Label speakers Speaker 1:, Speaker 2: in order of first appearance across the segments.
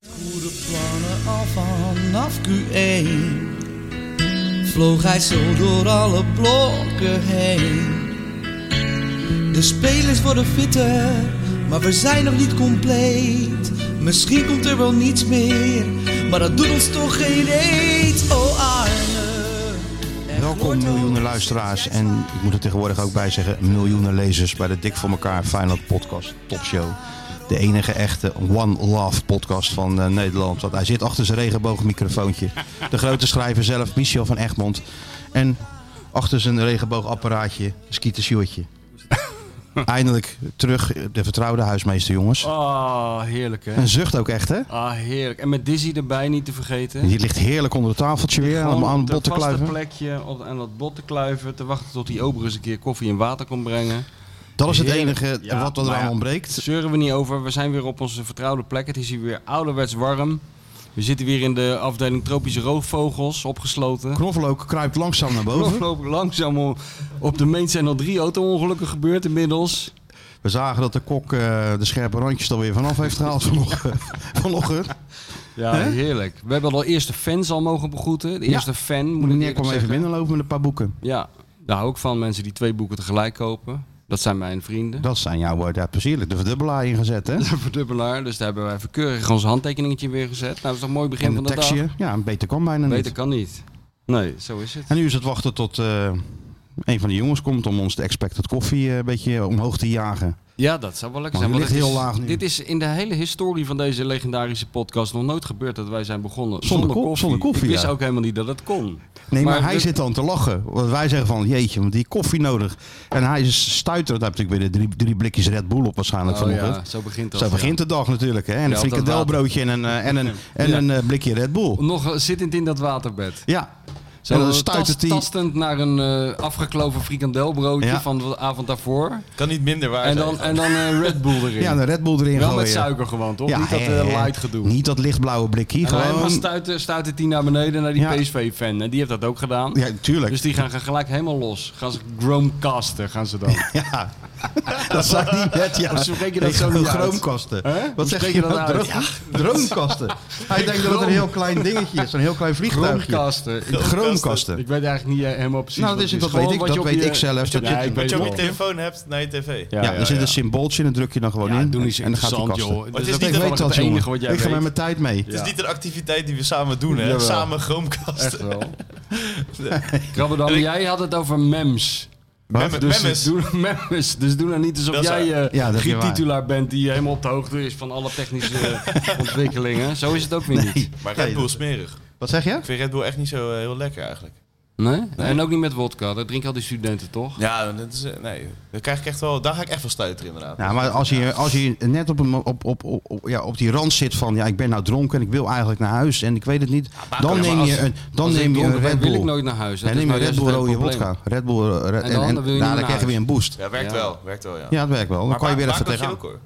Speaker 1: goede plannen al vanaf Q1 Vloog hij zo door alle blokken heen De spelers worden fitter, maar we zijn nog niet compleet Misschien komt er wel niets meer, maar dat doet ons toch geen eet Oh Arne er
Speaker 2: Welkom
Speaker 1: wordt al
Speaker 2: miljoenen luisteraars en ik moet er tegenwoordig ook bij zeggen miljoenen lezers bij de Dik voor elkaar Feyenoord podcast topshow. De enige echte One Love podcast van eh, Nederland. Want hij zit achter zijn regenboogmicrofoontje. De grote schrijver zelf, Michel van Egmond. En achter zijn regenboogapparaatje, Skeeter Sjoertje. Eindelijk terug de vertrouwde huismeester, jongens.
Speaker 3: Ah, heerlijk hè.
Speaker 2: Een zucht ook echt, hè?
Speaker 3: Ah, heerlijk. En met Dizzy erbij niet te vergeten.
Speaker 2: Die ligt heerlijk onder het tafeltje weer
Speaker 3: Gewoon
Speaker 2: aan, aan
Speaker 3: op
Speaker 2: het bot te
Speaker 3: vaste
Speaker 2: kluiven.
Speaker 3: plekje op, aan dat bot te kluiven. Te wachten tot die ober eens een keer koffie en water kon brengen.
Speaker 2: Dat is het
Speaker 3: Heerlijk.
Speaker 2: enige
Speaker 3: Ja,
Speaker 2: wat
Speaker 3: maar
Speaker 2: er aan
Speaker 3: ja,
Speaker 2: ontbreekt.
Speaker 3: Zeuren we niet over. We zijn weer op onze vertrouwde plek. Het is hier weer ouderwets warm. We zitten weer in de afdeling tropische roofvogels opgesloten.
Speaker 2: Knoflook kruipt langzaam naar boven.
Speaker 3: Lopen langzaam om- op de main zijn al drie auto-ongelukken gebeurd inmiddels.
Speaker 2: We zagen dat de kok eh, de scherpe randjes er weer vanaf heeft gehaald vanochtend. vanochtend.
Speaker 3: Ja,
Speaker 2: Hè?
Speaker 3: heerlijk. We hebben al eerste fans al mogen begroeten. De
Speaker 2: Ja.
Speaker 3: eerste fan, moet ik
Speaker 2: Meneer
Speaker 3: eerlijk
Speaker 2: kwam even
Speaker 3: zeggen.
Speaker 2: binnenlopen met een paar boeken.
Speaker 3: Ja, daar hou ik van. Mensen die twee boeken tegelijk kopen. Dat zijn mijn vrienden.
Speaker 2: Dat zijn jouw woorden, ja, precies. De verdubbelaar ingezet, hè?
Speaker 3: De verdubbelaar. Dus daar hebben wij even keurig ons handtekeningetje weer gezet. Nou, dat is toch een mooi begin
Speaker 2: En
Speaker 3: van
Speaker 2: een
Speaker 3: de dag.
Speaker 2: tekstje. Ja, een beter kan bijna
Speaker 3: Beter
Speaker 2: niet.
Speaker 3: kan niet. Nee, zo is het.
Speaker 2: En nu is het wachten tot eh, een van de jongens komt om ons de expected koffie eh, een beetje omhoog te jagen.
Speaker 3: Ja, dat zou wel lekker
Speaker 2: Maar
Speaker 3: zijn.
Speaker 2: die
Speaker 3: want
Speaker 2: ligt
Speaker 3: het
Speaker 2: heel
Speaker 3: is-
Speaker 2: laag nu.
Speaker 3: Dit is in de hele historie van deze legendarische podcast nog nooit gebeurd dat wij zijn begonnen zonder,
Speaker 2: Zonder ko-
Speaker 3: koffie.
Speaker 2: zonder koffie,
Speaker 3: Ik wist
Speaker 2: ja.
Speaker 3: ook helemaal niet dat het kon.
Speaker 2: Nee, maar,
Speaker 3: Maar
Speaker 2: hij
Speaker 3: de-
Speaker 2: zit dan te lachen. Want wij zeggen van, jeetje, want die koffie nodig. En hij is stuiter, daar heb ik weer de drie, drie blikjes Red Bull op waarschijnlijk
Speaker 3: Oh
Speaker 2: vanochtend.
Speaker 3: ja, zo begint dat.
Speaker 2: Zo
Speaker 3: ja.
Speaker 2: begint de dag natuurlijk, hè? En een
Speaker 3: Ja, op dat
Speaker 2: frikandelbroodje en een, eh, en een, en
Speaker 3: Ja.
Speaker 2: een eh, blikje Red Bull.
Speaker 3: Nog zittend in dat waterbed.
Speaker 2: Ja.
Speaker 3: Zo
Speaker 2: en dan
Speaker 3: eh,
Speaker 2: stuit
Speaker 3: tast-
Speaker 2: het die...
Speaker 3: tastend naar een eh, afgekloven frikandelbroodje
Speaker 2: Ja.
Speaker 3: van de avond daarvoor.
Speaker 4: Kan niet minder waar
Speaker 3: En
Speaker 4: zijn.
Speaker 3: dan, en dan eh, Red Bull erin.
Speaker 2: Ja, de Red Bull erin
Speaker 3: Wel
Speaker 2: gooien.
Speaker 3: met suiker gewoon, toch?
Speaker 2: Ja,
Speaker 3: niet dat
Speaker 2: hè,
Speaker 3: eh,
Speaker 2: hè.
Speaker 3: light gedoe.
Speaker 2: Niet dat lichtblauwe blikje.
Speaker 3: en
Speaker 2: Gewoon...
Speaker 3: helemaal stuitte, stuitte die naar beneden naar die
Speaker 2: Ja.
Speaker 3: PSV-fan. En die heeft dat ook gedaan.
Speaker 2: Ja, tuurlijk.
Speaker 3: Dus die gaan gaan gelijk helemaal los. Gaan ze groomcasten, gaan ze dan.
Speaker 2: Ja. dat zei hij net, ja.
Speaker 3: Of spreek je dat
Speaker 2: Ik
Speaker 3: zo
Speaker 2: ga
Speaker 3: niet uit?
Speaker 2: Droomkasten.
Speaker 3: Hè? Hoe
Speaker 2: Wat zeg
Speaker 3: spreek
Speaker 2: je
Speaker 3: je dat
Speaker 2: nou?
Speaker 3: uit?
Speaker 2: Droom- Droomkasten. Hij denkt dat het een heel klein dingetje is. Een heel klein vliegtuigje.
Speaker 3: Groomcasten. Ik,
Speaker 2: Droomkasten.
Speaker 3: ik weet eigenlijk niet eh, helemaal precies
Speaker 2: Nou,
Speaker 3: wat
Speaker 2: dat is-
Speaker 3: het
Speaker 2: dat weet
Speaker 3: Gewoon
Speaker 2: ik-
Speaker 3: wat
Speaker 2: dat
Speaker 3: je op
Speaker 2: weet
Speaker 3: je-
Speaker 2: ik zelf. Dat
Speaker 3: Ja,
Speaker 2: je-
Speaker 3: ik
Speaker 4: Wat
Speaker 3: weet
Speaker 4: je op
Speaker 3: wel.
Speaker 4: je telefoon hebt naar je tv.
Speaker 3: Ja,
Speaker 2: Ja, er zit een symbooltje en dan druk je dan gewoon
Speaker 3: Ja,
Speaker 2: in.
Speaker 3: doe niet zo
Speaker 2: en dan gaat die
Speaker 3: interessant,
Speaker 2: kasten.
Speaker 3: joh.
Speaker 4: Maar het is
Speaker 3: Dat
Speaker 4: niet
Speaker 2: Ik weet
Speaker 3: wel
Speaker 4: toevallig
Speaker 2: dat,
Speaker 3: het enige
Speaker 2: jongen.
Speaker 3: wat jij
Speaker 2: Ik ga met
Speaker 3: weet.
Speaker 2: mijn tijd mee.
Speaker 4: Het
Speaker 3: Ja.
Speaker 4: is niet een activiteit die we samen doen, hè?
Speaker 3: Jawel.
Speaker 4: Samen Chromecast.
Speaker 3: Echt wel. Krabbedam,
Speaker 4: En ik-
Speaker 3: jij had het over mems.
Speaker 4: Mem-
Speaker 3: Dus
Speaker 4: Memmes.
Speaker 3: Doe, memes. Dus doe nou niet alsof
Speaker 4: Dat is
Speaker 3: jij eh
Speaker 2: Ja, dat is
Speaker 3: geen
Speaker 2: waar.
Speaker 3: titulaar bent die helemaal op de hoogte is van alle technische eh, ontwikkelingen. Zo is het ook weer niet.
Speaker 4: Maar
Speaker 2: Nee,
Speaker 4: Red Bull
Speaker 2: dat-
Speaker 4: is smerig.
Speaker 2: Wat zeg je?
Speaker 4: Ik vind Red Bull echt niet zo eh, heel lekker eigenlijk.
Speaker 3: Nee? En ook niet met wodka. Dat drinken al die studenten toch?
Speaker 4: Ja, dat is, eh, nee, daar, krijg ik echt wel, daar ga ik echt van stuiteren inderdaad.
Speaker 2: Ja, maar als je, als je net op, een, mo- op, op, op, op- ja, op die rand zit van ja, ik ben nou dronken en ik wil eigenlijk naar huis en ik weet het niet, dan
Speaker 3: maar
Speaker 2: neem
Speaker 3: als-
Speaker 2: je een, dan
Speaker 3: Als ik
Speaker 2: neem je
Speaker 3: dronken
Speaker 2: een
Speaker 3: ben,
Speaker 2: Red
Speaker 3: wil ik
Speaker 2: Bull.
Speaker 3: nooit naar huis. Dat
Speaker 2: En
Speaker 3: is
Speaker 2: neem je
Speaker 3: nou
Speaker 2: Red
Speaker 3: juist
Speaker 2: Bull
Speaker 3: het
Speaker 2: rode
Speaker 3: probleem.
Speaker 2: vodka. Red Bull eh, Red,
Speaker 3: En
Speaker 2: en,
Speaker 3: dan
Speaker 2: en,
Speaker 3: wil je
Speaker 2: nou,
Speaker 3: niet naar
Speaker 2: dan krijg je
Speaker 3: huis.
Speaker 2: weer een boost.
Speaker 4: Ja, werkt
Speaker 3: Ja.
Speaker 4: wel. Werkt wel, ja.
Speaker 2: Ja, dat werkt wel. Dan
Speaker 4: Maar
Speaker 2: kan je weer even
Speaker 4: bakeltje
Speaker 2: tegenaan.
Speaker 4: ook hoor.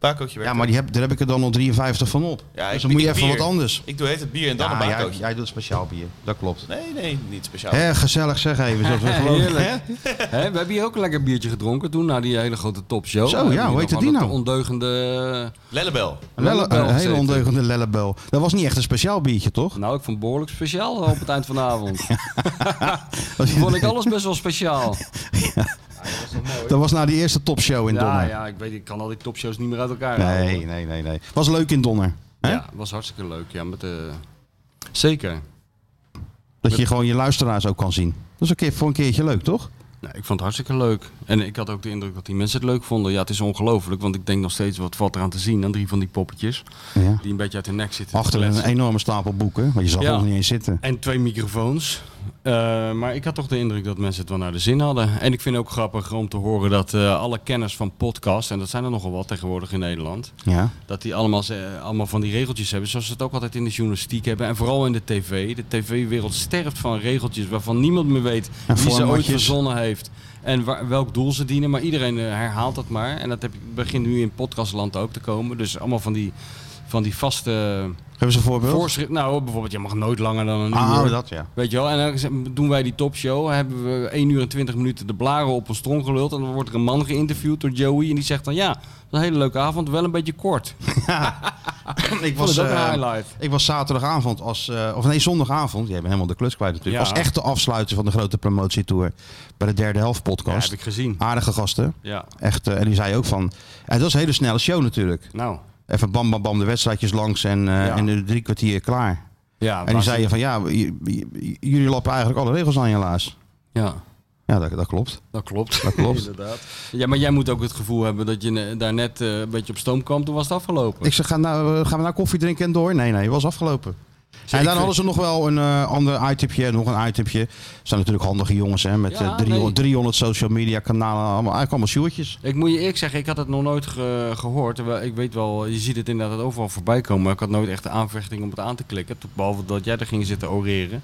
Speaker 4: Bakeltje werkt
Speaker 2: Ja, maar die heb, daar heb ik er dan al 53 van op.
Speaker 4: Ja,
Speaker 2: dus
Speaker 4: ik-
Speaker 2: dan moet je
Speaker 4: ik
Speaker 2: even
Speaker 4: bier.
Speaker 2: wat anders.
Speaker 4: ook. Ik doe heet het bier en dan
Speaker 2: Ja,
Speaker 4: een
Speaker 2: jij,
Speaker 4: bakeltje.
Speaker 2: jij doet speciaal bier. Dat klopt.
Speaker 4: Nee, nee, niet speciaal.
Speaker 2: Hè, gezellig zeg even. Zo,
Speaker 3: Nou. Heerlijk. Hè, we hebben hier ook een lekker biertje gedronken toen, na die hele grote topshow.
Speaker 2: Zo,
Speaker 3: We hebben
Speaker 2: ja, hoe
Speaker 3: hier
Speaker 2: heet het
Speaker 3: nog
Speaker 2: die
Speaker 3: wel
Speaker 2: nou?
Speaker 3: een ondeugende...
Speaker 4: Lellebel.
Speaker 2: Lelle,
Speaker 3: Lellebel
Speaker 2: een hele
Speaker 3: gezeten.
Speaker 2: ondeugende lellebel. Dat was niet echt een speciaal biertje, toch?
Speaker 3: Nou, ik vond behoorlijk speciaal eh, op het eind van de avond. vond ik alles best wel speciaal.
Speaker 2: Dat was na die eerste topshow in
Speaker 3: Ja,
Speaker 2: Donner.
Speaker 3: ja, ik weet, ik kan al die topshows niet meer uit elkaar halen.
Speaker 2: Nee, nee, nee, nee. Was leuk in Donner. Hè?
Speaker 3: Ja, was hartstikke leuk. Ja, met de... Zeker.
Speaker 2: Dat je gewoon je luisteraars ook kan zien. Dat is een keer, voor een keertje leuk, toch?
Speaker 3: Nee, ik vond het hartstikke leuk. En ik had ook de indruk dat die mensen het leuk vonden. Ja, het is ongelooflijk, want ik denk nog steeds wat valt eraan te zien aan drie van die poppetjes.
Speaker 2: Ja.
Speaker 3: Die een beetje uit hun nek zitten. te
Speaker 2: Achter een
Speaker 3: kletsen.
Speaker 2: enorme stapel boeken, want je zag
Speaker 3: Ja.
Speaker 2: nog niet eens zitten.
Speaker 3: En twee microfoons. Eh, maar ik had toch de indruk dat mensen het wel naar de zin hadden. En ik vind het ook grappig om te horen dat eh, alle kenners van podcast, en dat zijn er nogal wat tegenwoordig in Nederland,
Speaker 2: Ja.
Speaker 3: dat die allemaal, ze- allemaal van die regeltjes hebben. Zoals ze het ook altijd in de journalistiek hebben. En vooral in de tv. De tv-wereld sterft van regeltjes waarvan niemand meer weet
Speaker 2: En
Speaker 3: wie ze ooit
Speaker 2: formatjes.
Speaker 3: verzonnen heeft. En waar- welk doel ze dienen. Maar iedereen eh, herhaalt dat maar. En dat heb, begint nu in podcastland ook te komen. Dus allemaal van die, van die vaste
Speaker 2: Hebben ze een voorbeeld?
Speaker 3: voorschriften. Nou, bijvoorbeeld, je mag nooit langer dan een uur.
Speaker 2: Ah, dat ja.
Speaker 3: Weet je wel, en dan z- doen wij die topshow. Hebben we 1 uur en 20 minuten de blaren op ons trom geluld. En dan wordt er een man geïnterviewd door Joey. En die zegt dan: Ja, dat is een hele leuke avond, wel een beetje kort.
Speaker 2: ik
Speaker 3: vond
Speaker 2: was,
Speaker 3: het ook
Speaker 2: eh,
Speaker 3: een highlight.
Speaker 2: ik was zaterdagavond, als, eh, of nee, zondagavond. Jij bent helemaal de klus kwijt natuurlijk.
Speaker 3: Ja.
Speaker 2: Was echt de afsluiter van de grote promotietour bij de derde helft
Speaker 3: Ja,
Speaker 2: podcast.
Speaker 3: heb ik gezien.
Speaker 2: Aardige gasten.
Speaker 3: Ja,
Speaker 2: Echt, eh, en die zei ook van... En dat is een hele snelle show natuurlijk.
Speaker 3: nou.
Speaker 2: Even bam, bam, bam, de wedstrijdjes langs en, eh,
Speaker 3: Ja.
Speaker 2: en de drie kwartier klaar.
Speaker 3: Ja,
Speaker 2: En die
Speaker 3: was-
Speaker 2: zeiden van ja, j- j- jullie lappen eigenlijk alle regels aan helaas.
Speaker 3: Ja,
Speaker 2: Ja, dat, dat klopt.
Speaker 3: dat klopt.
Speaker 2: Dat klopt.
Speaker 3: Inderdaad. Ja, maar jij moet ook het gevoel hebben dat je eh, daar net eh, een beetje op stoom kwam. Toen was het afgelopen.
Speaker 2: Ik zeg, gaan, nou, eh, gaan we nou koffie drinken en door? Nee, nee, het was afgelopen.
Speaker 3: Zeker.
Speaker 2: En dan hadden ze nog wel een eh, ander itempje, en nog een itempje. Het zijn natuurlijk handige jongens, hè, met
Speaker 3: Ja,
Speaker 2: eh, 300,
Speaker 3: nee.
Speaker 2: 300 social media kanalen, allemaal, eigenlijk allemaal sjoertjes.
Speaker 3: Ik moet je eerlijk zeggen, ik had het nog nooit ge- gehoord. Terwijl Ik weet wel, je ziet het inderdaad overal voorbij komen. Maar ik had nooit echt de aanvechting om het aan te klikken. Tot- Behalve dat jij er ging zitten oreren.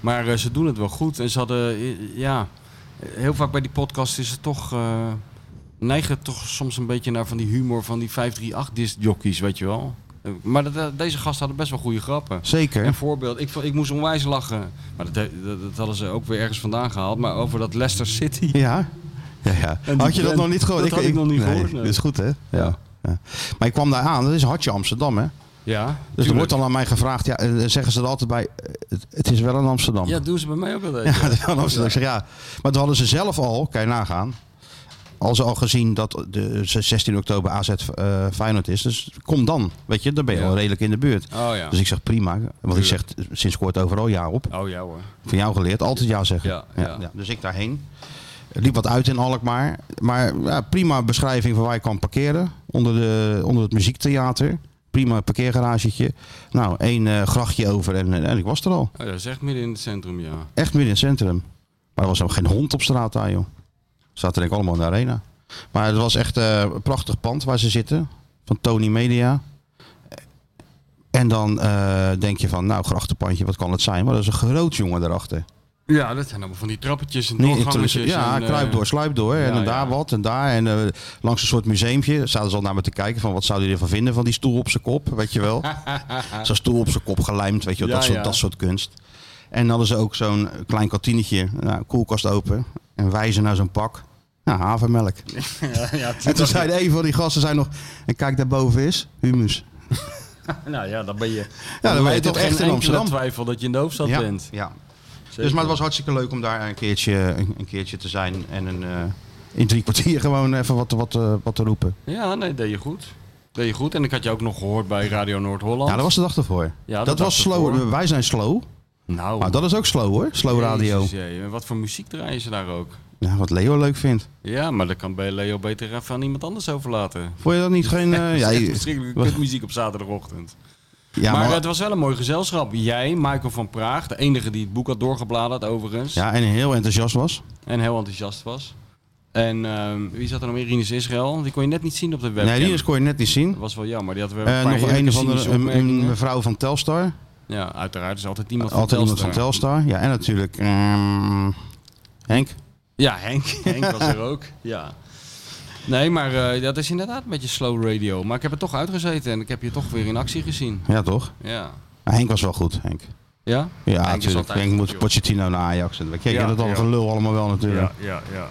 Speaker 3: Maar eh, ze doen het wel goed. En ze hadden, eh, ja, heel vaak bij die podcast is het toch... eh, neigen het toch soms een beetje naar van die humor van die 538-discjockeys, weet je wel. Eh, Maar dat- dat- deze gasten hadden best wel goede grappen.
Speaker 2: Zeker.
Speaker 3: Een voorbeeld. Ik, vond- ik moest onwijs lachen. Maar dat, he- dat, dat hadden ze ook weer ergens vandaan gehaald. Maar over dat Leicester City.
Speaker 2: Ja. ja, ja.
Speaker 3: En die
Speaker 2: Had je dat
Speaker 3: band,
Speaker 2: nog niet gehoord?
Speaker 3: dat had ik nog niet gehoord, nee.
Speaker 2: Dat is goed, hè? Ja. Ja. Maar ik kwam daar aan, dat is hartje Amsterdam, hè? Dus
Speaker 3: Ja,
Speaker 2: er
Speaker 3: tuurlijk.
Speaker 2: wordt al aan mij gevraagd, ja, eh, zeggen ze er altijd bij, eh, het, het is wel in Amsterdam.
Speaker 3: Ja, doen ze bij mij ook wel.
Speaker 2: Ja, dat kan Amsterdam. Ik zeg ja. Maar toen hadden ze zelf al, kan je nagaan. Al ze al gezien dat de 16 oktober AZ eh Feyenoord is. Dus kom dan. Weet je, dan ben je
Speaker 3: Ja.
Speaker 2: al redelijk in de buurt.
Speaker 3: Oh ja.
Speaker 2: Dus ik zeg prima. Want ik zeg sinds kort overal ja op.
Speaker 3: Oh ja hoor.
Speaker 2: Van jou geleerd. Altijd ja zeggen.
Speaker 3: Ja, ja.
Speaker 2: Dus ik daarheen. Het liep wat uit in Alkmaar. Maar ja, prima beschrijving van waar je kan parkeren. Onder, de, onder het muziektheater. Prima parkeergaragetje. Nou, één eh, grachtje over en, en ik was er al.
Speaker 3: Oh, dat is echt midden in het centrum, ja.
Speaker 2: Echt midden in het centrum. Maar er was ook geen hond op straat daar, joh. Zaten denk ik allemaal in de arena. Maar het was echt eh, een prachtig pand waar ze zitten. Van Tony Media. En dan eh, denk je van, nou, grachtenpandje, wat kan het zijn? Maar dat is een groot jongen daarachter.
Speaker 3: Ja, dat zijn allemaal van die trappetjes en
Speaker 2: Nee,
Speaker 3: doorgangetjes.
Speaker 2: ja,
Speaker 3: en, eh,
Speaker 2: kruip door, sluip door. en
Speaker 3: ja,
Speaker 2: dan daar
Speaker 3: ja.
Speaker 2: wat en daar. En eh, langs een soort museumpje zaten ze al naar me te kijken van, wat zouden jullie ervan vinden van die stoel op zijn kop, weet je wel? Zo'n stoel op zijn kop gelijmd, weet je wel,
Speaker 3: Ja,
Speaker 2: dat, soort,
Speaker 3: ja.
Speaker 2: dat soort kunst. En hadden ze ook zo'n klein kantinetje, nou, koelkast open. En wijzen naar zo'n pak. Nou, havermelk.
Speaker 3: ja, ja,
Speaker 2: En toen zei een van die gasten zei nog, en kijk daarboven is, humus.
Speaker 3: Nou ja, dan ben je...
Speaker 2: ben je
Speaker 3: weet
Speaker 2: toch echt in Amsterdam.
Speaker 3: twijfel dat je in de hoofdstad
Speaker 2: ja,
Speaker 3: bent.
Speaker 2: ja. Dus, maar het was hartstikke leuk om daar een keertje, een, een keertje te zijn. En een, eh, in drie kwartier gewoon even wat, wat, eh, wat te roepen.
Speaker 3: Ja, nee, deed je goed. Deed je goed. En ik had je ook nog gehoord bij Radio Noord-Holland.
Speaker 2: Ja, dat was de dag ervoor.
Speaker 3: Ja,
Speaker 2: dat
Speaker 3: de dag
Speaker 2: was slow.
Speaker 3: ervoor.
Speaker 2: Wij zijn slow.
Speaker 3: Nou,
Speaker 2: Maar dat is ook slow hoor. Slow radio.
Speaker 3: Jezus, jee. En Wat voor muziek draaien ze daar ook?
Speaker 2: Ja, wat Leo leuk vindt.
Speaker 3: Ja, maar dat kan bij Leo beter even aan iemand anders overlaten.
Speaker 2: Vond je dat niet geen... eh, ja,
Speaker 3: Ja,
Speaker 2: je-
Speaker 3: verschrikkelijke kutmuziek op zaterdagochtend.
Speaker 2: ja,
Speaker 3: maar,
Speaker 2: maar,
Speaker 3: het was wel een mooi gezelschap. Jij, Michael van Praag, de enige die het boek had doorgebladerd overigens.
Speaker 2: ja, en heel enthousiast was.
Speaker 3: En heel enthousiast was. En ehm, wie zat er nog meer? Rinus Israël. Die kon je net niet zien op de webcam.
Speaker 2: Nee, die is kon je net niet zien.
Speaker 3: Dat was wel jammer. Die had weer een
Speaker 2: Eh
Speaker 3: paar
Speaker 2: nog een
Speaker 3: heerlijke
Speaker 2: of andere
Speaker 3: cynische
Speaker 2: een, een
Speaker 3: opmerkingen.
Speaker 2: mevrouw van Telstar.
Speaker 3: Ja, uiteraard. is altijd iemand van
Speaker 2: Altijd iemand van
Speaker 3: Telstar.
Speaker 2: Telstar. Ja, en natuurlijk ehm, Henk.
Speaker 3: Ja, Henk. Henk was er ook. Ja. Nee, maar eh, dat is inderdaad een beetje slow radio. Maar ik heb het toch uitgezeten en ik heb je toch weer in actie gezien.
Speaker 2: Ja, toch?
Speaker 3: Ja.
Speaker 2: Maar Henk was wel goed, Henk.
Speaker 3: Ja?
Speaker 2: Ja,
Speaker 3: is
Speaker 2: natuurlijk.
Speaker 3: altijd
Speaker 2: Henk
Speaker 3: goed,
Speaker 2: moet
Speaker 3: joh.
Speaker 2: Pochettino naar Ajax. En Kijk,
Speaker 3: Ja,
Speaker 2: dat al
Speaker 3: ja.
Speaker 2: gelul allemaal wel natuurlijk.
Speaker 3: ja, ja.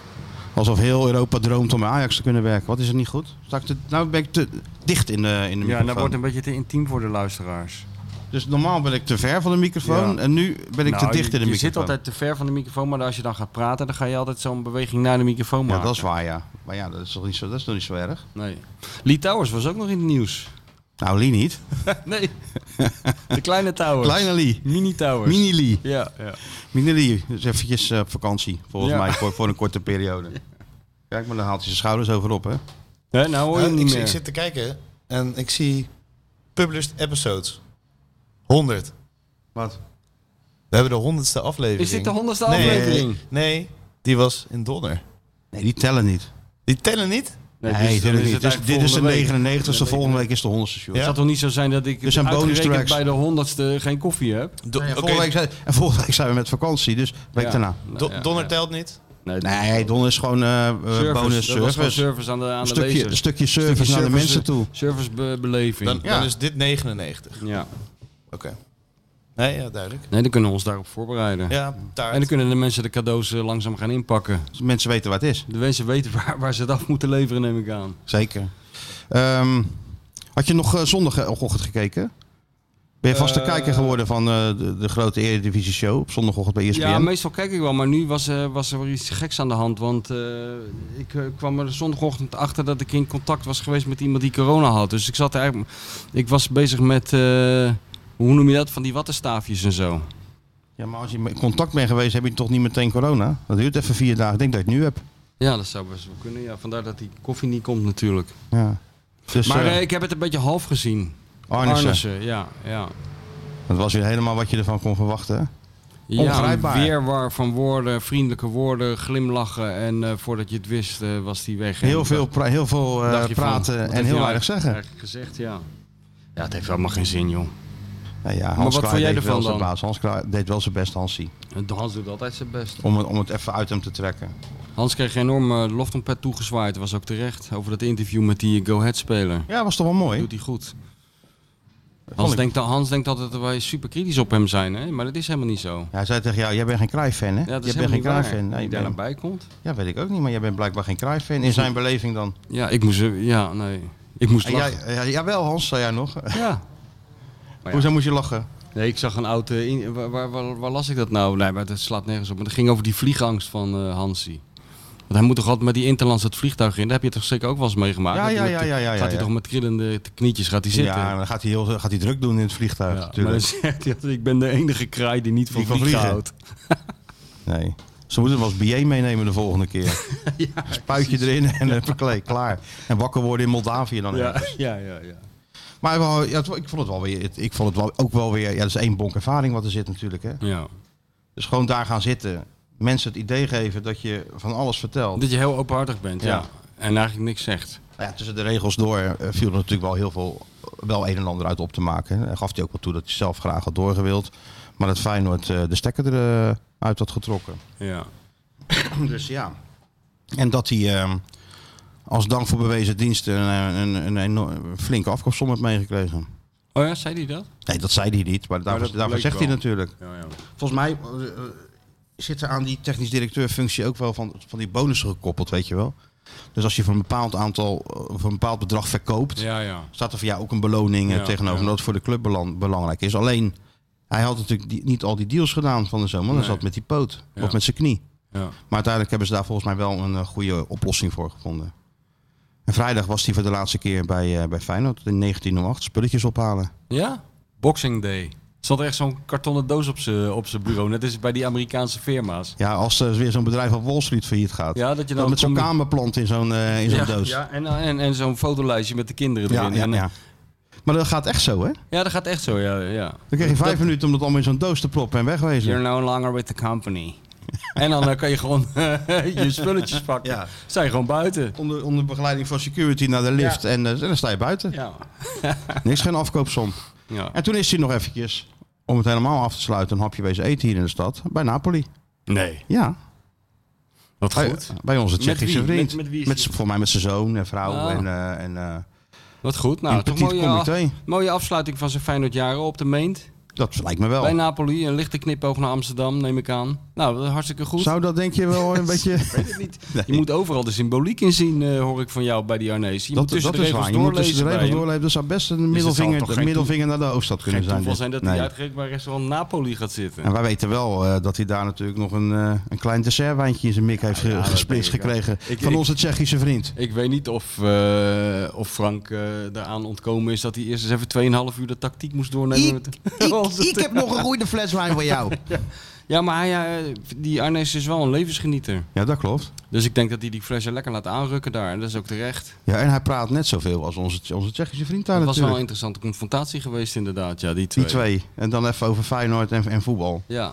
Speaker 2: Alsof heel Europa droomt om bij Ajax te kunnen werken. Wat is er niet goed? Sta ik te- nou ben ik te dicht in de, in de
Speaker 3: Ja,
Speaker 2: microfoon.
Speaker 3: en dat wordt een beetje te intiem voor de luisteraars.
Speaker 2: Dus normaal ben ik te ver van de microfoon
Speaker 3: Ja.
Speaker 2: en nu ben ik
Speaker 3: Nou,
Speaker 2: te dicht
Speaker 3: je-
Speaker 2: in de microfoon.
Speaker 3: Je zit altijd te ver van de microfoon, maar als je dan gaat praten, dan ga je altijd zo'n beweging naar de microfoon maken.
Speaker 2: Ja, dat is waar, ja. Maar ja, dat is toch niet zo, dat is toch niet zo erg?
Speaker 3: Nee. Lee Towers was ook nog in het nieuws.
Speaker 2: Nou, Lee niet.
Speaker 3: nee. De kleine Towers.
Speaker 2: Kleine Lee.
Speaker 3: Mini Towers.
Speaker 2: Mini Lee.
Speaker 3: Ja, ja.
Speaker 2: Mini Lee is eventjes eh, op vakantie, volgens
Speaker 3: Ja.
Speaker 2: mij, voor, voor een korte periode. Kijk, maar dan haalt hij zijn schouders over op, hè?
Speaker 3: Hè, nou hoor je hem
Speaker 4: ik,
Speaker 3: niet
Speaker 4: zie-
Speaker 3: meer.
Speaker 4: ik zit te kijken en ik zie published episodes. 100.
Speaker 2: Wat?
Speaker 4: We hebben de honderdste aflevering.
Speaker 3: Is dit de honderdste
Speaker 4: Nee,
Speaker 3: aflevering?
Speaker 4: Nee, die was in Donner.
Speaker 2: Nee, die tellen niet.
Speaker 4: Die tellen niet?
Speaker 2: Nee,
Speaker 3: dus dan
Speaker 2: natuurlijk
Speaker 3: is
Speaker 2: niet.
Speaker 3: het
Speaker 2: Dus
Speaker 3: eigenlijk
Speaker 2: dit is de
Speaker 3: volgende week.
Speaker 2: 99ste, volgende week is de 100ste show.
Speaker 3: Het
Speaker 4: Ja.
Speaker 3: zal toch niet zo zijn dat ik
Speaker 2: Er zijn bonus
Speaker 3: uitgerekend
Speaker 2: tracks.
Speaker 3: bij de honderdste geen koffie heb?
Speaker 4: Do-
Speaker 2: Nee,
Speaker 4: oké,
Speaker 2: volgende week zijn, en volgende week zijn we met vakantie, dus week
Speaker 3: Ja.
Speaker 2: daarna.
Speaker 3: Nou,
Speaker 4: Do-
Speaker 3: ja,
Speaker 4: Donner
Speaker 3: ja.
Speaker 4: telt niet.
Speaker 3: Nee,
Speaker 2: Nee, Don is gewoon eh, eh,
Speaker 3: service.
Speaker 2: bonus
Speaker 3: Dat was gewoon
Speaker 2: service.
Speaker 3: service aan de, aan
Speaker 2: Een
Speaker 3: de
Speaker 2: stukje,
Speaker 3: lezer.
Speaker 2: een stukje service naar de mensen toe.
Speaker 3: Servicebeleving.
Speaker 4: Dan,
Speaker 2: Ja.
Speaker 4: dan is dit 99.
Speaker 3: Ja.
Speaker 4: Oké. Nee, ja, duidelijk.
Speaker 3: Nee, dan kunnen we ons daarop voorbereiden.
Speaker 4: Ja, taart.
Speaker 3: En dan kunnen de mensen de cadeaus eh, langzaam gaan inpakken.
Speaker 2: Dus mensen weten waar het is.
Speaker 3: De mensen weten waar, waar ze het af moeten leveren, neem ik aan.
Speaker 2: Zeker. Ehm, Had je nog eh, zondagochtend gekeken? Ben je vaste
Speaker 4: Eh,
Speaker 2: kijker geworden van eh, de, de grote Eredivisie Show op zondagochtend bij E ESPN?
Speaker 3: Ja, meestal kijk ik wel, maar nu was, eh, was er weer iets geks aan de hand. Want eh, ik eh, kwam er zondagochtend achter dat ik in contact was geweest met iemand die corona had. Dus ik zat er eigenlijk. Ik was bezig met. eh, hoe noem je dat? Van die wattenstaafjes en zo.
Speaker 2: Ja, maar als je in contact bent geweest, heb je toch niet meteen corona? Dat duurt even vier dagen. Ik denk dat je het nu hebt.
Speaker 3: Ja, dat zou best wel kunnen. Ja, vandaar dat die koffie niet komt natuurlijk.
Speaker 2: Ja. Dus
Speaker 3: Maar
Speaker 2: eh,
Speaker 3: eh, ik heb het een beetje half gezien.
Speaker 2: Arnissen,
Speaker 3: ja. ja.
Speaker 2: dat was weer helemaal wat je ervan kon verwachten. hè?
Speaker 3: Ja, een
Speaker 2: Ongrijpbaar.
Speaker 3: weerwar van woorden, vriendelijke woorden, glimlachen. En eh, voordat je het wist, eh, was die weg.
Speaker 2: Heel
Speaker 3: En
Speaker 2: veel, pra- heel veel eh,
Speaker 3: dacht je van, wat
Speaker 2: praten en
Speaker 3: heeft hij
Speaker 2: heel
Speaker 3: nou
Speaker 2: weinig zeggen.
Speaker 3: Eigenlijk gezegd, ja. Ja, het heeft helemaal geen zin, joh.
Speaker 2: Nou ja, Hans
Speaker 3: wat
Speaker 2: Kraaij
Speaker 3: vond jij
Speaker 2: deed
Speaker 3: ervan
Speaker 2: wel zijn
Speaker 3: dan?
Speaker 2: baas. Hans Kraaij deed wel zijn best, Hansie.
Speaker 3: De Hans doet altijd zijn best.
Speaker 2: Om het, om het even uit hem te trekken.
Speaker 3: Hans kreeg eh, een enorme loftompet toegezwaaid. Was ook terecht over dat interview met die eh, Go Ahead speler.
Speaker 2: Ja, was toch wel mooi?
Speaker 3: Doet hij goed.
Speaker 2: Vond
Speaker 3: Hans
Speaker 2: ik.
Speaker 3: denkt, al- Hans denkt altijd dat wij super kritisch op hem zijn, hè? maar dat is helemaal niet zo.
Speaker 2: Hij zei tegen jou, jij bent geen Cruijff-fan, hè?
Speaker 3: Ja, dat
Speaker 2: jij
Speaker 3: is
Speaker 2: bent
Speaker 3: helemaal
Speaker 2: geen
Speaker 3: niet waar.
Speaker 2: Cruijff-fan. Nee,
Speaker 3: Die
Speaker 2: je
Speaker 3: daar
Speaker 2: bent-
Speaker 3: naar bij komt.
Speaker 2: Ja, weet ik ook niet, maar jij bent blijkbaar geen Cruijff-fan. In zijn beleving dan.
Speaker 3: Ja, ik moest... eh, Ja, nee. Ik moest
Speaker 2: En jij,
Speaker 3: lachen.
Speaker 2: ja, jawel, Hans, zei jij nog.
Speaker 3: Ja. ja.
Speaker 2: Hoezo moest je lachen?
Speaker 3: Nee, ik zag een oud... eh, in- waar, waar, waar, waar las ik dat nou? Nee, maar dat slaat nergens op. Maar dat ging over die vliegangst van eh, Hansi. Want hij moet toch altijd met die interlands het vliegtuig in? Daar heb je toch zeker ook wel eens meegemaakt?
Speaker 2: Ja,
Speaker 3: Dat hij
Speaker 2: ja,
Speaker 3: met-
Speaker 2: ja, ja, ja,
Speaker 3: Gaat hij
Speaker 2: ja.
Speaker 3: toch met trillende knietjes gaat hij zitten?
Speaker 2: Ja, dan gaat hij, heel, gaat hij druk doen in het vliegtuig.
Speaker 3: Ja, maar dan
Speaker 2: natuurlijk.
Speaker 3: zegt hij altijd, ik ben de enige kraai die niet van
Speaker 2: Die van
Speaker 3: vliegen
Speaker 2: vliegen.
Speaker 3: houdt.
Speaker 2: Nee. Ze moeten hem als BA meenemen de volgende keer. Een spuitje erin en een verkleed, klaar. En wakker worden in Moldavië dan.
Speaker 3: Ja, ja, ja, ja.
Speaker 2: Maar wel, ja, het- ik vond het wel weer, het- ik vond het wel, ook wel weer, ja, dat is één bonk ervaring wat er zit natuurlijk. Hè.
Speaker 3: ja.
Speaker 2: Dus gewoon daar gaan zitten. Mensen het idee geven dat je van alles vertelt.
Speaker 3: Dat je heel openhartig bent, ja.
Speaker 2: Ja.
Speaker 3: En eigenlijk niks zegt.
Speaker 2: Nou ja, tussen de regels door eh, viel er natuurlijk wel heel veel, wel een en ander uit op te maken. Hij gaf hij ook wel toe dat hij zelf graag had doorgewild. Maar dat Feyenoord eh, de stekker eruit uit had getrokken.
Speaker 3: Ja.
Speaker 2: Dus ja. En dat hij eh, als dank voor bewezen diensten een, een, een, enorm- flinke afkoopsom heeft meegekregen.
Speaker 3: Oh ja, zei hij dat?
Speaker 2: Nee, dat zei hij niet, maar daarvoor,
Speaker 3: dat
Speaker 2: daarvoor
Speaker 3: bleek
Speaker 2: zegt hij
Speaker 3: wel.
Speaker 2: natuurlijk.
Speaker 3: Ja, ja.
Speaker 2: Volgens mij eh, eh, zit er aan die technisch directeur functie ook wel van, van die bonussen gekoppeld, weet je wel. Dus als je voor een bepaald aantal, eh, voor een bepaald bedrag verkoopt,
Speaker 3: Ja, ja.
Speaker 2: staat er voor jou ook een beloning eh,
Speaker 3: Ja,
Speaker 2: tegenover.
Speaker 3: ja.
Speaker 2: Omdat het voor de club belang- belangrijk is. Alleen, hij had natuurlijk die- niet al die deals gedaan van de zomer. want Hij
Speaker 3: Nee.
Speaker 2: zat met die poot
Speaker 3: Ja.
Speaker 2: of met zijn knie.
Speaker 3: ja.
Speaker 2: Maar uiteindelijk hebben ze daar volgens mij wel een eh, goede oplossing voor gevonden. En vrijdag was hij voor de laatste keer bij, eh, bij Feyenoord in 1908 spulletjes ophalen.
Speaker 3: Ja? Boxing Day. Er zat echt zo'n kartonnen doos op zijn op z'n bureau. Net is bij die Amerikaanse firma's.
Speaker 2: Ja, als er weer zo'n bedrijf op Wall Street failliet gaat.
Speaker 3: Ja, dat je
Speaker 2: dan
Speaker 3: dan
Speaker 2: met zo'n
Speaker 3: combi-
Speaker 2: kamerplant in zo'n eh, in zo'n
Speaker 3: ja,
Speaker 2: doos.
Speaker 3: Ja, en, en, en zo'n fotolijstje met de kinderen
Speaker 2: Ja,
Speaker 3: erin.
Speaker 2: ja,
Speaker 3: En- eh,
Speaker 2: ja. Maar dat gaat echt zo, hè?
Speaker 3: ja, dat gaat echt zo, ja. ja.
Speaker 2: Dan krijg je vijf
Speaker 3: Dat-
Speaker 2: minuten om dat allemaal in zo'n doos te proppen en wegwezen.
Speaker 3: You're no longer with the company. en dan eh, kan je gewoon je spulletjes pakken.
Speaker 2: Ja.
Speaker 3: Zijn gewoon buiten.
Speaker 2: Onder, onder begeleiding van security naar de lift en, eh, en dan sta je buiten.
Speaker 3: Ja.
Speaker 2: Niks, geen afkoopsom.
Speaker 3: ja.
Speaker 2: En toen is hij nog eventjes, om het helemaal af te sluiten, een hapje wezen eten hier in de stad. Bij Napoli.
Speaker 3: Nee.
Speaker 2: Ja,
Speaker 3: Wat
Speaker 2: bij,
Speaker 3: goed.
Speaker 2: bij onze
Speaker 3: Met
Speaker 2: Tsjechische
Speaker 3: wie?
Speaker 2: vriend.
Speaker 3: Met- met wie is
Speaker 2: z'n- Voor mij met zijn zoon en vrouw
Speaker 3: Ah.
Speaker 2: en, eh, en eh,
Speaker 3: Wat goed.
Speaker 2: een
Speaker 3: Nou, toch
Speaker 2: petit
Speaker 3: mooie, af-
Speaker 2: comité.
Speaker 3: mooie afsluiting van zijn Feyenoord jaren op de Meent.
Speaker 2: Dat lijkt me wel.
Speaker 3: Bij Napoli. Een lichte knipoog naar Amsterdam, neem ik aan. Nou, dat is hartstikke goed.
Speaker 2: Zou dat denk je wel een beetje...
Speaker 3: Ik weet het niet.
Speaker 2: Nee.
Speaker 3: Je moet overal de symboliek in zien, eh, hoor ik van jou bij die Arnees. Je
Speaker 2: dat
Speaker 3: moet tussen
Speaker 2: dat is
Speaker 3: de regels
Speaker 2: waar. Je moet tussen de regels
Speaker 3: doorlezen bij hem. Dus
Speaker 2: doorleven. Dus Dat zou best een
Speaker 3: het zal
Speaker 2: middelvinger,
Speaker 3: toch geen toe-
Speaker 2: middelvinger naar de hoofdstad kunnen
Speaker 3: Geen
Speaker 2: zijn.
Speaker 3: toeval
Speaker 2: dit.
Speaker 3: zijn dat
Speaker 2: Nee.
Speaker 3: hij uitgerekend bij restaurant Napoli gaat zitten.
Speaker 2: En wij weten wel eh, dat hij daar natuurlijk nog een, eh, een klein dessertwijntje in zijn mik heeft ge-
Speaker 3: ja, dat
Speaker 2: gesplitst
Speaker 3: denk ik ook.
Speaker 2: gekregen.
Speaker 3: Ik-
Speaker 2: van
Speaker 3: ik-
Speaker 2: onze Tsjechische vriend.
Speaker 3: Ik weet niet of, eh, of Frank eh, daaraan ontkomen is dat hij eerst eens even 2,5 uur de tactiek moest doornemen.
Speaker 2: Ik-
Speaker 3: met de-
Speaker 2: Ik,
Speaker 3: onze-
Speaker 2: ik heb nog een goede fles wijn voor jou.
Speaker 3: Ja, maar hij, eh, die Arnees is wel een levensgenieter.
Speaker 2: Ja, dat klopt.
Speaker 3: Dus ik denk dat hij die flessen lekker laat aanrukken daar. En dat is ook terecht.
Speaker 2: Ja, en hij praat net zoveel als onze, onze Tsjechische vriend daar
Speaker 3: Dat was wel
Speaker 2: natuurlijk.
Speaker 3: een interessante confrontatie geweest inderdaad. Ja, die twee.
Speaker 2: Die twee. En dan even over Feyenoord en, en voetbal.
Speaker 3: Ja,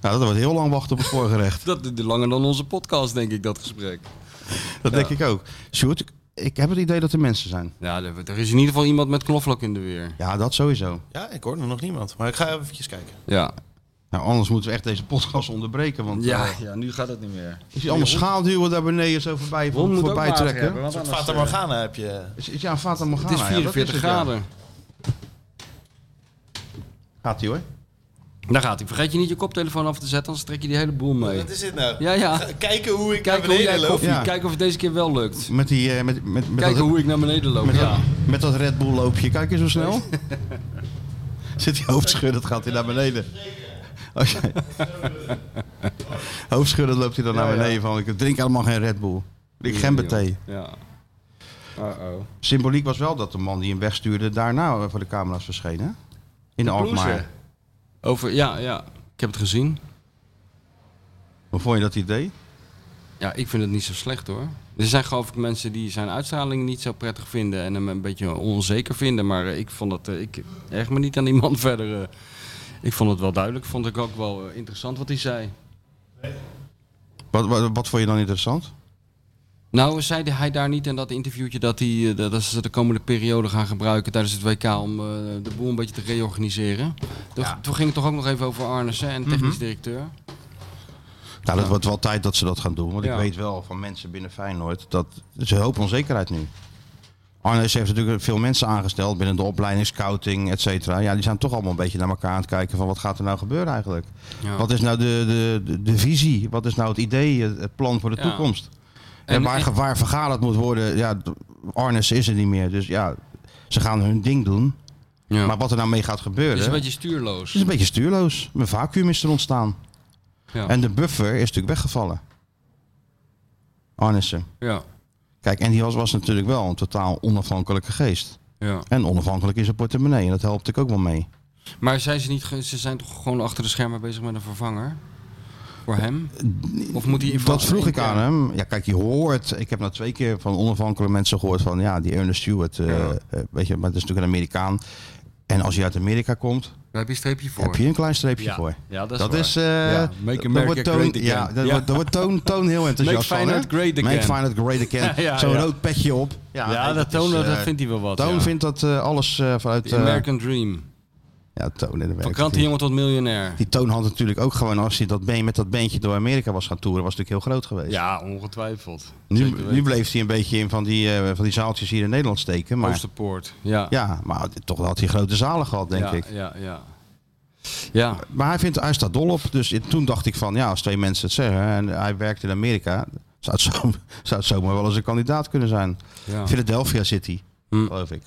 Speaker 2: Nou, dat wordt heel lang wachten op het voorgerecht.
Speaker 3: dat duurde langer dan onze podcast denk ik, dat gesprek.
Speaker 2: Dat denk ik ook. Sjoerd, ik, ik heb het idee dat er mensen zijn.
Speaker 3: Ja, er, er is in ieder geval iemand met knoflook in de weer.
Speaker 2: Ja, dat sowieso.
Speaker 4: Ja, ik hoorde nog niemand. Maar ik ga eventjes kijken.
Speaker 3: Ja.
Speaker 2: Nou, anders moeten we echt deze podcast onderbreken. Want ja.
Speaker 3: ja, nu gaat het niet meer.
Speaker 2: is hij allemaal schaalduwen daar beneden zo voorbij,
Speaker 3: Ron moet ook
Speaker 2: voorbij
Speaker 3: water
Speaker 2: trekken?
Speaker 3: hebben, want
Speaker 4: Een soort
Speaker 3: anders,
Speaker 4: Fata
Speaker 3: eh,
Speaker 4: Morgana heb je.
Speaker 2: Is, is, ja, Fata
Speaker 3: Het
Speaker 2: Morgana.
Speaker 3: is
Speaker 2: ja, dat
Speaker 3: 44
Speaker 2: het, ja.
Speaker 3: graden.
Speaker 2: Gaat ie hoor.
Speaker 3: Daar gaat hij. Vergeet je niet je koptelefoon af te zetten, anders trek je die hele boel mee.
Speaker 4: Wat is dit nou?
Speaker 3: Ja, ja.
Speaker 4: Ga- Kijken hoe ik
Speaker 3: Kijken
Speaker 4: naar
Speaker 3: hoe
Speaker 4: beneden
Speaker 3: jij
Speaker 4: loop.
Speaker 3: koffie,
Speaker 2: Ja.
Speaker 3: kijken of het deze keer wel lukt.
Speaker 2: Met, die, eh, met, met, met,
Speaker 3: Kijken
Speaker 2: dat,
Speaker 3: hoe ik naar beneden loop.
Speaker 2: met,
Speaker 3: Ja.
Speaker 2: dat, met dat Red Bull loopje. Kijk eens zo snel. Zit hij hoofdschudden, dat gaat hij naar beneden. Als jij- hoofdschudden loopt hij dan naar beneden van ik drink helemaal geen Red Bull. Ik gember thee.
Speaker 3: Ja. Uh-oh.
Speaker 2: Symboliek was wel dat de man die hem wegstuurde daarna voor de camera's verscheen. Hè? In Alkmaar.
Speaker 3: Over, ja, ja. Ik heb het gezien.
Speaker 2: Hoe vond je dat idee?
Speaker 3: Ja, ik vind het niet zo slecht hoor. Er zijn geloof ik mensen die zijn uitstraling niet zo prettig vinden en hem een beetje onzeker vinden. Maar eh, ik vond dat, eh, ik erg me niet aan die man verder. eh. ik vond het wel duidelijk, vond ik ook wel eh, interessant wat hij zei.
Speaker 2: Wat, wat, wat vond je dan interessant?
Speaker 3: Nou, zei hij daar niet in dat interviewtje dat, hij, eh, dat dat ze de komende periode gaan gebruiken tijdens het WK om eh, de boel een beetje te reorganiseren. Toch- Toen ging het toch ook nog even over Arnesen
Speaker 2: Mhm.
Speaker 3: en technisch directeur.
Speaker 2: Nou, dat wordt wel tijd dat ze dat gaan doen. Want ik
Speaker 3: Ja.
Speaker 2: weet wel van mensen binnen Feyenoord dat er is een hoop onzekerheid nu. Arnes heeft natuurlijk veel mensen aangesteld binnen de opleiding, scouting, et cetera. Ja, die zijn toch allemaal een beetje naar elkaar aan het kijken van wat gaat er nou gebeuren eigenlijk?
Speaker 3: Ja.
Speaker 2: Wat is nou de, de, de, de visie? Wat is nou het idee, het het plan voor de
Speaker 3: Ja.
Speaker 2: toekomst? En,
Speaker 3: En-
Speaker 2: waar,
Speaker 3: en-
Speaker 2: ge- waar vergaderd moet worden, ja, d- Arnes is er niet meer. Dus ja, ze gaan hun ding doen.
Speaker 3: Ja.
Speaker 2: Maar wat er nou mee gaat gebeuren,
Speaker 3: het is
Speaker 2: is
Speaker 3: een beetje stuurloos.
Speaker 2: een beetje stuurloos. Een vacuüm is er ontstaan.
Speaker 3: Ja.
Speaker 2: En de buffer is natuurlijk weggevallen. Arnissen.
Speaker 3: ja.
Speaker 2: Kijk, en die was, was natuurlijk wel een totaal onafhankelijke geest.
Speaker 3: Ja.
Speaker 2: En onafhankelijk in zijn portemonnee. En dat helpt ik ook wel mee.
Speaker 3: Maar zijn ze, niet, ge- ze zijn toch gewoon achter de schermen bezig met een vervanger? Voor hem? Of moet hij
Speaker 2: Dat vroeg ik aan hem. Ja, kijk, je hoort. Ik heb nou twee keer van onafhankelijke mensen gehoord van ja, die Ernest Stewart. eh,
Speaker 3: Ja.
Speaker 2: eh, weet je, maar dat is natuurlijk een Amerikaan. En als je uit Amerika komt,
Speaker 3: Daar heb je een streepje voor.
Speaker 2: heb je een klein streepje
Speaker 3: ja.
Speaker 2: voor.
Speaker 3: Ja, dat is,
Speaker 2: Dat
Speaker 3: waar.
Speaker 2: is. eh
Speaker 3: Ja, make
Speaker 2: dat
Speaker 3: America
Speaker 2: wordt Toon-
Speaker 3: great again.
Speaker 2: Ja, dat
Speaker 3: Ja.
Speaker 2: wordt, dat wordt toon, toon heel enthousiast van. hè?
Speaker 3: Feyenoord great again.
Speaker 2: Make Feyenoord great again.
Speaker 3: Ja, ja,
Speaker 2: Zo'n
Speaker 3: ja.
Speaker 2: rood petje op. Ja,
Speaker 3: Ja,
Speaker 2: nee,
Speaker 3: dat,
Speaker 2: is,
Speaker 3: toon, dat
Speaker 2: eh,
Speaker 3: vindt hij wel wat.
Speaker 2: Toon
Speaker 3: ja.
Speaker 2: vindt dat eh, alles eh, vanuit...
Speaker 3: The
Speaker 2: eh,
Speaker 3: American Dream.
Speaker 2: ja, Toon en de
Speaker 3: Van
Speaker 2: werk-
Speaker 3: krantenjongen tot miljonair.
Speaker 2: Die Toon had natuurlijk ook gewoon, als hij dat been, met dat beentje door Amerika was gaan toeren, was natuurlijk heel groot geweest.
Speaker 3: Ja, ongetwijfeld. Zeker
Speaker 2: nu,
Speaker 3: weten.
Speaker 2: nu bleef hij een beetje in van die, eh, van die zaaltjes hier in Nederland steken. Maar,
Speaker 3: Oosterpoort. Ja.
Speaker 2: ja, maar toch had hij grote zalen gehad, denk
Speaker 3: ja,
Speaker 2: ik.
Speaker 3: Ja, ja. Ja,
Speaker 2: Maar hij, vindt, hij staat dol op. Dus in- toen dacht ik van, ja, als twee mensen het zeggen en hij werkt in Amerika, zou het, zo, zou het zomaar wel eens een kandidaat kunnen zijn.
Speaker 3: ja.
Speaker 2: Philadelphia City,
Speaker 3: Hm.
Speaker 2: geloof ik.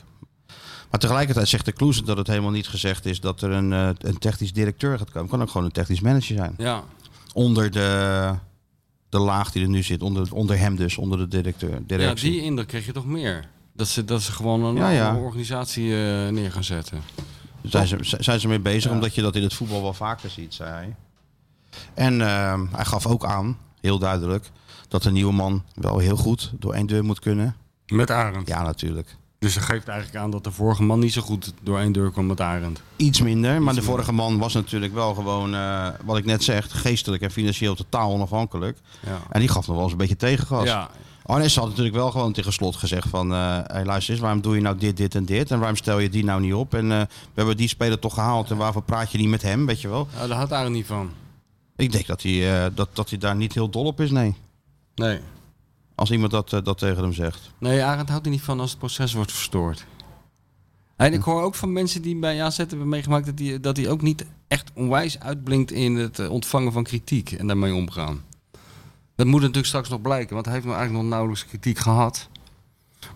Speaker 2: Maar tegelijkertijd zegt de Kloes dat het helemaal niet gezegd is dat er een, eh, een technisch directeur gaat komen. Kan ook gewoon een technisch manager zijn.
Speaker 3: Ja.
Speaker 2: Onder de, de laag die er nu zit, onder, onder hem dus, onder de directeur.
Speaker 3: ja,
Speaker 2: Directie.
Speaker 3: die indruk kreeg je toch meer. Dat ze, dat ze gewoon een
Speaker 2: Ja, ja.
Speaker 3: een organisatie eh, neer gaan zetten.
Speaker 2: Daar zijn, ze, z- zijn ze mee bezig, omdat je dat in het voetbal wel vaker ziet, zei hij. En eh, hij gaf ook aan, heel duidelijk, dat de nieuwe man wel heel goed door één deur moet kunnen.
Speaker 3: Met Arend.
Speaker 2: Ja, natuurlijk.
Speaker 3: Dus dat geeft eigenlijk aan dat de vorige man niet zo goed door één deur kwam met Arend.
Speaker 2: Iets minder, maar de
Speaker 3: minder.
Speaker 2: vorige man was natuurlijk wel gewoon, eh, wat ik net zeg, geestelijk en financieel totaal onafhankelijk.
Speaker 3: Ja.
Speaker 2: En die gaf nog wel eens een beetje tegengas.
Speaker 3: Ja,
Speaker 2: Arnes had natuurlijk wel gewoon tegen slot gezegd van... eh hey, luister eens, waarom doe je nou dit, dit en dit? En waarom stel je die nou niet op? En eh, we hebben die speler toch gehaald en waarvoor praat je niet met hem, weet je wel?
Speaker 3: ja, daar had Arend niet van.
Speaker 2: Ik denk dat hij, eh, dat, dat hij daar niet heel dol op is, nee.
Speaker 3: Nee.
Speaker 2: Als iemand dat, eh, dat tegen hem zegt.
Speaker 3: Nee, Arend houdt er niet van als het proces wordt verstoord. En ik hoor ook van mensen die bij AZ hebben meegemaakt dat hij dat die ook niet echt onwijs uitblinkt in het eh, ontvangen van kritiek en daarmee omgaan. Dat moet natuurlijk straks nog blijken, want hij heeft nou eigenlijk nog nauwelijks kritiek gehad.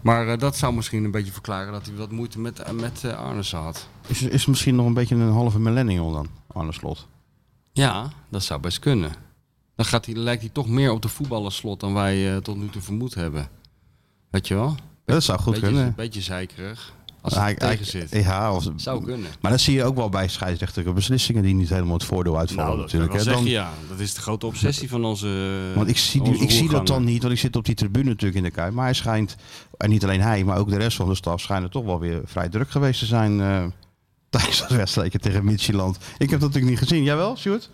Speaker 3: Maar eh, dat zou misschien een beetje verklaren dat hij wat moeite met, eh, met eh, Arnissen had.
Speaker 2: Is, is misschien nog een beetje een halve millennial dan, Arne Slot?
Speaker 3: Ja, dat zou best kunnen. Dan gaat hij, lijkt hij toch meer op de voetballerslot dan wij eh, tot nu toe vermoed hebben. Weet je wel?
Speaker 2: Dat zou goed
Speaker 3: beetje, Een
Speaker 2: kunnen. Nou,
Speaker 3: beetje zeikerig. Als hij
Speaker 2: Hij- hij-
Speaker 3: tegen zit.
Speaker 2: Ja, of,
Speaker 3: Zou kunnen.
Speaker 2: maar dat zie je ook wel bij scheidsrechtelijke beslissingen die niet helemaal het voordeel uitvallen
Speaker 3: Nou,
Speaker 2: natuurlijk. hè. Dan-
Speaker 3: ja. Dat is de grote obsessie van onze
Speaker 2: Want ik zie, die- ik zie dat dan niet, want ik zit op die tribune natuurlijk in de Kuip. Maar hij schijnt, en niet alleen hij, maar ook de rest van de staf, schijnen toch wel weer vrij druk geweest te zijn eh, tijdens dat wedstrijdje tegen Midtjylland. Ik heb dat natuurlijk niet gezien. Jij wel, Stuart?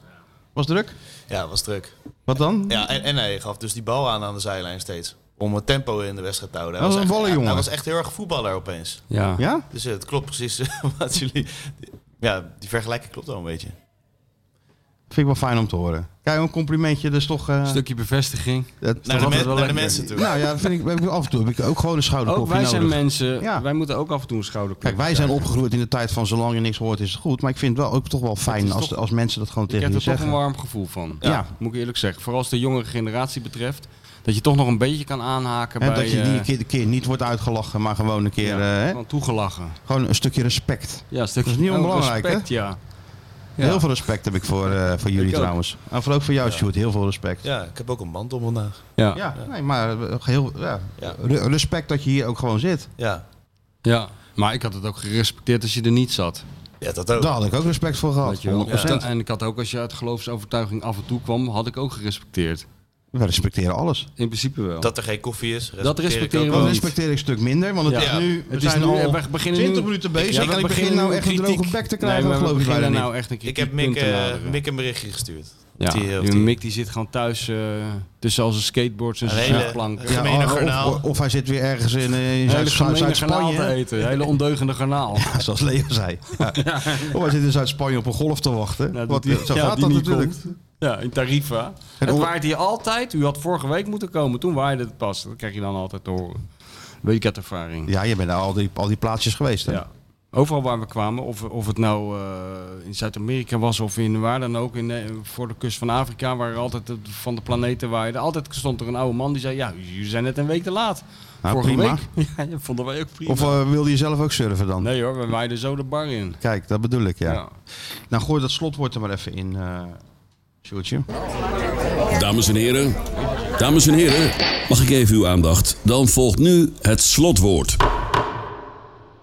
Speaker 2: Was druk?
Speaker 4: Ja, was druk.
Speaker 2: Wat dan?
Speaker 4: Ja, en, en hij gaf dus die bal aan aan de zijlijn steeds. Om het tempo in de wedstrijd te houden.
Speaker 2: Dat was
Speaker 4: Hij
Speaker 2: een
Speaker 4: echt-
Speaker 2: ballenjongen.
Speaker 4: Hij was echt heel erg voetballer opeens.
Speaker 3: Ja.
Speaker 2: Ja?
Speaker 4: Dus eh, het klopt precies wat jullie... Ja, die vergelijking klopt al een beetje.
Speaker 2: Vind ik wel fijn om te horen. Kijk, een complimentje, dat is toch... eh,
Speaker 3: Een stukje bevestiging.
Speaker 2: dat,
Speaker 4: Naar de,
Speaker 3: altijd
Speaker 4: men-
Speaker 3: wel
Speaker 4: naar de
Speaker 3: lekker.
Speaker 4: mensen toe. Oh,
Speaker 2: nou ja, dat vind ik, heb ik af en toe heb ik ook gewoon een
Speaker 3: Ook
Speaker 2: schouderklopje
Speaker 3: Oh, wij
Speaker 2: nodig.
Speaker 3: zijn mensen.
Speaker 2: nou Ja.
Speaker 3: Wij moeten ook af en toe een schouderklop.
Speaker 2: Kijk, wij zijn opgegroeid in de tijd van zolang je niks hoort is het goed. Maar ik vind het wel ook toch wel fijn
Speaker 3: is
Speaker 2: als,
Speaker 3: toch-
Speaker 2: als mensen dat gewoon
Speaker 3: Ik
Speaker 2: tegen
Speaker 3: heb
Speaker 2: je
Speaker 3: er toch een
Speaker 2: zeggen.
Speaker 3: warm gevoel van.
Speaker 2: Ja.
Speaker 3: Moet ik eerlijk zeggen. Vooral als de jongere generatie betreft. Dat je toch nog een beetje kan aanhaken
Speaker 2: En
Speaker 3: bij...
Speaker 2: dat je die
Speaker 3: eh,
Speaker 2: keer, de keer niet wordt uitgelachen, maar gewoon een keer...
Speaker 3: ja,
Speaker 2: eh, hè?
Speaker 3: gewoon toegelachen.
Speaker 2: gewoon een stukje respect.
Speaker 3: Ja, een stukje
Speaker 2: Dat is niet
Speaker 3: ook
Speaker 2: onbelangrijk,
Speaker 3: respect, ja. Ja.
Speaker 2: Heel veel respect heb ik voor, eh, voor jullie
Speaker 3: Ik ook.
Speaker 2: trouwens. En vooral ook voor jou,
Speaker 4: Ja.
Speaker 2: Sjoerd. Heel veel respect.
Speaker 4: Ja, ik heb ook een mantel vandaag.
Speaker 3: Ja.
Speaker 2: Ja, nee, maar eh, heel, ja.
Speaker 4: Ja.
Speaker 2: Re- respect dat je hier ook gewoon zit.
Speaker 4: Ja,
Speaker 3: Ja. Maar ik had het ook gerespecteerd als je er niet zat.
Speaker 4: ja dat ook.
Speaker 2: Daar had ik ook respect voor
Speaker 3: Weet
Speaker 2: gehad. 100%.
Speaker 3: je wel.
Speaker 4: Ja.
Speaker 3: En ik had ook, als je uit geloofsovertuiging af en toe kwam, had ik ook gerespecteerd.
Speaker 2: We respecteren alles.
Speaker 3: In principe wel.
Speaker 4: Dat er geen koffie is.
Speaker 3: Dat respecteer ik
Speaker 4: ik
Speaker 3: wel.
Speaker 4: ook.
Speaker 2: Dat
Speaker 3: niet.
Speaker 2: respecteer ik een stuk minder, want het
Speaker 3: Ja.
Speaker 2: is nu, we
Speaker 3: Het is
Speaker 2: zijn
Speaker 3: nu-
Speaker 2: al
Speaker 3: we beginnen
Speaker 2: 20
Speaker 3: nu-
Speaker 2: minuten bezig
Speaker 4: Ja, we
Speaker 2: en ik begin
Speaker 3: beginnen
Speaker 2: nou
Speaker 3: nu
Speaker 2: echt een
Speaker 4: kritiek.
Speaker 2: droge bek te
Speaker 3: Nee,
Speaker 2: krijgen.
Speaker 3: maar
Speaker 2: dat
Speaker 3: we
Speaker 2: geloof ik bijna
Speaker 3: beginnen
Speaker 2: niet.
Speaker 3: nou echt een keer
Speaker 4: Ik heb Mick, eh, Mick een berichtje gestuurd.
Speaker 3: Ja,
Speaker 4: die,
Speaker 3: die,
Speaker 4: of die-
Speaker 3: Mick die zit gewoon thuis eh, tussen al zijn skateboards en
Speaker 4: Een
Speaker 3: zijn
Speaker 4: hele-
Speaker 3: surfplanken.
Speaker 4: Ja, Gemene
Speaker 2: of-
Speaker 4: garnaal.
Speaker 2: Of, of hij zit weer ergens in, eh, in
Speaker 3: Een hele
Speaker 2: Zuid- Zuid-
Speaker 3: gemene garnaal te
Speaker 2: Zuid-Spanje.
Speaker 3: eten. Een hele ondeugende garnaal.
Speaker 2: Zoals Leo zei. Ja. Of hij zit in Zuid-Spanje op een golf te wachten.
Speaker 3: Nou,
Speaker 2: Want,
Speaker 3: die-
Speaker 2: eh, zo
Speaker 3: ja,
Speaker 2: gaat
Speaker 3: die
Speaker 2: dat
Speaker 3: niet
Speaker 2: natuurlijk.
Speaker 3: komt. Ja, in Tarifa. Het
Speaker 2: on-
Speaker 3: waait hier altijd. U had vorige week moeten komen. Toen waaide het pas. Dat krijg je dan altijd te horen. Weet ik uit ervaring.
Speaker 2: Ja, je bent naar al die, al die plaatsjes geweest. Hè?
Speaker 3: Ja. Overal waar we kwamen, of, of het nou eh, in Zuid-Amerika was of in waar dan ook, in, eh, voor de kust van Afrika, waar altijd het van de planeten waaide, altijd stond er een oude man die zei: Ja, jullie zijn net een week te laat.
Speaker 2: Nou,
Speaker 3: Vorige
Speaker 2: prima.
Speaker 3: week. Ja, dat vonden wij ook prima.
Speaker 2: Of eh, wilde je zelf ook surfen dan?
Speaker 3: nee hoor, we waaiden zo de bar in.
Speaker 2: Kijk, dat bedoel ik, ja.
Speaker 3: Ja.
Speaker 2: Nou, gooi dat slotwoord er maar even in, eh Sjoerdje.
Speaker 5: Dames en heren, dames en heren, mag ik even uw aandacht? Dan volgt nu het slotwoord.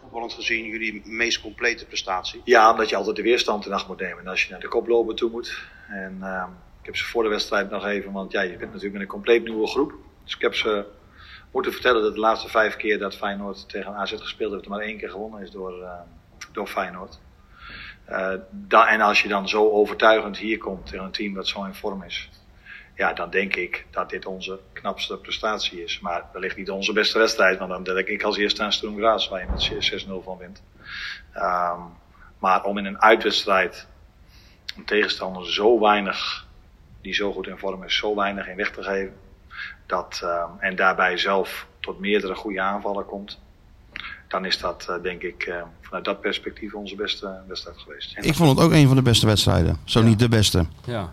Speaker 6: voetballend gezien jullie meest complete prestatie.
Speaker 7: Ja, omdat je altijd de weerstand in acht moet nemen. En als je naar de koploper toe moet. En ehm, ik heb ze voor de wedstrijd nog even, want ja, je bent natuurlijk met een compleet nieuwe groep. Dus ik heb ze moeten vertellen dat de laatste vijf keer dat Feyenoord tegen AZ gespeeld heeft, er maar één keer gewonnen is door, ehm, door Feyenoord. Eh, da- en als je dan zo overtuigend hier komt tegen een team dat zo in vorm is. Ja, dan denk ik dat dit onze knapste prestatie is. Maar wellicht niet onze beste wedstrijd, want dan denk ik als eerste aan Sturm Graz, waar je met 6-0 van wint. Ehm, maar om in een uitwedstrijd een tegenstander zo weinig, die zo goed in vorm is, zo weinig in weg te geven. Dat, ehm, en daarbij zelf tot meerdere goede aanvallen komt. Dan is dat, eh, denk ik, ehm, vanuit dat perspectief onze beste wedstrijd geweest. En
Speaker 2: Ik vond het ook een van de beste wedstrijden. Zo niet de beste.
Speaker 3: ja.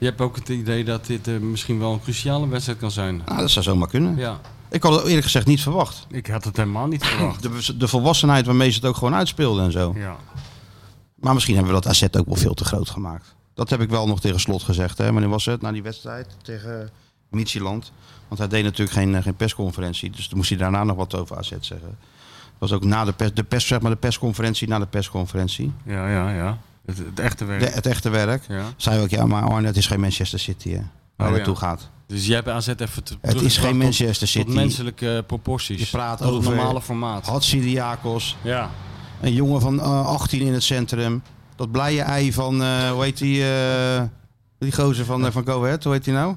Speaker 3: Je hebt ook het idee dat dit eh, misschien wel een cruciale wedstrijd kan zijn.
Speaker 2: Nou, dat zou zomaar kunnen.
Speaker 3: Ja,
Speaker 2: Ik had het eerlijk gezegd niet verwacht.
Speaker 3: ik had het helemaal niet verwacht.
Speaker 2: De, de volwassenheid waarmee ze het ook gewoon uitspeelden en zo.
Speaker 3: Ja.
Speaker 2: Maar misschien hebben we dat AZ ook wel veel te groot gemaakt. Dat heb ik wel nog tegen Slot gezegd. Hè? Maar nu was het na die wedstrijd tegen Michieland. Want hij deed natuurlijk geen, eh, geen persconferentie. Dus toen moest hij daarna nog wat over AZ zeggen. Dat was ook na de, pers, de, pers, zeg maar de persconferentie, na de persconferentie.
Speaker 3: ja, ja, ja. Het, het echte werk.
Speaker 2: De- het echte werk.
Speaker 3: Ja.
Speaker 2: Zei ook, ja, maar Arne, het is geen Manchester City hè, waar
Speaker 3: Oh,
Speaker 2: het
Speaker 3: ja.
Speaker 2: toe gaat.
Speaker 3: Dus jij hebt AZ even te
Speaker 2: Het is geen
Speaker 3: mensen.
Speaker 2: Manchester City.
Speaker 3: Tot menselijke eh, proporties.
Speaker 2: Je praat
Speaker 3: Tot het
Speaker 2: over-
Speaker 3: normale formaat.
Speaker 2: Had Syriakos,
Speaker 3: Ja.
Speaker 2: een jongen van eh, 18 in het centrum. Dat blije ei van, eh, hoe heet die, eh, die gozer van, eh, van Go Ahead, hoe heet die nou?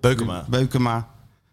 Speaker 4: Beukema.
Speaker 2: Beukema.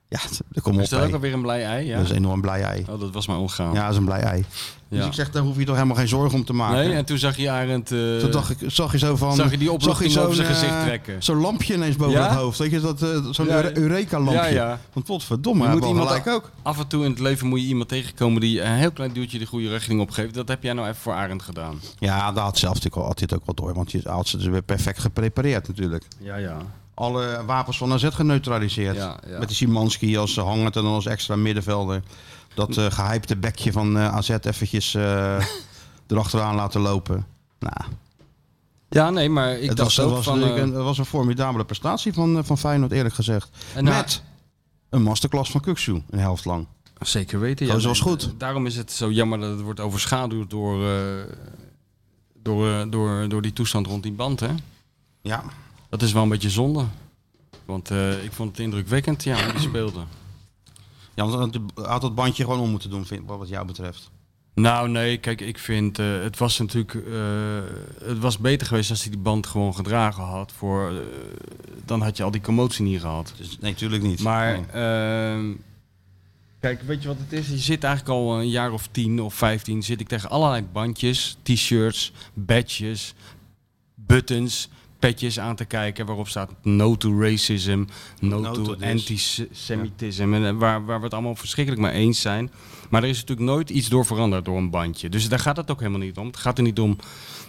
Speaker 2: Ja, t- kom op.
Speaker 3: Is dat ook
Speaker 2: hé.
Speaker 3: alweer een blij ei? Ja.
Speaker 2: Dat is een enorm blij ei.
Speaker 3: Oh, dat was mij ongaan.
Speaker 2: Ja, dat is een blij ei. Dus
Speaker 3: Ja.
Speaker 2: ik zeg, daar hoef je toch helemaal geen zorgen om te maken.
Speaker 3: nee, en toen zag je Arend... eh,
Speaker 2: Toen dacht ik, zag je zo van...
Speaker 3: Zag je die opluchting
Speaker 2: zo'n,
Speaker 3: over zijn
Speaker 2: eh,
Speaker 3: gezicht trekken?
Speaker 2: Zo'n lampje ineens boven
Speaker 3: Ja?
Speaker 2: het hoofd. Weet je, dat, eh, zo'n
Speaker 3: Ja.
Speaker 2: eure- Eureka-lampje.
Speaker 3: Ja, ja.
Speaker 2: Want potverdomme,
Speaker 3: Je
Speaker 2: hij
Speaker 3: moet
Speaker 2: had wel
Speaker 3: iemand
Speaker 2: gelijk ook.
Speaker 3: Af en toe in het leven moet je iemand tegenkomen die een heel klein duwtje de goede richting opgeeft. Dat heb jij nou even voor Arend gedaan.
Speaker 2: Ja, dat had zelf natuurlijk al, had dit ook wel door. Want je had ze dus weer perfect geprepareerd natuurlijk.
Speaker 3: Ja, ja.
Speaker 2: Alle wapens van AZ geneutraliseerd.
Speaker 3: Ja, ja.
Speaker 2: Met de Simanski als eh, hangend en dan als extra middenvelder. Dat eh gehypte bekje van eh, AZ eventjes eh erachteraan laten lopen. Nou,
Speaker 3: Ja, nee, maar ik
Speaker 2: het was,
Speaker 3: dacht
Speaker 2: het
Speaker 3: ook
Speaker 2: was,
Speaker 3: van...
Speaker 2: natuurlijk
Speaker 3: eh,
Speaker 2: een, het was een formidabele prestatie van, eh, van Feyenoord eerlijk gezegd.
Speaker 3: en nou-
Speaker 2: Met een masterclass van Kuksu, een helft lang.
Speaker 3: Zeker weten,
Speaker 2: Gozer
Speaker 3: nee,
Speaker 2: was goed.
Speaker 3: Daarom is het zo jammer dat het wordt overschaduwd door, eh, door, eh, door, door die toestand rond die band, hè?
Speaker 2: Ja,
Speaker 3: Dat is wel een beetje zonde. Want eh, ik vond het indrukwekkend, ja, hoe die speelde.
Speaker 2: ja want hij had dat bandje gewoon om moeten doen, vind, wat jou betreft.
Speaker 3: Nou, nee, kijk, ik vind eh, het was natuurlijk. eh, het was beter geweest als hij die band gewoon gedragen had. Voor, eh, dan had je al die commotie niet gehad.
Speaker 2: Dus, nee, natuurlijk niet. Nou,
Speaker 3: Maar.
Speaker 2: Nee.
Speaker 3: ehm, kijk, weet je wat het is? Je zit eigenlijk al een jaar of tien of vijftien. Zit ik tegen allerlei bandjes, t-shirts, badges, buttons, petjes aan te kijken waarop staat no to racism, no,
Speaker 2: No
Speaker 3: to,
Speaker 2: to this.
Speaker 3: antisemitism. En, eh, waar, waar we het allemaal verschrikkelijk mee eens zijn. Maar er is natuurlijk nooit iets door veranderd door een bandje. Dus daar gaat het ook helemaal niet om. Het gaat er niet om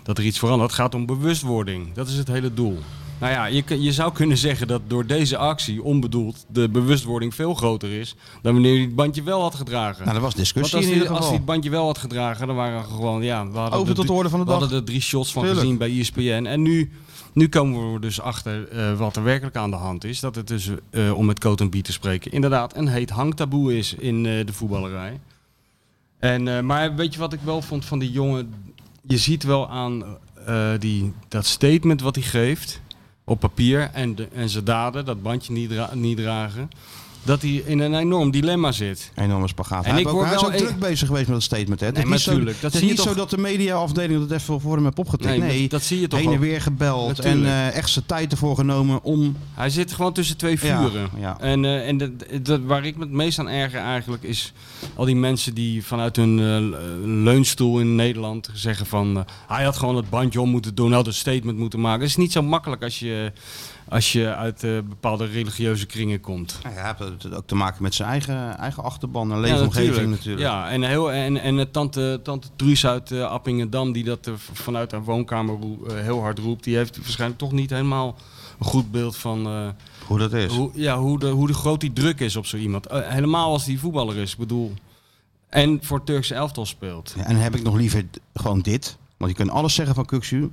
Speaker 3: dat er iets verandert. Het gaat om bewustwording. Dat is het hele doel. Nou ja, je, kun- je zou kunnen zeggen dat door deze actie onbedoeld de bewustwording veel groter is dan wanneer je het bandje wel had gedragen.
Speaker 2: Nou, er was
Speaker 3: Want
Speaker 2: discussie
Speaker 3: als
Speaker 2: in
Speaker 3: hij,
Speaker 2: ieder
Speaker 3: als hij
Speaker 2: geval.
Speaker 3: het bandje wel had gedragen, dan waren we gewoon, ja, we hadden
Speaker 2: Over tot
Speaker 3: drie-
Speaker 2: de orde van de
Speaker 3: we
Speaker 2: dag.
Speaker 3: hadden er drie shots van
Speaker 2: Tuurlijk.
Speaker 3: gezien bij E ESPN. En nu, nu komen we dus achter eh, wat er werkelijk aan de hand is. Dat het dus, eh, om met Coat en Biet te spreken, inderdaad een heet hangtaboe is in eh, de voetballerij. En, eh, maar weet je wat ik wel vond van die jongen? Je ziet wel aan eh, die, dat statement wat hij geeft op papier en, de, en zijn daden, dat bandje niet, dra- niet dragen, dat hij in een enorm dilemma zit.
Speaker 2: Enorme spagaat.
Speaker 3: En
Speaker 2: hij
Speaker 3: ik
Speaker 2: ik ook,
Speaker 3: hoor
Speaker 2: hij is
Speaker 3: wel
Speaker 2: ook
Speaker 3: een-
Speaker 2: druk bezig geweest met dat statement. Hè? Het is
Speaker 3: maar
Speaker 2: niet, zo,
Speaker 3: tuurlijk,
Speaker 2: het
Speaker 3: dat
Speaker 2: is
Speaker 3: zie je
Speaker 2: niet zo
Speaker 3: toch-
Speaker 2: dat de mediaafdeling dat even voor hem heeft opgetikt.
Speaker 3: Nee,
Speaker 2: Nee,
Speaker 3: dat, dat zie je toch
Speaker 2: heen en
Speaker 3: ook.
Speaker 2: weer gebeld en
Speaker 3: Natuurlijk.
Speaker 2: eh echt zijn tijd ervoor genomen om...
Speaker 3: Hij zit gewoon tussen twee
Speaker 2: Ja,
Speaker 3: vuren.
Speaker 2: ja.
Speaker 3: En, eh, en dat, dat, waar ik me het meest aan erger eigenlijk is al die mensen die vanuit hun eh, leunstoel in Nederland zeggen van eh, hij had gewoon het bandje om moeten doen, had een statement moeten maken. Het is niet zo makkelijk als je, als je uit eh, bepaalde religieuze kringen komt.
Speaker 2: Nou ja, hij heeft het ook te maken met zijn eigen, eigen achterban en
Speaker 3: Ja,
Speaker 2: leefomgeving natuurlijk.
Speaker 3: Ja, en, heel, en, en eh, tante, tante Truus uit eh, Appingedam, die dat eh, v- vanuit haar woonkamer roe- eh, heel hard roept, die heeft waarschijnlijk toch niet helemaal een goed beeld van... eh,
Speaker 2: Hoe dat is.
Speaker 3: Hoe, ja, hoe, de, hoe de groot die druk is op zo iemand. Eh, helemaal als die voetballer is, ik bedoel. En voor het Turkse elftal speelt.
Speaker 2: Ja, en heb ik nog liever d- gewoon dit. Want je kunt alles zeggen van Kuksu.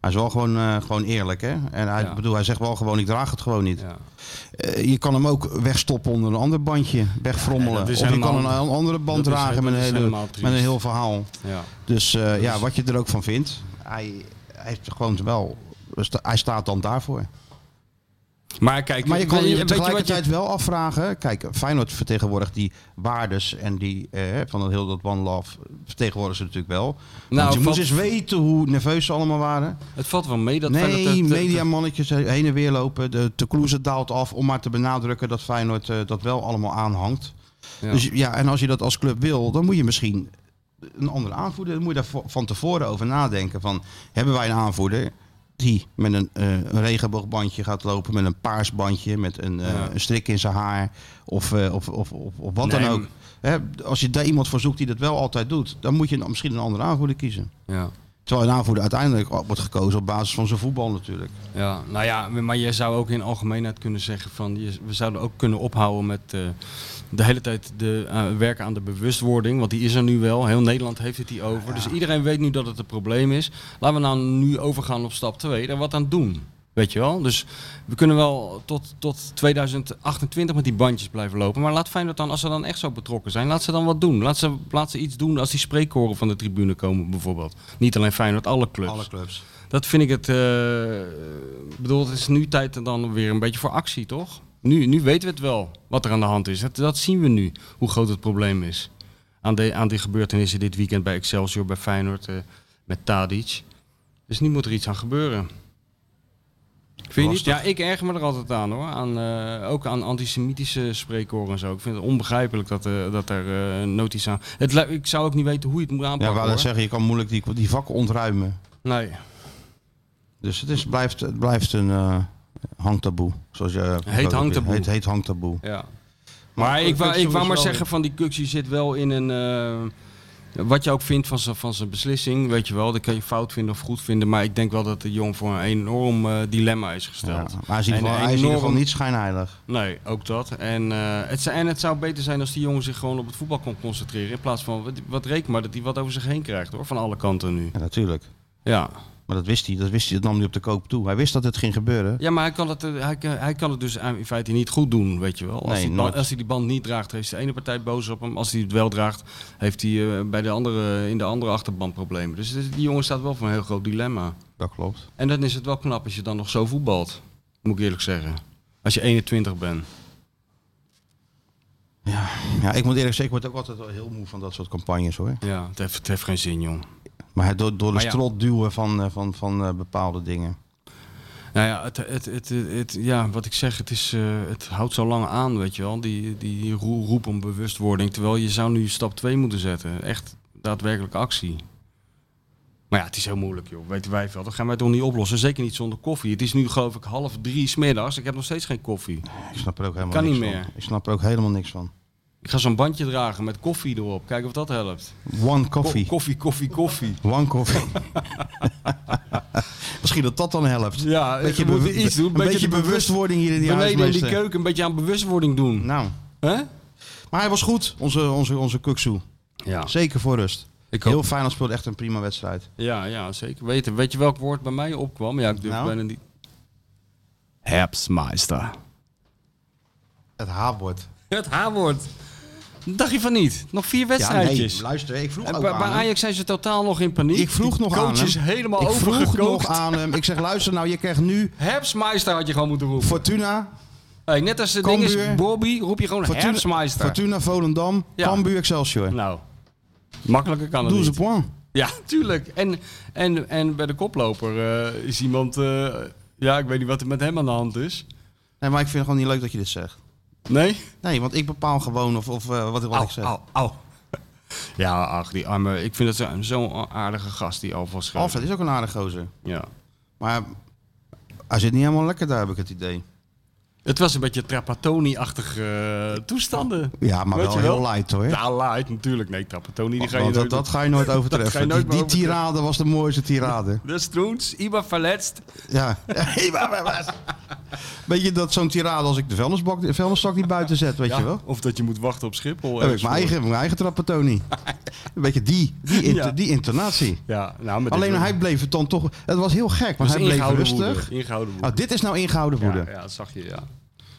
Speaker 2: Hij is wel gewoon, eh, gewoon eerlijk. Hè? En hij,
Speaker 3: Ja.
Speaker 2: bedoel, hij zegt wel gewoon, ik draag het gewoon niet.
Speaker 3: Ja.
Speaker 2: Eh, je kan hem ook wegstoppen onder een ander bandje.
Speaker 3: Ja,
Speaker 2: Wegfrommelen.
Speaker 3: dat
Speaker 2: of
Speaker 3: is
Speaker 2: je
Speaker 3: helemaal-
Speaker 2: kan een an- andere band
Speaker 3: dat is-
Speaker 2: dragen met,
Speaker 3: dat
Speaker 2: een
Speaker 3: is
Speaker 2: hele,
Speaker 3: helemaal triest.
Speaker 2: met een heel verhaal.
Speaker 3: Ja.
Speaker 2: Dus eh, ja, wat je er ook van vindt. Hij, hij heeft gewoon wel... sta- Hij staat dan daarvoor.
Speaker 3: Maar kijk,
Speaker 2: Maar je kan
Speaker 3: weet
Speaker 2: je
Speaker 3: weet wat
Speaker 2: tegelijkertijd
Speaker 3: je-
Speaker 2: wel afvragen. Kijk, Feyenoord vertegenwoordigt die waardes en die eh, van dat heel dat One Love vertegenwoordigen ze natuurlijk wel.
Speaker 3: Nou,
Speaker 2: Want je
Speaker 3: valt-
Speaker 2: moest eens weten hoe nerveus ze allemaal waren.
Speaker 3: Het valt wel mee dat Feyenoord het-
Speaker 2: nee,
Speaker 3: het-
Speaker 2: mediamannetjes heen en weer lopen. De te Kloeze daalt af om maar te benadrukken dat Feyenoord eh, dat wel allemaal aanhangt.
Speaker 3: Ja.
Speaker 2: Dus ja, en als je dat als club wil, dan moet je misschien een andere aanvoerder. Dan moet je daar vo- van tevoren over nadenken. Van, hebben wij een aanvoerder die met een, eh, een regenboogbandje gaat lopen, met een paars bandje, met een, eh,
Speaker 3: Ja.
Speaker 2: een strik in zijn haar of, eh, of, of, of, of wat
Speaker 3: Nee,
Speaker 2: dan ook. Hè, als je daar iemand voor zoekt die dat wel altijd doet, dan moet je een- misschien een andere aanvoerder kiezen.
Speaker 3: ja.
Speaker 2: Terwijl een aanvoerder uiteindelijk wordt gekozen op basis van zijn voetbal natuurlijk.
Speaker 3: Ja, nou ja, maar je zou ook in algemeenheid kunnen zeggen van je, we zouden ook kunnen ophouden met eh, de hele tijd de, eh, werken aan de bewustwording. Want die is er nu wel. Heel Nederland heeft het hier over. Dus iedereen weet nu dat het een probleem is. Laten we nou nu overgaan op stap 2 en wat aan doen. Weet je wel? Dus we kunnen wel tot, tot 2028 met die bandjes blijven lopen. Maar laat Feyenoord dan, als ze dan echt zo betrokken zijn, laat ze dan wat doen. Laat ze, laat ze iets doen als die spreekkoren van de tribune komen bijvoorbeeld. Niet alleen Feyenoord, alle clubs.
Speaker 2: clubs.
Speaker 3: Dat vind ik het. eh, Ik bedoel, het is nu tijd dan weer een beetje voor actie, toch? Nu, nu weten we het wel wat er aan de hand is. Dat, dat zien we nu, hoe groot het probleem is. Aan, de, aan die gebeurtenissen dit weekend bij Excelsior, bij Feyenoord, eh, met Tadic. Dus nu moet er iets aan gebeuren. Vind je niet?
Speaker 2: Lastig.
Speaker 3: Ja, ik erger me er altijd aan hoor. Aan, eh, ook aan antisemitische spreekkoren en zo. Ik vind het onbegrijpelijk dat, eh, dat er eh, noties aan. Het, lu- ik zou ook niet weten hoe je het moet
Speaker 2: Ja,
Speaker 3: aanpakken.
Speaker 2: waar dat
Speaker 3: hoor.
Speaker 2: zeggen, je kan moeilijk die, die vakken ontruimen.
Speaker 3: Nee.
Speaker 2: Dus het, is, blijft, het blijft een eh, hangtaboe. Zoals je,
Speaker 3: Heet hangtaboe.
Speaker 2: Heet, heet hangtaboe.
Speaker 3: Ja. Maar, ik wou, ik wou maar zeggen van die Kuxie zit wel in een... eh, wat je ook vindt van zijn, van zijn beslissing, weet je wel. Dat kan je fout vinden of goed vinden. Maar ik denk wel dat de jong voor een enorm eh, dilemma is
Speaker 2: Ja,
Speaker 3: gesteld.
Speaker 2: maar hij is, in ieder
Speaker 3: En
Speaker 2: geval, hij is in ieder geval
Speaker 3: enorm-
Speaker 2: niet schijnheilig.
Speaker 3: Nee, ook dat. En, eh, het, zou- en het zou beter zijn als die jongen zich gewoon op het voetbal kon concentreren. In plaats van, wat, wat reken maar dat hij wat over zich heen krijgt hoor. Van alle kanten nu.
Speaker 2: Ja, natuurlijk.
Speaker 3: Ja.
Speaker 2: Maar dat wist hij, dat wist hij, dat nam hij op de koop toe. Hij wist dat het ging gebeuren.
Speaker 3: Ja, maar hij kan, het, eh, hij, kan- hij kan het dus aan- in feite niet goed doen, weet je wel. Als,
Speaker 2: Nee,
Speaker 3: hij, ba-
Speaker 2: nooit.
Speaker 3: als hij die band niet draagt, heeft de ene partij boos op hem. Als hij het wel draagt, heeft hij eh, bij de andere, in de andere achterband problemen. Dus het is- die jongen staat wel voor een heel groot dilemma.
Speaker 2: Dat klopt.
Speaker 3: En dan is het wel knap als je dan nog zo voetbalt, moet ik eerlijk zeggen. Als je 21 bent.
Speaker 2: Ja, ik moet eerlijk zeggen, ik word ook altijd wel heel moe van dat soort campagnes hoor.
Speaker 3: Ja, het heeft, het heeft geen zin, jong.
Speaker 2: Maar het door, door de
Speaker 3: Maar ja.
Speaker 2: strot duwen van, eh, van, van eh, bepaalde dingen.
Speaker 3: Nou ja, het, het, het, het, het- ja, wat ik zeg, het, is, eh, het houdt zo lang aan, weet je wel. Die, die, die roe- roep om bewustwording. Terwijl je zou nu stap 2 moeten zetten. Echt daadwerkelijk actie. Maar ja, het is heel moeilijk, joh. Weten wij veel. Dat gaan wij toch niet oplossen. Zeker niet zonder koffie. Het is nu, geloof ik, half drie 's middags. Ik heb nog steeds geen koffie.
Speaker 2: Ik snap er ook helemaal
Speaker 3: Kan
Speaker 2: niks
Speaker 3: niet meer.
Speaker 2: van. Ik snap er ook helemaal niks van.
Speaker 3: Ik ga zo'n bandje dragen met koffie erop. Kijken of dat helpt.
Speaker 2: One
Speaker 3: Ko-
Speaker 2: coffee.
Speaker 3: koffie, koffie, koffie.
Speaker 2: One coffee. Misschien dat dat dan helpt.
Speaker 3: Ja,
Speaker 2: Beetje
Speaker 3: we moeten
Speaker 2: bewust-
Speaker 3: iets doen.
Speaker 2: Een beetje
Speaker 3: bewust-
Speaker 2: bewustwording hier in die
Speaker 3: Beneden in die
Speaker 2: huismeester.
Speaker 3: keuken een beetje aan bewustwording doen.
Speaker 2: Nou,
Speaker 3: hè?
Speaker 2: maar hij was goed, onze, onze, onze Kuksu.
Speaker 3: Ja.
Speaker 2: Zeker voor rust.
Speaker 3: Nou. Ik
Speaker 2: Heel
Speaker 3: hoop,
Speaker 2: Feyenoord speelde echt een prima wedstrijd.
Speaker 3: ja, ja, zeker weten. Weet je welk woord bij mij opkwam? Ja, ik durf
Speaker 2: Nou?
Speaker 3: bijna niet. Herbstmeister.
Speaker 2: Het haatwoord.
Speaker 3: Het H-woord. Dacht je van niet? Nog vier
Speaker 2: Ja, nee,
Speaker 3: wedstrijdjes.
Speaker 2: luister, ik vroeg
Speaker 3: En
Speaker 2: ook
Speaker 3: bij,
Speaker 2: aan
Speaker 3: bij
Speaker 2: hem.
Speaker 3: Ajax zijn ze totaal nog in paniek.
Speaker 2: Ik vroeg nog
Speaker 3: Coach
Speaker 2: aan hem.
Speaker 3: is helemaal
Speaker 2: Ik vroeg nog
Speaker 3: overgekookt.
Speaker 2: aan hem. Ik zeg, luister nou, je krijgt nu
Speaker 3: Herbstmeister had je gewoon moeten roepen.
Speaker 2: Fortuna,
Speaker 3: Hey, net als de ding is,
Speaker 2: Cambuur.
Speaker 3: Bobby, roep je gewoon
Speaker 2: Fortuna,
Speaker 3: Herbstmeister.
Speaker 2: Fortuna Volendam,
Speaker 3: Ja.
Speaker 2: Cambuur Excelsior.
Speaker 3: Nou, makkelijker kan het
Speaker 2: Doe ze
Speaker 3: niet.
Speaker 2: point.
Speaker 3: Ja, tuurlijk. En, en, en bij de koploper eh, is iemand... eh, ja, ik weet niet wat er met hem aan de hand is.
Speaker 2: Nee, maar ik vind het gewoon niet leuk dat je dit zegt.
Speaker 3: Nee?
Speaker 2: Nee, want ik bepaal gewoon of, of eh, wat, wat ik zeg.
Speaker 3: au. Ja, ach, die arme... Ik vind dat zo- zo'n aardige gast, die Alfa Schreuder.
Speaker 2: Alfred is ook een aardig gozer.
Speaker 3: Ja.
Speaker 2: Maar hij zit niet helemaal lekker daar, heb ik het idee.
Speaker 3: Het was een beetje Trapattoni-achtige eh, toestanden.
Speaker 2: Ja, maar
Speaker 3: Weet
Speaker 2: wel
Speaker 3: je
Speaker 2: heel light hoor.
Speaker 3: Ja, light natuurlijk. Nee, Trapattoni, die ga je
Speaker 2: Want dat,
Speaker 3: nooit-
Speaker 2: dat ga je nooit overtreffen.
Speaker 3: ga je nooit
Speaker 2: die,
Speaker 3: meer
Speaker 2: die tirade was de mooiste tirade.
Speaker 3: De Stroens, Iba verletst.
Speaker 2: Ja. weet je dat zo'n tirade als ik de vuilnisbak, de vuilniszak niet buiten zet, weet je wel?
Speaker 3: Of dat je moet wachten op Schiphol.
Speaker 2: Dan heb ik
Speaker 3: ergens
Speaker 2: mijn
Speaker 3: voor.
Speaker 2: eigen, mijn eigen trappatoni. Een beetje die, die, inter-
Speaker 3: Ja.
Speaker 2: die intonatie.
Speaker 3: Ja, nou, met
Speaker 2: Alleen
Speaker 3: dit-
Speaker 2: hij bleef het dan toch. Het was heel gek,
Speaker 3: was
Speaker 2: want hij bleef
Speaker 3: ingehouden
Speaker 2: rustig.
Speaker 3: woede, Ingehouden woede.
Speaker 2: Ah, dit is nou ingehouden woede.
Speaker 3: Ja, ja, dat zag je, ja.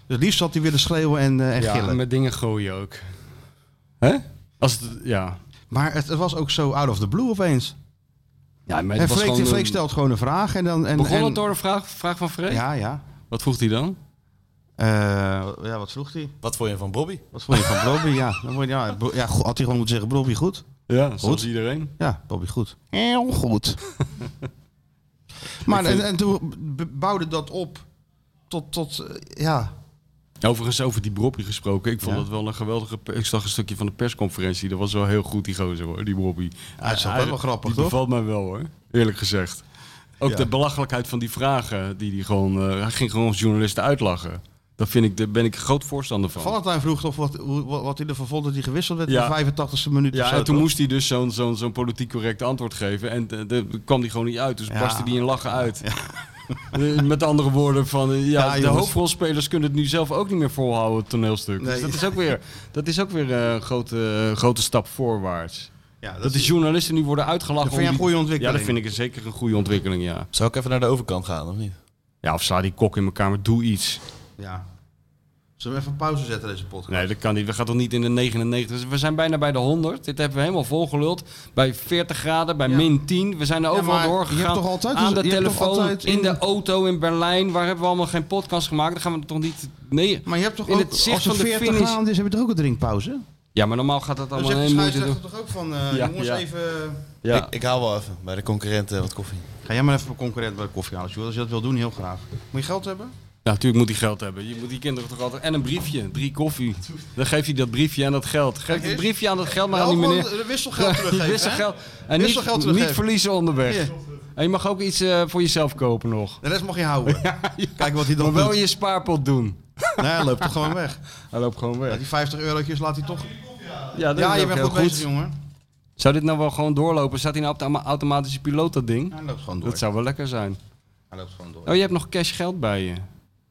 Speaker 2: Dus liefst had hij willen schreeuwen en, eh, en
Speaker 3: ja,
Speaker 2: gillen.
Speaker 3: met dingen gooien ook. Hè? Als het, ja.
Speaker 2: Maar het, het was ook zo out of the blue opeens.
Speaker 3: Ja, maar
Speaker 2: En
Speaker 3: het was
Speaker 2: Freek,
Speaker 3: gewoon een-
Speaker 2: Freek stelt gewoon een vraag. En dan, en,
Speaker 3: Begon
Speaker 2: en-
Speaker 3: het door een vraag, vraag van Freek?
Speaker 2: Ja, ja.
Speaker 3: Wat vroeg hij dan?
Speaker 2: Eh, ja, wat vroeg hij?
Speaker 4: Wat vond je van Bobby?
Speaker 2: Wat vond je van Blobby? ja, dan moet je- ja, Bro- ja, go- had hij gewoon moeten zeggen, Blobby goed?
Speaker 3: Ja, zoals iedereen.
Speaker 2: Ja, Blobby goed. Heel goed. maar en, en toen b- bouwde dat op tot, tot eh, ja,
Speaker 3: Overigens, over die Brobby gesproken. Ik vond
Speaker 2: Ja.
Speaker 3: dat wel een geweldige... pe- Ik zag een stukje van de persconferentie. Dat was wel heel goed, die gozer, hoor. Die Brobby.
Speaker 2: Hij is toch wel wel grappig,
Speaker 3: die
Speaker 2: toch?
Speaker 3: bevalt mij wel, hoor. Eerlijk gezegd. Ook de belachelijkheid van die vragen. Die die gewoon, eh, hij ging gewoon journalisten uitlachen. Daar vind ik, daar ben ik een groot voorstander van.
Speaker 2: Valentijn vroeg toch wat, hoe- wat, wat hij ervan vond dat hij gewisseld werd
Speaker 3: Ja.
Speaker 2: in de 85e minuut of
Speaker 3: Ja,
Speaker 2: zo,
Speaker 3: en toen
Speaker 2: toch?
Speaker 3: moest hij dus zo'n zo'n zo'n politiek correct antwoord geven. En eh, daar kwam hij gewoon niet uit. Dus
Speaker 2: Ja.
Speaker 3: barstte hij in lachen uit. Eh, Met andere woorden, van, eh,
Speaker 2: Ja,
Speaker 3: ja, de
Speaker 2: jongens.
Speaker 3: hoofdrolspelers kunnen het nu zelf ook niet meer volhouden, het toneelstuk. Dus
Speaker 2: Nee.
Speaker 3: dat is ook weer, dat is ook weer eh, een grote, grote stap voorwaarts.
Speaker 2: Ja, dat
Speaker 3: Dat de
Speaker 2: is-
Speaker 3: journalisten nu worden uitgelachen.
Speaker 2: Dat vind je
Speaker 3: om
Speaker 2: een
Speaker 3: die-
Speaker 2: goede
Speaker 3: Ja,
Speaker 2: ontwikkeling.
Speaker 3: dat vind ik zeker een goede ontwikkeling, ja.
Speaker 4: Zou ik even naar de overkant gaan, of niet?
Speaker 3: Ja, of sla die kok in elkaar, maar doe iets.
Speaker 2: Ja. Zullen we even een pauze zetten deze podcast?
Speaker 3: Nee, dat kan niet. We gaan toch niet in de 99. We zijn bijna bij de 100. Dit hebben we helemaal volgeluld. Bij 40 graden, bij
Speaker 2: Ja.
Speaker 3: min 10. We zijn er overal
Speaker 2: maar je
Speaker 3: doorgegaan.
Speaker 2: hebt toch altijd-
Speaker 3: aan de
Speaker 2: je hebt toch
Speaker 3: telefoon,
Speaker 2: altijd
Speaker 3: in...
Speaker 2: in-
Speaker 3: de auto, in Berlijn. Waar hebben we allemaal geen podcast gemaakt? Dan gaan we toch niet... Nee.
Speaker 2: Maar je hebt toch
Speaker 3: In
Speaker 2: ook,
Speaker 3: het zicht
Speaker 2: als het
Speaker 3: van de
Speaker 2: 40
Speaker 3: finish-
Speaker 2: graden is, heb je toch ook een drinkpauze?
Speaker 3: Ja, maar normaal gaat dat
Speaker 2: Dan
Speaker 3: allemaal
Speaker 2: zegt de
Speaker 3: heel moeite doen.
Speaker 2: scheidsrechter toch ook van, eh,
Speaker 3: Ja,
Speaker 2: jongens
Speaker 3: ja.
Speaker 2: even...
Speaker 3: Ja.
Speaker 4: Ik, ik haal wel even bij de concurrent eh, wat koffie.
Speaker 2: Ga jij maar even mijn concurrent bij de koffie halen, Sjoerd. Als je dat wil doen, heel graag. Moet je geld hebben?
Speaker 3: Ja, natuurlijk nou, moet hij geld hebben. Je moet die kinderen toch altijd... En een briefje. Drie koffie. Dan geeft hij dat briefje aan dat geld. Geef dat briefje aan dat geld, maar aan die
Speaker 2: Wel gewoon
Speaker 3: meneer...
Speaker 2: de wisselgeld teruggeven, hè?
Speaker 3: Wisselgeld. En niet,
Speaker 2: Wisselgeld
Speaker 3: niet
Speaker 2: teruggeven.
Speaker 3: verliezen onderweg.
Speaker 2: Ja.
Speaker 3: En je mag ook iets eh, voor jezelf kopen nog.
Speaker 2: De rest mag je houden. Kijk wat hij dan
Speaker 3: Maar wel in
Speaker 2: doet.
Speaker 3: je spaarpot doen.
Speaker 2: Nee, hij loopt toch gewoon weg.
Speaker 3: Hij loopt gewoon
Speaker 2: Ja,
Speaker 3: weg.
Speaker 2: die 50 eurotjes laat hij toch...
Speaker 3: Ja, dat
Speaker 2: Ja,
Speaker 3: is
Speaker 2: je
Speaker 3: ook
Speaker 2: bent
Speaker 3: heel
Speaker 2: goed bezig, jongen.
Speaker 3: Zou dit nou wel gewoon doorlopen? Staat hij nou op de ama- automatische piloot dat ding?
Speaker 2: Hij loopt gewoon door.
Speaker 3: Dat zou wel lekker zijn.
Speaker 2: Hij loopt gewoon door.
Speaker 3: Oh, je hebt nog cash geld bij je.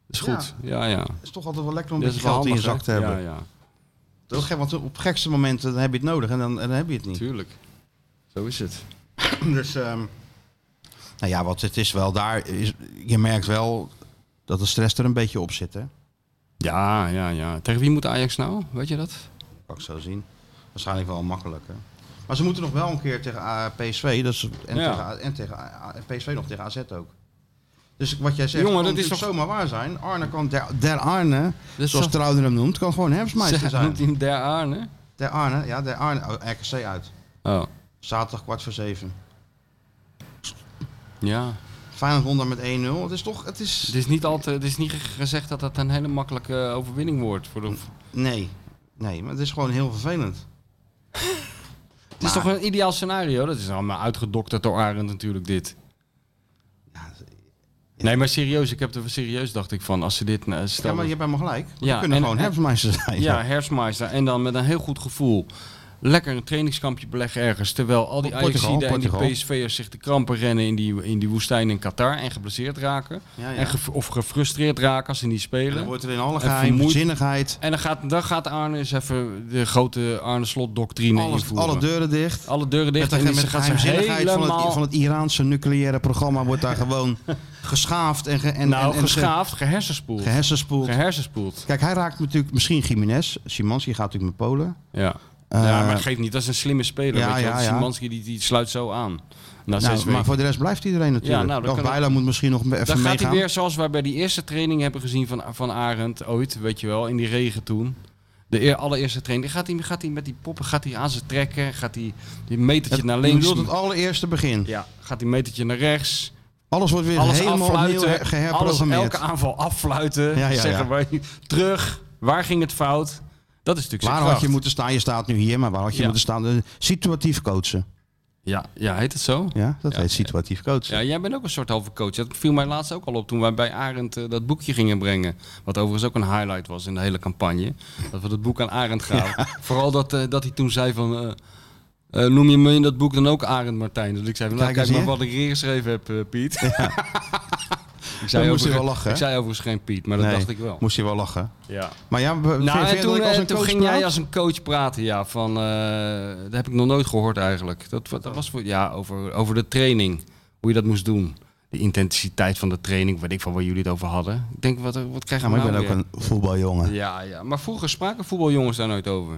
Speaker 3: Dat is goed. Ja, ja.
Speaker 2: Het is toch altijd wel lekker om een
Speaker 3: Dat is
Speaker 2: beetje
Speaker 3: wel
Speaker 2: geld in je
Speaker 3: handig,
Speaker 2: zak te
Speaker 3: hè?
Speaker 2: hebben.
Speaker 3: Ja, ja.
Speaker 2: Dat is gek, want op gekste momenten dan heb je het nodig en dan, en dan heb je het niet.
Speaker 3: Tuurlijk. Zo is het.
Speaker 2: Dus, ehm, nou ja, wat het is wel daar. Is, je merkt wel dat de stress er een beetje op zit, hè?
Speaker 3: Ja, ja, ja. Tegen wie moet Ajax nou? Weet je dat?
Speaker 2: Pak zo zien. Waarschijnlijk wel makkelijk, hè? Maar ze moeten nog wel een keer tegen eh, PSV. Dus, en,
Speaker 3: Ja.
Speaker 2: tegen, A- en tegen A- en PSV nog tegen AZ ook. Dus wat jij zegt,
Speaker 3: Jongen,
Speaker 2: kan
Speaker 3: dat is
Speaker 2: natuurlijk
Speaker 3: toch-
Speaker 2: zomaar waar zijn. Arne kan, der, der Arne,
Speaker 3: is
Speaker 2: zoals
Speaker 3: toch-
Speaker 2: Trouwden hem noemt, kan gewoon
Speaker 3: Ze
Speaker 2: herfstmeister
Speaker 3: noemt
Speaker 2: zijn.
Speaker 3: hij hem der Arne.
Speaker 2: Der Arne, ja, der Arne. Oh, RKC uit.
Speaker 3: Oh,
Speaker 2: Zaterdag kwart voor zeven.
Speaker 3: ja.
Speaker 2: Feyenoord won daar met 1-0. Het is toch, het is...
Speaker 3: Het is niet altijd, het is niet gezegd dat dat een hele makkelijke eh, overwinning wordt. Voor de,
Speaker 2: Nee, nee, maar het is gewoon heel vervelend.
Speaker 3: het is toch een ideaal scenario? Dat is allemaal uitgedokterd door Arend natuurlijk dit. Nee, maar serieus, ik heb er serieus dacht ik van, als ze dit nou,
Speaker 2: Ja,
Speaker 3: stel
Speaker 2: maar je hebt helemaal gelijk. We
Speaker 3: Ja,
Speaker 2: kunnen
Speaker 3: en-
Speaker 2: gewoon
Speaker 3: en-
Speaker 2: herfstmeisjes zijn.
Speaker 3: ja, Hersmeister en dan met een heel goed gevoel lekker een trainingskampje beleggen ergens, terwijl al die
Speaker 2: Portugal,
Speaker 3: Ajaxiden en die
Speaker 2: Portugal.
Speaker 3: PSV'ers zich de krampen rennen in die, in die woestijn in Qatar en geblesseerd raken
Speaker 2: Ja, ja.
Speaker 3: En ge- of gefrustreerd raken als ze niet
Speaker 2: En
Speaker 3: spelen.
Speaker 2: dan wordt er in alle
Speaker 3: En vermoeid.
Speaker 2: geheimzinnigheid
Speaker 3: En dan gaat, dan gaat Arne eens even de grote Arne Slot doctrine
Speaker 2: alles,
Speaker 3: invoeren.
Speaker 2: alle deuren dicht.
Speaker 3: Alle deuren dicht.
Speaker 2: Met de, met
Speaker 3: en ze
Speaker 2: de
Speaker 3: gaat ze
Speaker 2: geheimzinnigheid van
Speaker 3: helemaal
Speaker 2: het, van het Iraanse nucleaire programma wordt daar gewoon geschaafd en, ge, en,
Speaker 3: nou,
Speaker 2: en, en
Speaker 3: geschaafd, gehersenspoeld.
Speaker 2: ge- gehersenspoeld.
Speaker 3: Gehersenspoeld.
Speaker 2: Kijk, hij raakt natuurlijk misschien Jiménez. Simanski gaat natuurlijk met Polen.
Speaker 3: Ja.
Speaker 2: Eh,
Speaker 3: ja, maar het geeft niet. Dat is een slimme speler.
Speaker 2: ja,
Speaker 3: weet je wel.
Speaker 2: ja, ja.
Speaker 3: Szymanski die, die sluit zo aan. Na zes
Speaker 2: Nou,
Speaker 3: weken.
Speaker 2: maar voor de rest blijft iedereen natuurlijk.
Speaker 3: Ja, nou, dan
Speaker 2: Dag
Speaker 3: kan het-
Speaker 2: Bijla moet misschien nog even
Speaker 3: Dan gaat hij
Speaker 2: meegaan.
Speaker 3: weer zoals wij bij die eerste training hebben gezien van, van Arend ooit, weet je wel, in die regen toen. De eer, allereerste training. Gaat hij, gaat hij met die poppen, gaat hij aan ze trekken, gaat hij die metertje
Speaker 2: Het-
Speaker 3: naar
Speaker 2: Je
Speaker 3: links.
Speaker 2: bedoelt het allereerste begin.
Speaker 3: Ja, gaat hij metertje naar rechts.
Speaker 2: Alles wordt weer
Speaker 3: alles
Speaker 2: helemaal opnieuw
Speaker 3: afluiten.
Speaker 2: her-
Speaker 3: Alles,
Speaker 2: geherprogrammeerd.
Speaker 3: elke aanval affluiten.
Speaker 2: Ja, ja,
Speaker 3: zeggen
Speaker 2: ja.
Speaker 3: wij terug. Waar ging het fout? Dat is natuurlijk
Speaker 2: Waar
Speaker 3: zijn
Speaker 2: had je
Speaker 3: kracht.
Speaker 2: moeten staan? Je staat nu hier, maar waar had je
Speaker 3: Ja.
Speaker 2: moeten staan? Eh, Situatief coachen.
Speaker 3: Ja, ja, heet het zo?
Speaker 2: Ja, dat
Speaker 3: Ja.
Speaker 2: heet situatief coachen.
Speaker 3: Ja, jij bent ook een soort halve coach. Dat viel mij laatst ook al op toen wij bij Arend eh, dat boekje gingen brengen. Wat overigens ook een highlight was in de hele campagne. Dat we dat boek aan Arend gaven. Vooral dat, eh, dat hij toen zei van... eh, eh, noem je me in dat boek dan ook Arend Martijn? Dus ik zei van, nou,
Speaker 2: Kijk
Speaker 3: kijk,
Speaker 2: eens
Speaker 3: maar wat ik hier geschreven heb, eh, Piet.
Speaker 2: hij
Speaker 3: ik, zei
Speaker 2: wel
Speaker 3: overigens-
Speaker 2: lachen, hè?
Speaker 3: ik zei overigens geen Piet, maar dat
Speaker 2: Nee,
Speaker 3: dacht ik wel.
Speaker 2: Moest je wel lachen.
Speaker 3: Ja.
Speaker 2: Maar ja, we- vind je-
Speaker 3: Nou,
Speaker 2: vind
Speaker 3: en
Speaker 2: je
Speaker 3: toen,
Speaker 2: dat ik als
Speaker 3: eh,
Speaker 2: een
Speaker 3: toen
Speaker 2: coach
Speaker 3: ging
Speaker 2: praat?
Speaker 3: jij als een coach praten, ja. Van, eh, dat heb ik nog nooit gehoord eigenlijk. Dat, wa- dat was voor, ja, over, over de training, hoe je dat moest doen. De intensiteit van de training, weet ik van waar jullie het over hadden. Ik denk, wat, wat krijg je
Speaker 2: Ja, maar ik
Speaker 3: nou
Speaker 2: ben ook
Speaker 3: weer?
Speaker 2: een voetbaljongen.
Speaker 3: Ja, ja, maar vroeger spraken voetbaljongens daar nooit over.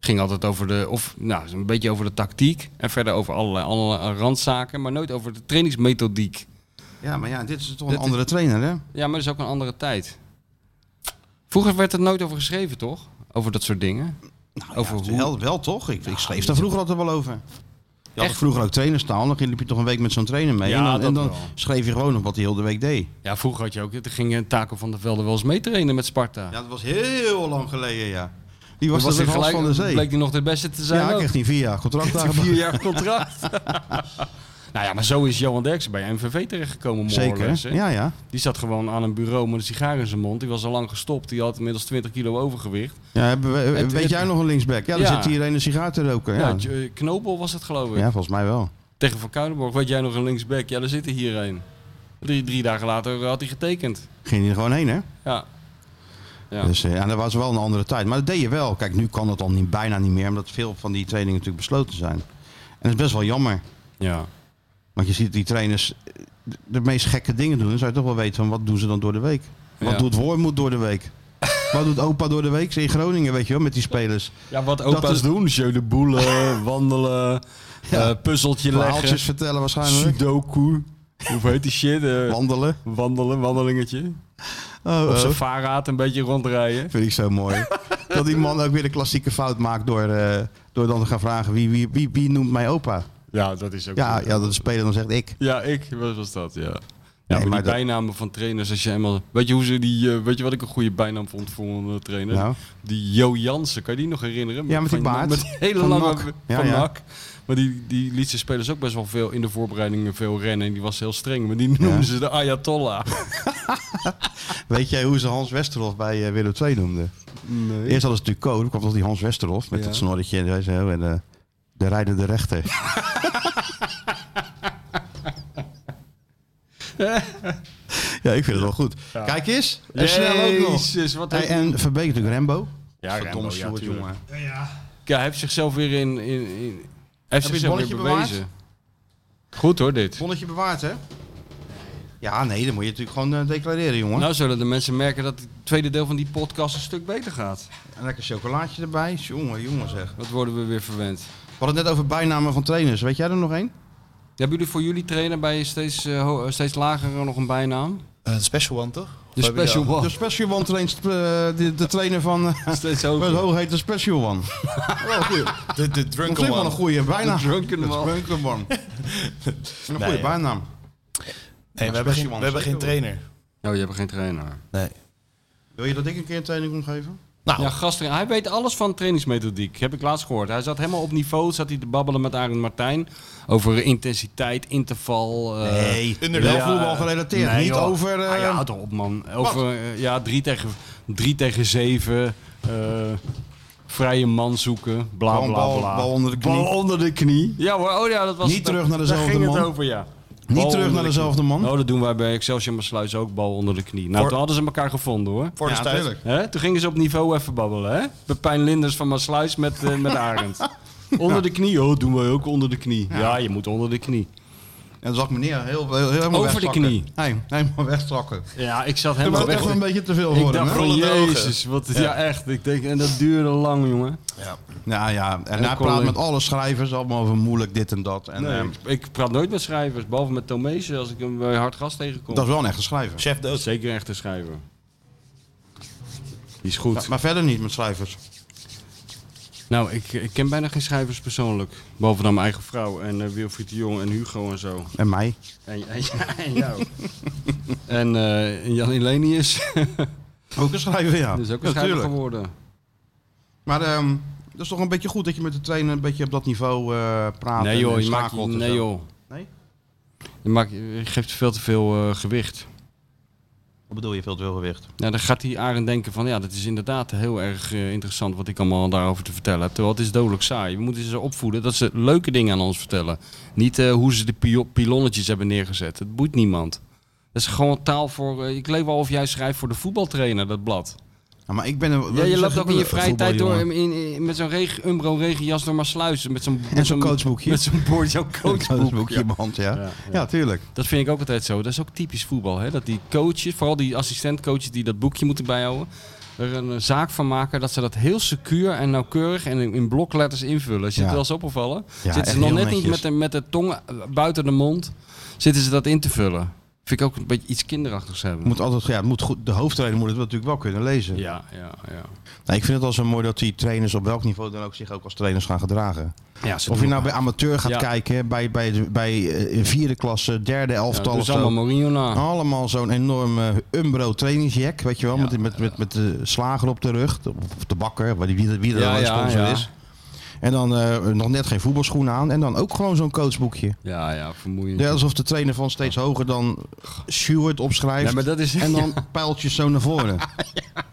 Speaker 3: Ging altijd over de, of nou, een beetje over de tactiek. En verder over allerlei, allerlei randzaken, maar nooit over de trainingsmethodiek.
Speaker 2: Ja, maar ja, dit is toch
Speaker 3: Dat-
Speaker 2: een andere trainer, hè?
Speaker 3: Ja, maar dat is ook een andere tijd. Vroeger werd er nooit over geschreven, toch? Over dat soort dingen.
Speaker 2: Nou
Speaker 3: over hoe
Speaker 2: Wel, wel toch? Ik, ik schreef daar vroeger altijd wel over. Je had
Speaker 3: Echt?
Speaker 2: vroeger ook trainerstaal, dan liep je toch een week met zo'n trainer mee.
Speaker 3: Ja,
Speaker 2: en dan, en
Speaker 3: dat
Speaker 2: dan
Speaker 3: wel.
Speaker 2: schreef je gewoon nog wat hij heel de week deed.
Speaker 3: Ja, vroeger had je ook, er gingen Taco van der Velde wel eens meetrainen met Sparta.
Speaker 2: dat was heel lang geleden, ja. Die
Speaker 3: Toen
Speaker 2: was, was
Speaker 3: hij
Speaker 2: de gelijk, van de zee.
Speaker 3: bleek hij nog de beste te zijn.
Speaker 2: ja, ik
Speaker 3: ook.
Speaker 2: kreeg die vier jaar contract
Speaker 3: Kreeg
Speaker 2: daar.
Speaker 3: hij vier jaar contract. nou ja, maar zo is Johan Derksen bij MVV terechtgekomen. Morgens,
Speaker 2: Zeker,
Speaker 3: hè.
Speaker 2: ja, ja.
Speaker 3: Die zat gewoon aan een bureau met een sigaar in zijn mond. Die was al lang gestopt. Die had inmiddels 20 kilo overgewicht.
Speaker 2: ja hebben we,
Speaker 3: Het-
Speaker 2: weet
Speaker 3: het-
Speaker 2: jij nog een linksback? Ja, daar
Speaker 3: Ja.
Speaker 2: zit hier een een sigaar te roken.
Speaker 3: Ja.
Speaker 2: Ja. Ja,
Speaker 3: Nou, J- Knobel was het geloof ik.
Speaker 2: volgens mij wel.
Speaker 3: Tegen Van Kuilenborg. Weet jij nog een linksback? Ja, daar zit er hier een. Drie, drie dagen later eh, had hij getekend.
Speaker 2: Ging hij er gewoon heen, hè?
Speaker 3: Ja. Ja.
Speaker 2: Dus eh, ja, dat was wel een andere tijd. Maar dat deed je wel. Kijk, nu kan dat al niet, bijna niet meer, omdat veel van die trainingen natuurlijk besloten zijn. En dat is best wel jammer.
Speaker 3: ja.
Speaker 2: Want je ziet die trainers eh, de- de meest gekke dingen doen. Dan zou je toch wel weten van wat doen ze dan door de week. Wat
Speaker 3: Ja.
Speaker 2: doet Wormoed door de week? wat doet opa door de week? In Groningen, weet je wel, met die spelers.
Speaker 3: Ja, wat opa's
Speaker 2: is-
Speaker 3: doen. Jeu de boelen, wandelen, eh, puzzeltje leggen,
Speaker 2: Verhaaltjes vertellen waarschijnlijk.
Speaker 3: sudoku. Hoe heet die shit? eh,
Speaker 2: Wandelen.
Speaker 3: wandelen, wandelingetje.
Speaker 2: Oh,
Speaker 3: Op
Speaker 2: oh.
Speaker 3: zijn vaarraad een beetje rondrijden.
Speaker 2: Vind ik zo mooi. dat die man ook weer de klassieke fout maakt door, eh, door dan te gaan vragen wie, wie, wie, wie noemt mij opa?
Speaker 3: Ja, dat is ook...
Speaker 2: Ja, ja, dat de speler dan zegt ik.
Speaker 3: Ja, ik. Wat was dat, ja. Ja, maar die
Speaker 2: maar dat-
Speaker 3: bijnamen van trainers, als je helemaal... Weet je, hoe ze die, eh, weet je wat ik een goede bijnaam vond voor een eh, trainer?
Speaker 2: Nou.
Speaker 3: Die Jo Jansen, kan je die nog herinneren?
Speaker 2: Ja, met die
Speaker 3: Van-
Speaker 2: baard.
Speaker 3: Met die hele
Speaker 2: Van
Speaker 3: lange...
Speaker 2: NAC. Ja,
Speaker 3: van
Speaker 2: ja.
Speaker 3: NAC. Maar die, die liet zijn spelers ook best wel veel in de voorbereidingen veel rennen. En die was heel streng. Maar die noemden ze de Ayatollah.
Speaker 2: Weet jij hoe ze Hans Westerhof bij eh, Willem II noemden? Eerst hadden ze natuurlijk Co, dan kwam toch die Hans Westerhof met
Speaker 3: Ja.
Speaker 2: dat snorretje en zo. En eh, de rijdende rechter. ja, ik vind het wel goed. Kijk eens. En snel ook nog.
Speaker 3: Jezus, wat
Speaker 2: Hey, en Verbeek natuurlijk Rembo.
Speaker 3: Ja, Rembo, ja,
Speaker 2: Sjoerd,
Speaker 3: tuurlijk. Ja, hij heeft zichzelf weer in... in, in heeft
Speaker 2: het
Speaker 3: zichzelf weer
Speaker 2: bonnetje bewaard?
Speaker 3: bewezen. Goed hoor, dit.
Speaker 2: Bonnetje bewaard, hè? Ja, nee, dan moet je natuurlijk gewoon eh, declareren, jongen.
Speaker 3: Nou zullen de mensen merken dat het tweede deel van die podcast een stuk beter gaat.
Speaker 2: Een lekker chocolaatje erbij. Jongen, jongen zeg.
Speaker 3: Wat worden we weer verwend.
Speaker 2: We hadden het net over bijnamen van trainers. Weet jij er nog één?
Speaker 3: Hebben jullie voor jullie trainer bij steeds, eh, ho- eh, steeds lager nog een bijnaam?
Speaker 4: Een special one, toch?
Speaker 3: De
Speaker 4: Of heb je die
Speaker 3: Special
Speaker 4: al?
Speaker 2: De
Speaker 3: One.
Speaker 2: special one traint eh, de, de trainer van... eh,
Speaker 3: Steeds
Speaker 2: Met
Speaker 3: hoger.
Speaker 2: hoog heet de special one.
Speaker 4: De, de
Speaker 2: Dat
Speaker 4: drunken
Speaker 2: vind ik wel
Speaker 4: one.
Speaker 2: een goede bijnaam.
Speaker 3: De drunken
Speaker 2: De
Speaker 3: one.
Speaker 2: drunken one. Een goede
Speaker 4: Nee, ja.
Speaker 2: bijnaam.
Speaker 4: Nee,
Speaker 2: Ja,
Speaker 4: we
Speaker 2: special
Speaker 4: hebben geen,
Speaker 2: one.
Speaker 4: we hebben geen trainer.
Speaker 3: Oh, je hebt Nou, geen trainer.
Speaker 4: Nee.
Speaker 2: Wil je dat ik een keer een training kom geven?
Speaker 4: Nou,
Speaker 3: Ja, gasten, hij weet alles van trainingsmethodiek, heb ik laatst gehoord. Hij zat helemaal op niveau, zat hij te babbelen met Arend Martijn over intensiteit, interval. eh,
Speaker 2: Nee,
Speaker 4: inderdaad.
Speaker 2: wel voetbal gerelateerd.
Speaker 3: Nee,
Speaker 2: niet
Speaker 3: joh.
Speaker 2: over... eh,
Speaker 3: Ah, ja, hou toch op, man. Over eh, ja, drie, tegen, drie tegen zeven. eh, vrije man zoeken. Bla
Speaker 2: Gewoon
Speaker 3: bla
Speaker 2: bal-
Speaker 3: bla.
Speaker 2: bal onder de knie.
Speaker 3: Bal onder de knie. Ja hoor, oh ja, dat was
Speaker 2: Niet
Speaker 3: het.
Speaker 2: terug naar dezelfde
Speaker 3: Daar ging
Speaker 2: man.
Speaker 3: het over, ja.
Speaker 2: Niet
Speaker 3: Bal
Speaker 2: terug
Speaker 3: onder
Speaker 2: naar
Speaker 3: de
Speaker 2: dezelfde
Speaker 3: knie.
Speaker 2: man.
Speaker 3: Nou, dat doen wij bij Excelsior Maasluis ook bal onder de knie. Nou,
Speaker 4: Voor-
Speaker 3: toen hadden ze elkaar gevonden hoor.
Speaker 4: voor de
Speaker 2: Ja,
Speaker 4: tijd.
Speaker 2: tuurlijk.
Speaker 3: Hè? Toen gingen ze op niveau even babbelen, hè? Pepijn Linders van Maasluis met, eh, met Arend. Onder de knie, oh, doen wij ook onder de knie. Ja, je moet onder de knie.
Speaker 2: En dan zag meneer heel, heel, helemaal
Speaker 3: Over de
Speaker 2: wegzakken.
Speaker 3: knie.
Speaker 2: Nee, helemaal wegzakken.
Speaker 3: Ja, ik zat
Speaker 2: Dat
Speaker 3: helemaal
Speaker 2: was
Speaker 3: weg.
Speaker 2: echt een beetje te veel
Speaker 3: Ik
Speaker 2: voor hem.
Speaker 3: dacht
Speaker 2: hè?
Speaker 3: van,
Speaker 4: Rollende ogen.
Speaker 3: jezus, wat, ja. echt. Ik denk, en dat duurde lang, jongen.
Speaker 2: Ja, ja. En hij
Speaker 3: Colin.
Speaker 2: praat met alle schrijvers allemaal over moeilijk dit en dat. En,
Speaker 3: Nee,
Speaker 2: ehm,
Speaker 3: ik, ik praat nooit met schrijvers, behalve met Tomezen als ik hem bij hard gas tegenkom.
Speaker 2: dat is wel een echte schrijver.
Speaker 4: Chef dood.
Speaker 3: Zeker echt een schrijver. Die is
Speaker 2: Ja,
Speaker 3: goed.
Speaker 2: maar verder niet met schrijvers.
Speaker 3: Nou, ik, ik ken bijna geen schrijvers persoonlijk. Behalve dan mijn eigen vrouw en eh, Wilfried de Jong en Hugo en zo.
Speaker 2: En mij.
Speaker 3: En, en, en jou. en eh, en Jan Elenius.
Speaker 2: Ook een schrijver, ja.
Speaker 3: Dat is Dus ook een
Speaker 2: Ja,
Speaker 3: schrijver
Speaker 2: tuurlijk.
Speaker 3: geworden.
Speaker 2: Maar ehm dat is toch een beetje goed dat je met de trainer een beetje op dat niveau eh, praat.
Speaker 3: Nee
Speaker 2: en-
Speaker 3: joh,
Speaker 2: en
Speaker 3: je maakt,
Speaker 2: schakelt en
Speaker 3: nee
Speaker 2: zo.
Speaker 3: joh.
Speaker 2: Nee?
Speaker 3: Je, maakt, je geeft veel te veel eh, gewicht.
Speaker 2: Wat bedoel je, veel te veel gewicht?
Speaker 3: Ja, dan gaat die Arend denken van ja, dat is inderdaad heel erg eh, interessant wat ik allemaal daarover te vertellen heb. Terwijl het is dodelijk saai. We moeten ze opvoeden dat ze leuke dingen aan ons vertellen. Niet eh, hoe ze de pio- pilonnetjes hebben neergezet. Het boeit niemand. Dat is gewoon taal voor... eh, ik leef wel of jij schrijft voor de voetbaltrainer, dat blad.
Speaker 2: Ja, maar ik ben een,
Speaker 3: Ja, je
Speaker 2: zeg
Speaker 3: loopt
Speaker 2: ik
Speaker 3: ook in je
Speaker 2: wel,
Speaker 3: vrije tijd door
Speaker 2: voetbaljongen.
Speaker 3: in, in- in- met zo'n reg- Umbro regenjas door maar sluizen. Met zo'n,
Speaker 2: En
Speaker 3: met
Speaker 2: zo'n coachboekje.
Speaker 3: Met zo'n boord, zo'n
Speaker 2: Een
Speaker 3: coachboekje.
Speaker 2: boekje in mijn hand, ja. Ja, tuurlijk.
Speaker 3: Dat vind ik ook altijd zo. Dat is ook typisch voetbal. Hè? Dat die coaches, vooral die assistentcoaches die dat boekje moeten bijhouden, er een eh, zaak van maken dat ze dat heel secuur en nauwkeurig en in, in blokletters invullen. Zit
Speaker 2: Ja.
Speaker 3: wel eens opgevallen?
Speaker 2: echt
Speaker 3: Zitten ze nog
Speaker 2: heel
Speaker 3: net niet
Speaker 2: netjes.
Speaker 3: met de, met de tong eh, buiten de mond, zitten ze dat in te vullen. Vind ik ook een beetje iets kinderachtigs hebben.
Speaker 2: Moet altijd, ja, het moet goed, de hoofdtrainer moet het natuurlijk wel kunnen lezen.
Speaker 3: Ja, ja, ja.
Speaker 2: Nou, ik vind het wel zo mooi dat die trainers op welk niveau dan ook zich ook als trainers gaan gedragen.
Speaker 3: ja ze
Speaker 2: Of je
Speaker 3: doen-
Speaker 2: nou bij amateur gaat
Speaker 3: Ja.
Speaker 2: kijken, bij, bij, de- bij eh, vierde klasse, derde
Speaker 3: ja,
Speaker 2: elftal
Speaker 3: doen
Speaker 2: of
Speaker 3: ze
Speaker 2: zo. Oh.
Speaker 3: allemaal Mourinho na.
Speaker 2: Allemaal zo'n enorme Umbro trainingsjack, weet je wel,
Speaker 3: Ah. Ja,
Speaker 2: met, met, met, met de slager op de rug, de- of de bakker, waar die- wie, wie er
Speaker 3: Ja,
Speaker 2: dan een
Speaker 3: ja,
Speaker 2: sponsor
Speaker 3: ja.
Speaker 2: is. En dan eh, nog net geen voetbalschoenen aan en dan ook gewoon zo'n coachboekje.
Speaker 3: Ja, ja, vermoeiend.
Speaker 2: Ja, alsof de trainer van steeds hoger dan Stewart opschrijft
Speaker 3: Ja, maar dat is-
Speaker 2: en dan pijltjes zo naar voren.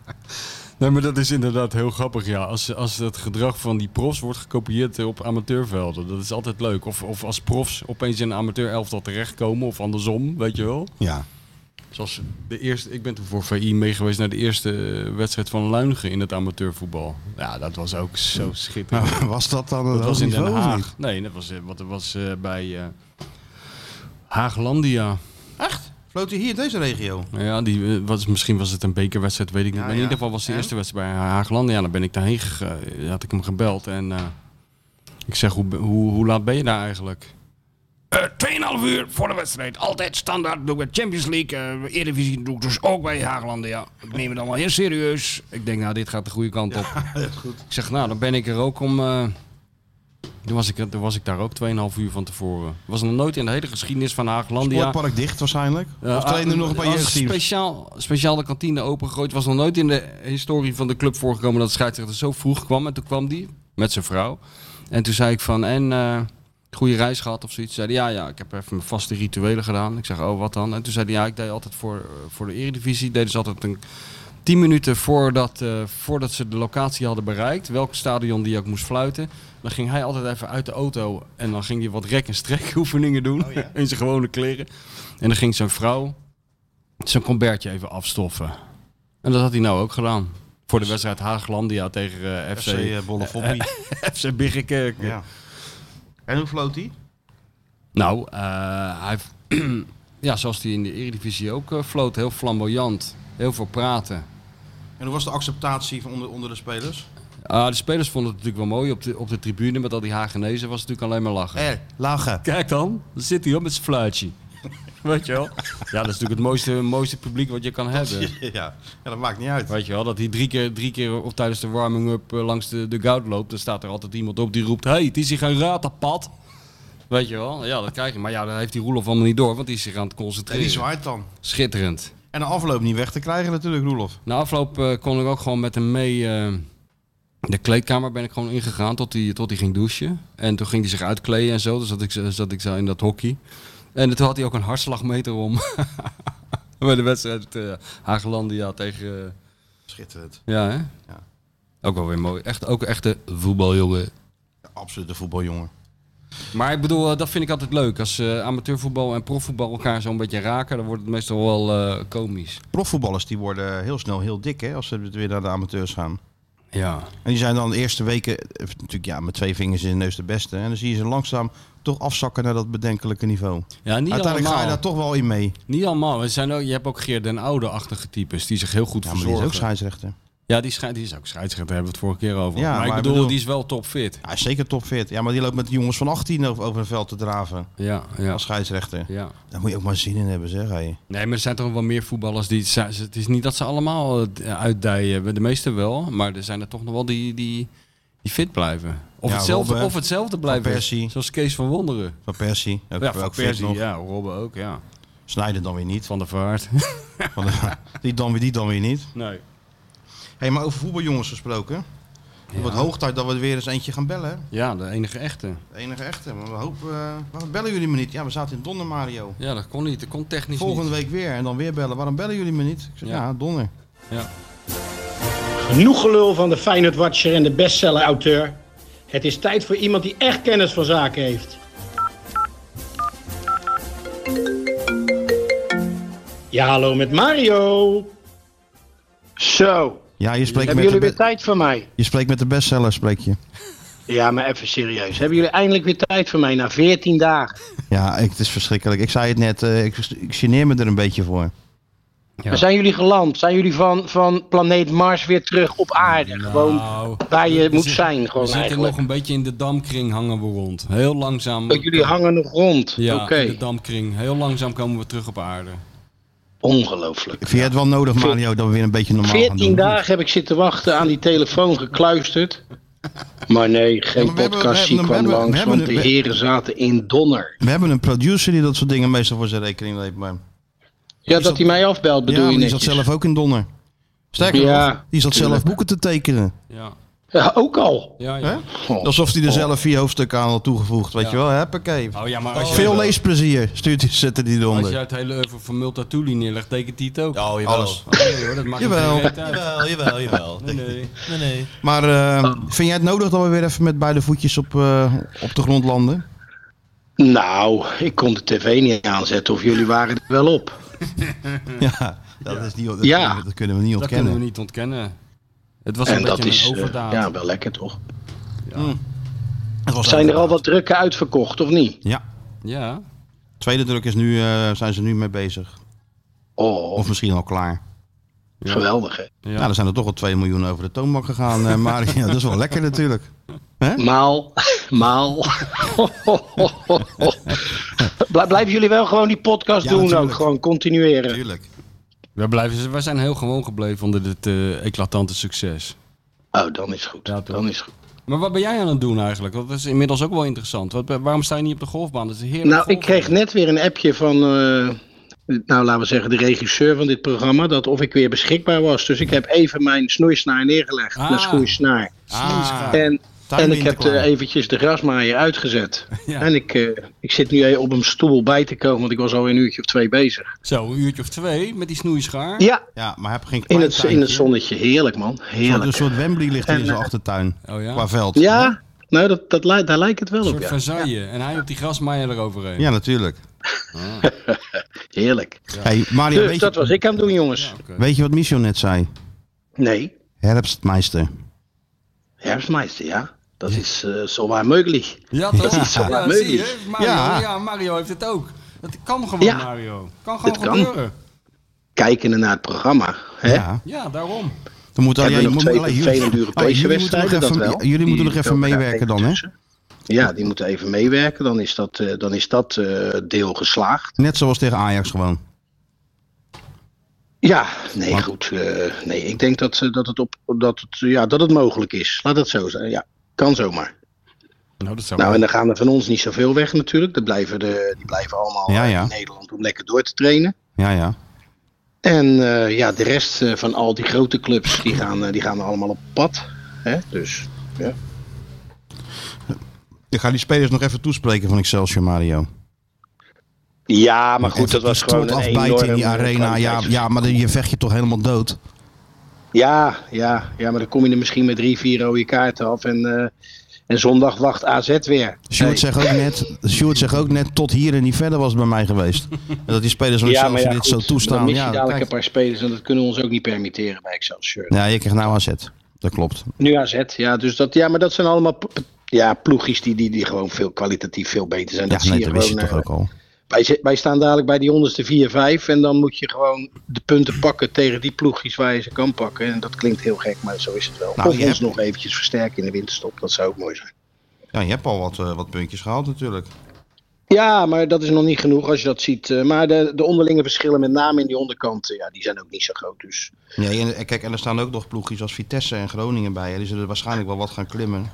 Speaker 3: Nee, maar dat is inderdaad heel grappig, ja. Als, als het gedrag van die profs wordt gekopieerd eh, op amateurvelden. Dat is altijd leuk. Of, of als profs opeens in een amateurelftal terechtkomen of andersom, weet je wel.
Speaker 2: Ja.
Speaker 3: Zoals de eerste, ik ben toen voor VI meegeweest naar de eerste eh, wedstrijd van Luinigen in het amateurvoetbal. Ja, dat was ook zo schitterend.
Speaker 2: Nou, was dat dan het
Speaker 3: dat was in Den
Speaker 2: hoogniveau of niet?
Speaker 3: Haag. Nee, dat was, eh, wat, dat was eh, bij eh, Haaglandia.
Speaker 2: Floot hij hier in deze regio?
Speaker 3: Nou Ja, die, eh, was, misschien was het een bekerwedstrijd, weet ik niet.
Speaker 2: Ja,
Speaker 3: maar in
Speaker 2: ja.
Speaker 3: ieder geval was de
Speaker 2: En?
Speaker 3: eerste wedstrijd bij Haagland. Ja, dan ben ik daarheen gegaan. eh, Had ik hem gebeld en eh, ik zeg, hoe, hoe, hoe laat ben je daar eigenlijk? Eh, Tweeënhalf uur voor de wedstrijd. Altijd standaard. Doe ik bij Champions League. eh Eredivisie doe ik dus ook bij Haagland. Ja. Ik neem het allemaal heel serieus. Ik denk, nou, dit gaat de goede kant op. Ik zeg, nou, dan ben ik er ook om... eh, toen was, ik, toen was ik daar ook 2,5 uur van tevoren. Was nog nooit in de hele geschiedenis van Haaglandia...
Speaker 2: Sportpark dicht waarschijnlijk.
Speaker 3: Ja, ah,
Speaker 2: of trainen er nog een paar
Speaker 3: als
Speaker 2: jeugdteams?
Speaker 3: Speciaal, speciaal de kantine opengegooid. Was nog nooit in de historie van de club voorgekomen dat de scheidsrechter zo vroeg kwam. En toen kwam die met zijn vrouw. En toen zei ik van, en eh, goede reis gehad of zoiets. Zei die, ja, ja, ik heb even mijn vaste rituelen gedaan. Ik zeg, oh, wat dan? En toen zei hij, ja, ik deed altijd voor, eh, voor de eredivisie. Deden ze altijd een... 10 minuten voordat, eh, voordat ze de locatie hadden bereikt, welk stadion die ook moest fluiten, dan ging hij altijd even uit de auto en dan ging hij wat rek- en strekoefeningen
Speaker 2: Oh,
Speaker 3: doen in zijn gewone kleren. En dan ging zijn vrouw zijn combertje even afstoffen. En dat had hij nou ook gedaan. Voor de wedstrijd Haaglandia tegen eh, FC,
Speaker 2: FC Dus- eh, Bonnefoppie.
Speaker 3: FC Birkenkerk.
Speaker 2: Ja. En hoe floot hij?
Speaker 3: Nou, eh, hij, ja, zoals hij in de Eredivisie ook eh, floot, heel flamboyant, heel veel praten.
Speaker 2: En hoe was de acceptatie van onder, onder de spelers?
Speaker 3: Ah, de spelers vonden het natuurlijk wel mooi op de, op de tribune met al die Hagenezen was het natuurlijk alleen maar lachen.
Speaker 2: Eh, lachen.
Speaker 3: Kijk dan, dan zit hij op met zijn fluitje. Weet je wel? Ja, dat is natuurlijk het mooiste, mooiste publiek wat je kan hebben.
Speaker 2: Ja. ja, dat maakt niet uit.
Speaker 3: Weet je wel, dat hij drie keer, drie keer of tijdens de warming-up eh, langs de, de goud loopt. Dan staat er altijd iemand op die roept, hey, het is hier geen ratenpad. Weet je wel, ja, dat krijg je. Maar ja, dat heeft die Roelof allemaal niet door, want die is zich aan het
Speaker 2: En die
Speaker 3: concentreren.
Speaker 2: zwaait dan.
Speaker 3: Schitterend.
Speaker 2: En de afloop niet weg te krijgen natuurlijk, Roelof.
Speaker 3: Na afloop eh, kon ik ook gewoon met hem mee. eh, de kleedkamer ben ik gewoon ingegaan tot hij, tot hij ging douchen. En toen ging hij zich uitkleden en zo. Dus zat ik, zo- zat ik zo in dat hockey. En toen had hij ook een hartslagmeter om. Bij de wedstrijd eh Hagelandia tegen... eh,
Speaker 2: Schitterend.
Speaker 3: ja, hè?
Speaker 2: Ja.
Speaker 3: Ook wel weer mooi. Echt, ook een echte voetbaljongen.
Speaker 2: Ja, absolute voetbaljongen.
Speaker 3: Maar ik bedoel, eh, dat vind ik altijd leuk. Als eh, amateurvoetbal en profvoetbal elkaar zo'n beetje raken, dan wordt het meestal wel eh, komisch.
Speaker 2: Profvoetballers die worden heel snel heel dik hè, als ze weer naar de amateurs gaan.
Speaker 3: Ja.
Speaker 2: En die zijn dan de eerste weken eh, natuurlijk ja, met twee vingers in de neus de beste. En dan zie je ze langzaam toch afzakken naar dat bedenkelijke niveau.
Speaker 3: Ja, niet
Speaker 2: Uiteindelijk
Speaker 3: allemaal.
Speaker 2: ga je daar toch wel in mee.
Speaker 3: Niet allemaal. Er zijn ook, je hebt ook Geert den Oude-achtige types die zich heel goed
Speaker 2: Ja, maar die is
Speaker 3: verzorgen.
Speaker 2: ook scheidsrechter.
Speaker 3: ja, die, schei- die is ook scheidsrechter, daar hebben we het vorige keer over.
Speaker 2: Ja,
Speaker 3: maar, ik
Speaker 2: maar ik
Speaker 3: bedoel,
Speaker 2: bedoel-
Speaker 3: die is wel topfit.
Speaker 2: Hij is zeker top 40. Ja, maar die loopt met jongens van 18 over over een veld te draven
Speaker 3: Ja, ja,
Speaker 2: als scheidsrechter.
Speaker 3: ja.
Speaker 2: Daar moet je ook maar zin in hebben, zeg. Hey.
Speaker 3: Nee, maar er zijn toch wel meer voetballers die... ze- ze- Het is niet dat ze allemaal eh, uitdijen. De meeste wel, maar er zijn er toch nog wel die, die, die fit blijven. Of,
Speaker 2: Ja,
Speaker 3: hetzelfde,
Speaker 2: Robben,
Speaker 3: of hetzelfde blijven.
Speaker 2: Persie.
Speaker 3: Zoals Kees van Wonderen.
Speaker 2: Van Persie. Ook,
Speaker 3: Ja,
Speaker 2: ook
Speaker 3: van
Speaker 2: fit
Speaker 3: Persie,
Speaker 2: nog.
Speaker 3: ja, Robben ook, ja.
Speaker 2: Snijder dan weer niet.
Speaker 3: Van der Vaart.
Speaker 2: Van de- eh, die dan weer, die dan weer niet.
Speaker 3: nee.
Speaker 2: hey, maar over voetbaljongens gesproken. Het wordt hoog tijd dat we er weer eens eentje gaan bellen. hè?
Speaker 3: Ja, de enige echte.
Speaker 2: De enige echte. Maar we hopen... eh, waarom bellen jullie me niet? Ja, we zaten in Donner, Mario.
Speaker 3: Ja, dat kon niet. Dat kon technisch
Speaker 2: Volgende week weer en dan weer bellen. Waarom bellen jullie me niet? Ik zeg, ja,
Speaker 3: Ja.
Speaker 2: Donner.
Speaker 3: niet. Ja.
Speaker 8: Genoeg gelul van de Feyenoord Watcher en de bestseller-auteur. Het is tijd voor iemand die echt kennis van zaken heeft. Ja, hallo met Mario. Zo,
Speaker 2: Ja, je spreekt,
Speaker 8: hebben
Speaker 2: met de,
Speaker 8: jullie weer
Speaker 2: be-
Speaker 8: tijd voor mij?
Speaker 2: je spreekt met de bestseller, spreek je.
Speaker 8: Ja, maar even serieus. Hebben jullie eindelijk weer tijd voor mij na 14 dagen?
Speaker 2: Ja, ik, het is verschrikkelijk. Ik zei het net, eh, ik, ik geneer me er een beetje voor.
Speaker 8: Maar zijn jullie geland? Zijn jullie van, van planeet Mars weer terug op aarde? Gewoon
Speaker 3: Nou,
Speaker 8: waar je
Speaker 3: we
Speaker 8: moet
Speaker 3: zit-
Speaker 8: zijn,
Speaker 3: We
Speaker 8: gewoon
Speaker 3: zitten
Speaker 8: eigenlijk.
Speaker 3: nog een beetje in de damkring hangen we rond. Heel langzaam.
Speaker 8: Dat jullie hangen nog rond.
Speaker 3: Ja,
Speaker 8: Oké,
Speaker 3: in de damkring. Heel langzaam komen we terug op aarde.
Speaker 8: ongelooflijk.
Speaker 2: Vind je het wel nodig, Mario, dat we weer een beetje normaal gaan doen?
Speaker 8: 14 dagen heb ik zitten wachten aan die telefoon gekluisterd. Maar nee, geen
Speaker 2: Ja, maar we hebben-
Speaker 8: podcast
Speaker 2: we hebben-
Speaker 8: die
Speaker 2: we
Speaker 8: kwam
Speaker 2: hebben- we
Speaker 8: langs,
Speaker 2: hebben
Speaker 8: want
Speaker 2: het-
Speaker 8: de
Speaker 2: we-
Speaker 8: heren zaten in donner.
Speaker 2: We hebben een producer die dat soort dingen meestal voor zijn rekening neemt. Maar...
Speaker 8: Ja,
Speaker 2: zat-
Speaker 8: dat hij mij afbelt
Speaker 2: ja,
Speaker 8: bedoel
Speaker 2: maar
Speaker 8: je
Speaker 2: die zat
Speaker 8: netjes.
Speaker 2: zelf ook in Donner. Sterker
Speaker 8: Ja,
Speaker 2: nog, die zat zelf
Speaker 8: tuurlijk.
Speaker 2: boeken te tekenen.
Speaker 3: Ja,
Speaker 8: Ja, ook al.
Speaker 3: ja,
Speaker 2: Hè?
Speaker 3: ja.
Speaker 8: Oh.
Speaker 2: Alsof hij er zelf vier hoofdstukken aan had toegevoegd, weet
Speaker 3: Ja.
Speaker 2: je wel. Huppakee.
Speaker 3: Oh ja, maar als je,
Speaker 2: Veel leesplezier stuurt hij, zet hij
Speaker 3: als
Speaker 2: eronder.
Speaker 3: je het hele oeuvre van Multatuli neerlegt, tekent die het ook.
Speaker 4: Oh, jawel.
Speaker 2: Alles.
Speaker 3: Oh, nee hoor, dat maakt
Speaker 2: Jawel.
Speaker 3: niet uit.
Speaker 4: Jawel, jawel, jawel.
Speaker 3: Nee, nee.
Speaker 4: Nee, nee.
Speaker 2: Maar eh,
Speaker 8: Ah.
Speaker 2: vind jij het nodig dat we weer even met beide voetjes op, eh, op de grond landen?
Speaker 8: Nou, ik kon de tv niet aanzetten of jullie waren er wel op.
Speaker 2: Ja, dat, Is niet, dat,
Speaker 8: Hmm. Ja.
Speaker 2: kunnen we- dat kunnen we niet
Speaker 3: Dat kunnen we
Speaker 2: ontkennen.
Speaker 3: niet ontkennen. Het was een
Speaker 8: En dat
Speaker 3: beetje
Speaker 8: is
Speaker 3: een
Speaker 8: eh,
Speaker 3: overdaad.
Speaker 8: ja, wel lekker toch.
Speaker 2: Het was
Speaker 8: Zijn er al
Speaker 2: overdaad.
Speaker 8: wat drukken uitverkocht of niet?
Speaker 2: Ja,
Speaker 3: ja.
Speaker 2: tweede druk is nu, eh, zijn ze nu mee bezig.
Speaker 8: Oh,
Speaker 2: Of misschien al klaar.
Speaker 8: geweldig hè.
Speaker 3: Ja.
Speaker 2: Nou, er zijn er toch al 2 miljoen over de toonbank gegaan, eh Mario. Ja, dat is wel lekker natuurlijk.
Speaker 8: Maal, maal. Blij- Blijven jullie wel gewoon die podcast
Speaker 2: Ja,
Speaker 8: doen
Speaker 2: natuurlijk.
Speaker 8: ook, gewoon continueren.
Speaker 2: Tuurlijk.
Speaker 3: We, blijven, we zijn heel gewoon gebleven onder dit eh, eclatante succes.
Speaker 8: Oh, dan is goed.
Speaker 3: Ja, toch.
Speaker 8: dan is goed.
Speaker 3: Maar wat ben jij aan het doen eigenlijk? Dat is inmiddels ook wel interessant. Wat, waarom sta je niet op de golfbaan? Dat is heerlijk.
Speaker 8: Nou, ik kreeg net weer een appje van, eh, nou laten we zeggen, de regisseur van dit programma, dat of ik weer beschikbaar was. Dus ik heb even mijn snoeisnaar neergelegd,
Speaker 3: Ah.
Speaker 8: mijn schoeisnaar.
Speaker 3: Ah,
Speaker 8: En, en ik heb
Speaker 2: winterklaar.
Speaker 8: eh, eventjes de grasmaaier uitgezet.
Speaker 3: Ja.
Speaker 8: En ik, eh, ik zit nu op een stoel bij te komen, want ik was al een uurtje of twee bezig.
Speaker 3: Zo, een uurtje of twee met die snoeischaar.
Speaker 8: Ja,
Speaker 2: Ja, maar heb geen
Speaker 8: in
Speaker 2: klein
Speaker 8: het, in
Speaker 2: tuintje.
Speaker 8: het zonnetje. Heerlijk man,
Speaker 2: Een soort-
Speaker 8: heerlijk.
Speaker 2: Een soort Wembley ligt hier in zijn achtertuin.
Speaker 3: Oh ja?
Speaker 2: Qua veld.
Speaker 8: eh, Ja, nou dat, dat, lijkt- daar lijkt het wel
Speaker 3: Een
Speaker 8: op
Speaker 3: soort
Speaker 8: ja.
Speaker 3: Versailles. En hij op die grasmaaier eroverheen.
Speaker 2: Ja, natuurlijk.
Speaker 8: Heerlijk.
Speaker 2: Hey, Mario,
Speaker 8: Dus
Speaker 2: weet,
Speaker 8: dat
Speaker 2: je,
Speaker 8: was ik aan het doen jongens.
Speaker 3: Oké.
Speaker 2: weet je wat Michel net zei?
Speaker 8: Nee,
Speaker 2: Herbstmeister.
Speaker 8: herfstmeister ja. Dat is eh zowaar mogelijk.
Speaker 3: Ja, dat
Speaker 8: is
Speaker 3: is
Speaker 8: zo
Speaker 3: ja,
Speaker 8: leuk.
Speaker 3: zie je? Mario,
Speaker 2: Ja.
Speaker 3: ja. Mario heeft het ook. Dat kan gewoon,
Speaker 8: Ja.
Speaker 3: Mario. Kan gewoon
Speaker 8: Dit kan.
Speaker 3: gebeuren.
Speaker 8: kijkende naar het programma. Hè?
Speaker 2: Ja.
Speaker 3: Ja, daarom.
Speaker 2: Dan moet
Speaker 8: Hebben
Speaker 2: alleen,
Speaker 8: we nog
Speaker 2: moet-
Speaker 8: twee
Speaker 2: alleen-
Speaker 8: vervelende
Speaker 2: Oh,
Speaker 8: Europese
Speaker 2: jullie moeten nog
Speaker 8: wedstrijden, dat
Speaker 2: even-
Speaker 8: wel.
Speaker 2: Jullie moeten nog
Speaker 8: Die
Speaker 2: even
Speaker 8: lopen daar
Speaker 2: meewerken dan, hè?
Speaker 8: tussen. Ja, die moeten even meewerken. Dan is dat, eh, dan is dat eh, deel geslaagd.
Speaker 2: Net zoals tegen Ajax gewoon.
Speaker 8: Ja, nee, goed. eh, nee, ik denk dat, eh, dat, het op, dat, het, ja, dat het mogelijk is. Laat het zo zijn. Ja, kan zomaar.
Speaker 3: Nou, dat zou
Speaker 8: Nou, en dan gaan er van ons niet zoveel weg natuurlijk. Er blijven de, die blijven allemaal
Speaker 2: Ja,
Speaker 8: eh,
Speaker 2: ja.
Speaker 8: in Nederland om lekker door te trainen.
Speaker 2: Ja, ja.
Speaker 8: En eh, ja, de rest eh, van al die grote clubs, die gaan, eh, die gaan allemaal op pad. Hè? Dus ja.
Speaker 2: Ik ga die spelers nog even toespreken van Excelsior, Mario.
Speaker 8: ja, maar goed, dat was
Speaker 2: Die
Speaker 8: gewoon een
Speaker 2: strot afbijten in die
Speaker 8: enorm, eh,
Speaker 2: arena. Ja,
Speaker 8: kwaliteits-
Speaker 2: ja, maar dan- je vecht je toch helemaal dood.
Speaker 8: Ja, ja, ja, maar dan kom je er misschien met drie, vier rode kaarten af. En, eh, en zondag wacht AZ
Speaker 2: Dus
Speaker 8: weer.
Speaker 2: Sjoerd,
Speaker 8: Nee.
Speaker 2: zegt ook net, Sjoerd zegt ook net, tot hier en niet verder was het bij mij geweest. En dat die spelers van
Speaker 8: ja,
Speaker 2: Excelsior
Speaker 8: maar ja,
Speaker 2: dit
Speaker 8: goed,
Speaker 2: zo toestaan.
Speaker 8: Dan mis je
Speaker 2: Ja,
Speaker 8: dadelijk
Speaker 2: kijk.
Speaker 8: een paar spelers en dat kunnen we ons ook niet permitteren bij Excelsior.
Speaker 2: ja, je krijgt nou AZ. Dat klopt.
Speaker 8: Nu AZ, ja, dus dat, ja, maar dat zijn allemaal p- p- ja, ploegjes die, die, die gewoon veel kwalitatief veel beter zijn.
Speaker 2: Ja,
Speaker 8: dat zie
Speaker 2: nee,
Speaker 8: je
Speaker 2: dat wist je
Speaker 8: gewoon.
Speaker 2: toch
Speaker 8: eh,
Speaker 2: ook al.
Speaker 8: wij, zi- wij staan dadelijk bij die onderste 4-5 en dan moet je gewoon de punten pakken tegen die ploegjes waar je ze kan pakken. En dat klinkt heel gek, maar zo is het wel.
Speaker 2: Nou,
Speaker 8: of
Speaker 2: je
Speaker 8: ons
Speaker 2: hebt-
Speaker 8: nog eventjes versterken in de winterstop, dat zou ook mooi zijn.
Speaker 2: Ja, je hebt al wat, eh, wat puntjes gehaald natuurlijk.
Speaker 8: Ja, maar dat is nog niet genoeg als je dat ziet. Eh, maar de, de onderlinge verschillen, met name in die onderkanten, ja, die zijn ook niet zo groot. Dus
Speaker 2: Nee, en, en kijk, en er staan ook nog ploegjes als Vitesse en Groningen bij. hè. Die zullen waarschijnlijk wel wat gaan klimmen.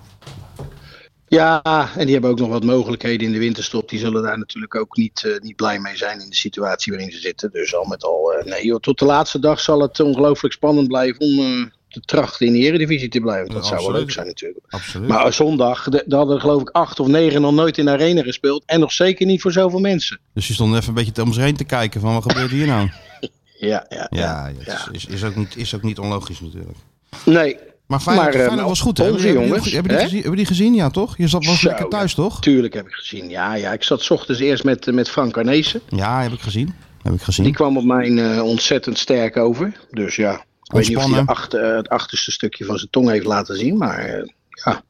Speaker 8: Ja, en die hebben ook nog wat mogelijkheden in de winterstop. Die zullen daar natuurlijk ook niet, eh, niet blij mee zijn in de situatie waarin ze zitten. Dus al met al, eh, nee joh, tot de laatste dag zal het ongelooflijk spannend blijven om eh, te trachten in de eredivisie te blijven. Dat
Speaker 2: Ja,
Speaker 8: zou wel
Speaker 2: absoluut.
Speaker 8: leuk zijn natuurlijk.
Speaker 2: Absoluut.
Speaker 8: Maar eh, zondag, de- daar hadden er geloof ik acht of negen nog nooit in de arena gespeeld. En nog zeker niet voor zoveel mensen.
Speaker 2: Dus je stond even een beetje om zich heen te kijken van wat gebeurt hier nou?
Speaker 8: Ja, ja, ja.
Speaker 2: Ja, ja, het Is, is, ook niet, is ook niet onlogisch natuurlijk.
Speaker 8: Nee,
Speaker 2: Maar Feyenoord,
Speaker 8: Maar, eh,
Speaker 2: Feyenoord was goed, hè?
Speaker 8: onze
Speaker 2: Hebben jullie-
Speaker 8: jongens,
Speaker 2: Hebben jullie,
Speaker 8: hè?
Speaker 2: gezien, hebben jullie gezien? Ja, toch? Je zat was
Speaker 8: Zo,
Speaker 2: lekker thuis,
Speaker 8: ja.
Speaker 2: toch?
Speaker 8: tuurlijk heb ik gezien. Ja, ja, ik zat 's ochtends eerst met, eh, met Frank Arnezen.
Speaker 2: Ja, heb ik gezien. Heb ik gezien.
Speaker 8: Die kwam op mijn eh, ontzettend sterk over. Dus ja, ik weet niet of hij
Speaker 2: Ontspannen.
Speaker 8: de achter, het achterste stukje van zijn tong heeft laten zien. Maar eh, ja,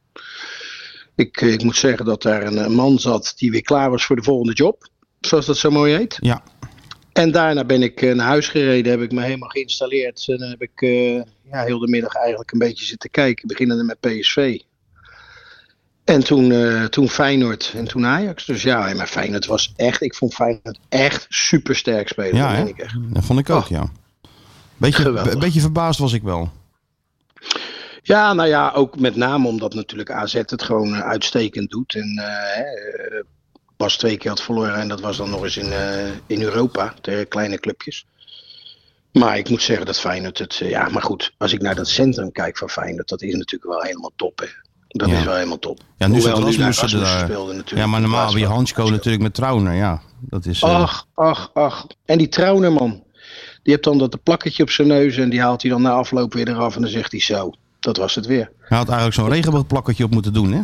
Speaker 8: ik, ik moet zeggen dat daar een, eh, man zat die weer klaar was voor de volgende job. Zoals dat zo mooi heet.
Speaker 2: Ja.
Speaker 8: En daarna ben ik eh, naar huis gereden, heb ik me helemaal geïnstalleerd. En heb ik eh, ja, heel de middag eigenlijk een beetje zitten kijken, beginnende met PSV. En toen, eh, toen Feyenoord en toen Ajax. Dus ja, maar Feyenoord was echt, ik vond Feyenoord echt super sterk spelen.
Speaker 2: Ja,
Speaker 8: dat
Speaker 2: hè?
Speaker 8: meen ik echt.
Speaker 2: Dat vond ik ook,
Speaker 8: Oh.
Speaker 2: ja. Beetje,
Speaker 8: Geweldig.
Speaker 2: be- beetje verbaasd was ik wel.
Speaker 8: Ja, nou ja, ook met name omdat natuurlijk AZ het gewoon eh, uitstekend doet. En eh, hè, eh, pas twee keer had verloren en dat was dan nog eens in, eh, in Europa, tegen kleine clubjes. Maar ik moet zeggen dat Feyenoord het... eh, ja, maar goed, als ik naar dat centrum kijk van Feyenoord, dat is natuurlijk wel helemaal top, hè. Dat
Speaker 2: Ja.
Speaker 8: is wel helemaal top.
Speaker 2: Ja, nu
Speaker 8: Hoewel,
Speaker 2: zat Rasmussen
Speaker 8: daar Rasmussen
Speaker 2: er-
Speaker 8: speelde natuurlijk.
Speaker 2: Ja, maar normaal heb je
Speaker 8: Rasmussen-
Speaker 2: Hansko natuurlijk met Trauner, ja. Dat is... eh,
Speaker 8: Ach, ach, ach. En die trouwner, man. Die hebt dan dat plakketje op zijn neus en die haalt hij dan na afloop weer eraf en dan zegt hij zo. Dat was het weer.
Speaker 2: Hij had eigenlijk zo'n regenboogplakketje op moeten doen, hè?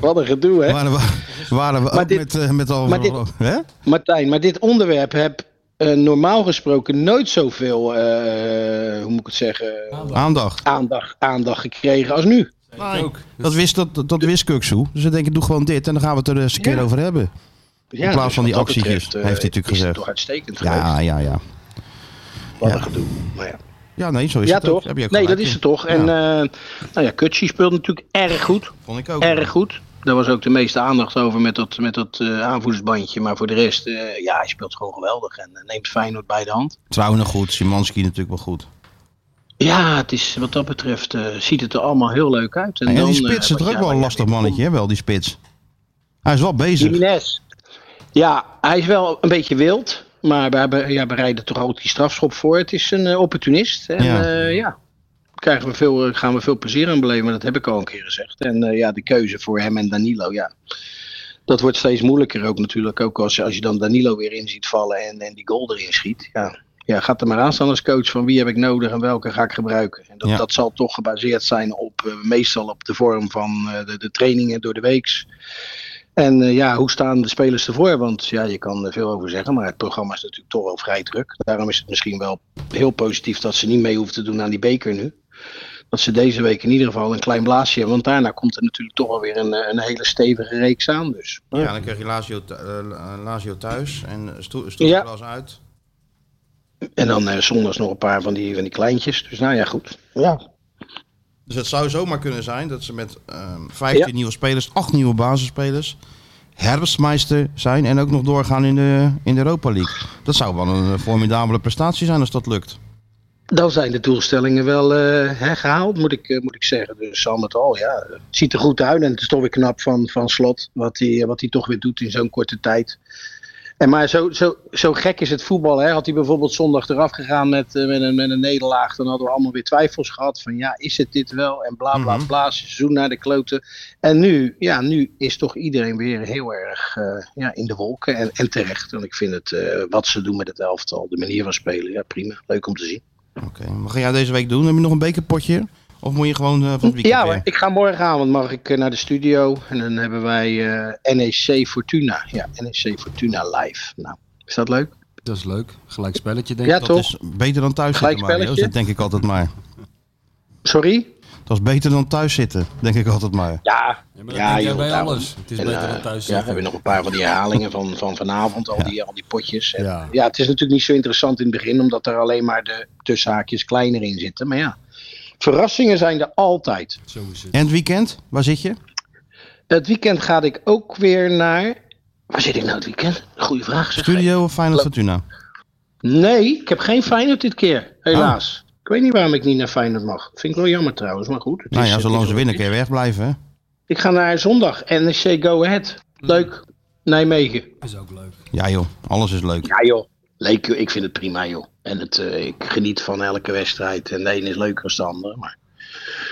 Speaker 8: Wat een gedoe, hè?
Speaker 2: Waren we, waren we
Speaker 8: Maar
Speaker 2: ook
Speaker 8: dit-
Speaker 2: met, eh, met al...
Speaker 8: maar dit-
Speaker 2: hè?
Speaker 8: Martijn, maar dit onderwerp heb eh, normaal gesproken nooit zoveel, eh, hoe moet ik het zeggen,
Speaker 2: Aandacht.
Speaker 8: aandacht, aandacht gekregen als nu.
Speaker 3: ook.
Speaker 2: Dat wist, dat, dat wist Kuksu. Dus ik denk, doe gewoon dit en dan gaan we het er eens een keer
Speaker 8: Ja.
Speaker 2: over hebben.
Speaker 8: Ja,
Speaker 2: plaats van die
Speaker 8: wat dat
Speaker 2: actietjes,
Speaker 8: betreft, eh,
Speaker 2: heeft hij natuurlijk
Speaker 8: is het
Speaker 2: gezegd.
Speaker 8: toch uitstekend
Speaker 2: Ja,
Speaker 8: geweest.
Speaker 2: ja, ja.
Speaker 8: Wat
Speaker 2: ja.
Speaker 8: een gedoe. Maar ja.
Speaker 2: Ja, nee, zo is
Speaker 8: ja,
Speaker 2: het ook.
Speaker 8: toch?
Speaker 2: Heb je ook
Speaker 8: Nee,
Speaker 2: gelijk
Speaker 8: dat
Speaker 2: in.
Speaker 8: is het toch. En eh, nou ja, Kutsi speelde natuurlijk erg goed.
Speaker 2: Vond ik ook.
Speaker 8: Erg goed. Daar was ook de meeste aandacht over met dat, met dat eh, aanvoersbandje. Maar voor de rest, eh, ja, hij speelt gewoon geweldig. En eh, neemt Feyenoord bij de hand.
Speaker 2: Trauner goed, Simanski natuurlijk wel goed.
Speaker 8: Ja, het is, wat dat betreft eh, ziet het er allemaal heel leuk uit.
Speaker 2: En,
Speaker 8: dan,
Speaker 2: die spits
Speaker 8: eh,
Speaker 2: is
Speaker 8: wat
Speaker 2: toch ook
Speaker 8: jij-
Speaker 2: wel een
Speaker 8: wat
Speaker 2: lastig
Speaker 8: jij-
Speaker 2: mannetje, hè? Wel, die spits. Hij is wel bezig.
Speaker 8: Jiménez. Ja, hij is wel een beetje wild. Maar we, hebben, ja, we rijden toch altijd die strafschop voor. Het is een eh, opportunist. En
Speaker 2: Ja.
Speaker 8: ja, ja krijgen we veel, eh, gaan we veel plezier aan beleven. Maar dat heb ik al een keer gezegd. En eh, ja, de keuze voor hem en Danilo, ja. Dat wordt steeds moeilijker ook natuurlijk. Ook als, je- als je dan Danilo weer in ziet vallen en, en die goal erin schiet. Ja. ja, gaat er maar aan staan als coach van wie heb ik nodig en welke ga ik gebruiken. En dat,
Speaker 2: Ja.
Speaker 8: dat zal toch gebaseerd zijn op eh, meestal op de vorm van eh, de, de trainingen door de weeks. En eh, ja, hoe staan de spelers ervoor? Want ja, je kan er veel over zeggen, maar het programma is natuurlijk toch wel vrij druk. Daarom is het misschien wel heel positief dat ze niet mee hoeven te doen aan die beker nu. Dat ze deze week in ieder geval een klein blaasje hebben. Want daarna komt er natuurlijk toch wel weer een, eh, een hele stevige reeks aan. Dus.
Speaker 2: Ja, dan krijg je Lazio, thu- eh, Lazio thuis en
Speaker 8: Ja.
Speaker 2: Stoelglas uit.
Speaker 8: En dan eh, zondags nog een paar van die, van die kleintjes. Dus nou ja, goed. Ja.
Speaker 2: Dus het zou zomaar kunnen zijn dat ze met ehm 15
Speaker 8: Ja.
Speaker 2: nieuwe spelers, 8 nieuwe basisspelers, herfstmeister zijn en ook nog doorgaan in de, in de Europa League. Dat zou wel een eh, formidabele prestatie zijn als dat lukt.
Speaker 8: Dan zijn de doelstellingen wel eh, hè, gehaald, moet ik, eh, moet ik zeggen. Dus al met al, ja. Het ziet eh, er goed uit. En het is toch weer knap van, van slot. Wat hij wat hij toch weer doet in zo'n korte tijd. En maar zo, zo, zo gek is het voetbal. Hè? Had hij bijvoorbeeld zondag eraf gegaan met, eh, met, een, met een nederlaag, dan hadden we allemaal weer twijfels gehad van ja, is het dit wel? En bla bla
Speaker 2: Mhm.
Speaker 8: bla, seizoen naar de kloten. En nu, ja, nu is toch iedereen weer heel erg eh, ja, in de wolken en, en terecht. En ik vind het, eh, wat ze doen met het elftal, de manier van spelen, ja prima, leuk om te zien.
Speaker 2: Oké, wat ga jij deze week doen? Heb je nog een bekerpotje? Of moet je gewoon eh, van het weekend
Speaker 8: Ja,
Speaker 2: weer?
Speaker 8: hoor, ik ga morgenavond mag ik eh, naar de studio en dan hebben wij eh, NEC Fortuna. Ja, NEC Fortuna live. Nou, is dat leuk?
Speaker 3: Dat is leuk. Gelijk spelletje, denk
Speaker 8: Ja,
Speaker 3: ik.
Speaker 2: Dat
Speaker 8: toch?
Speaker 2: is beter dan thuis zitten, Mario.
Speaker 8: Gelijkspelletje?
Speaker 2: Dat denk ik altijd maar.
Speaker 8: Sorry?
Speaker 2: Dat is beter dan thuis zitten, denk ik altijd maar.
Speaker 8: Ja,
Speaker 3: Ja, maar dat
Speaker 8: ja,
Speaker 3: denk jij
Speaker 8: joh,
Speaker 3: bij
Speaker 8: daarom.
Speaker 3: alles. Het is
Speaker 8: En,
Speaker 3: beter
Speaker 8: eh,
Speaker 3: dan thuis
Speaker 8: Ja, we
Speaker 3: zitten.
Speaker 8: hebben nog een paar van die herhalingen van, van vanavond, al, die, al die potjes. En,
Speaker 3: Ja.
Speaker 8: ja. het is natuurlijk niet zo interessant in het begin, omdat er alleen maar de tussenhaakjes kleiner in zitten. Maar ja, verrassingen zijn er altijd.
Speaker 3: Zo is het.
Speaker 2: En het weekend? Waar zit je?
Speaker 8: Het weekend ga ik ook weer naar... Waar zit ik nou het weekend? Goeie vraag. zeg.
Speaker 2: Studio of Final Fortuna?
Speaker 8: Nee, ik heb geen Feyenoord dit keer, helaas.
Speaker 2: Oh.
Speaker 8: Ik weet niet waarom ik niet naar Feyenoord mag. Vind ik wel jammer trouwens, maar goed. het
Speaker 2: Nou
Speaker 8: is-
Speaker 2: ja,
Speaker 8: het
Speaker 2: zolang
Speaker 8: is
Speaker 2: ze
Speaker 8: wat
Speaker 2: winnen
Speaker 8: het
Speaker 2: kun je wegblijven. hè?
Speaker 8: is. Ik ga naar zondag, NEC Go Ahead.
Speaker 2: Mm.
Speaker 8: Leuk, Nijmegen.
Speaker 3: is ook leuk.
Speaker 2: Ja joh, alles is leuk.
Speaker 8: Ja joh, leuk joh. Ik vind het prima joh. En het, eh, ik geniet van elke wedstrijd. En de ene is leuker dan de andere. Maar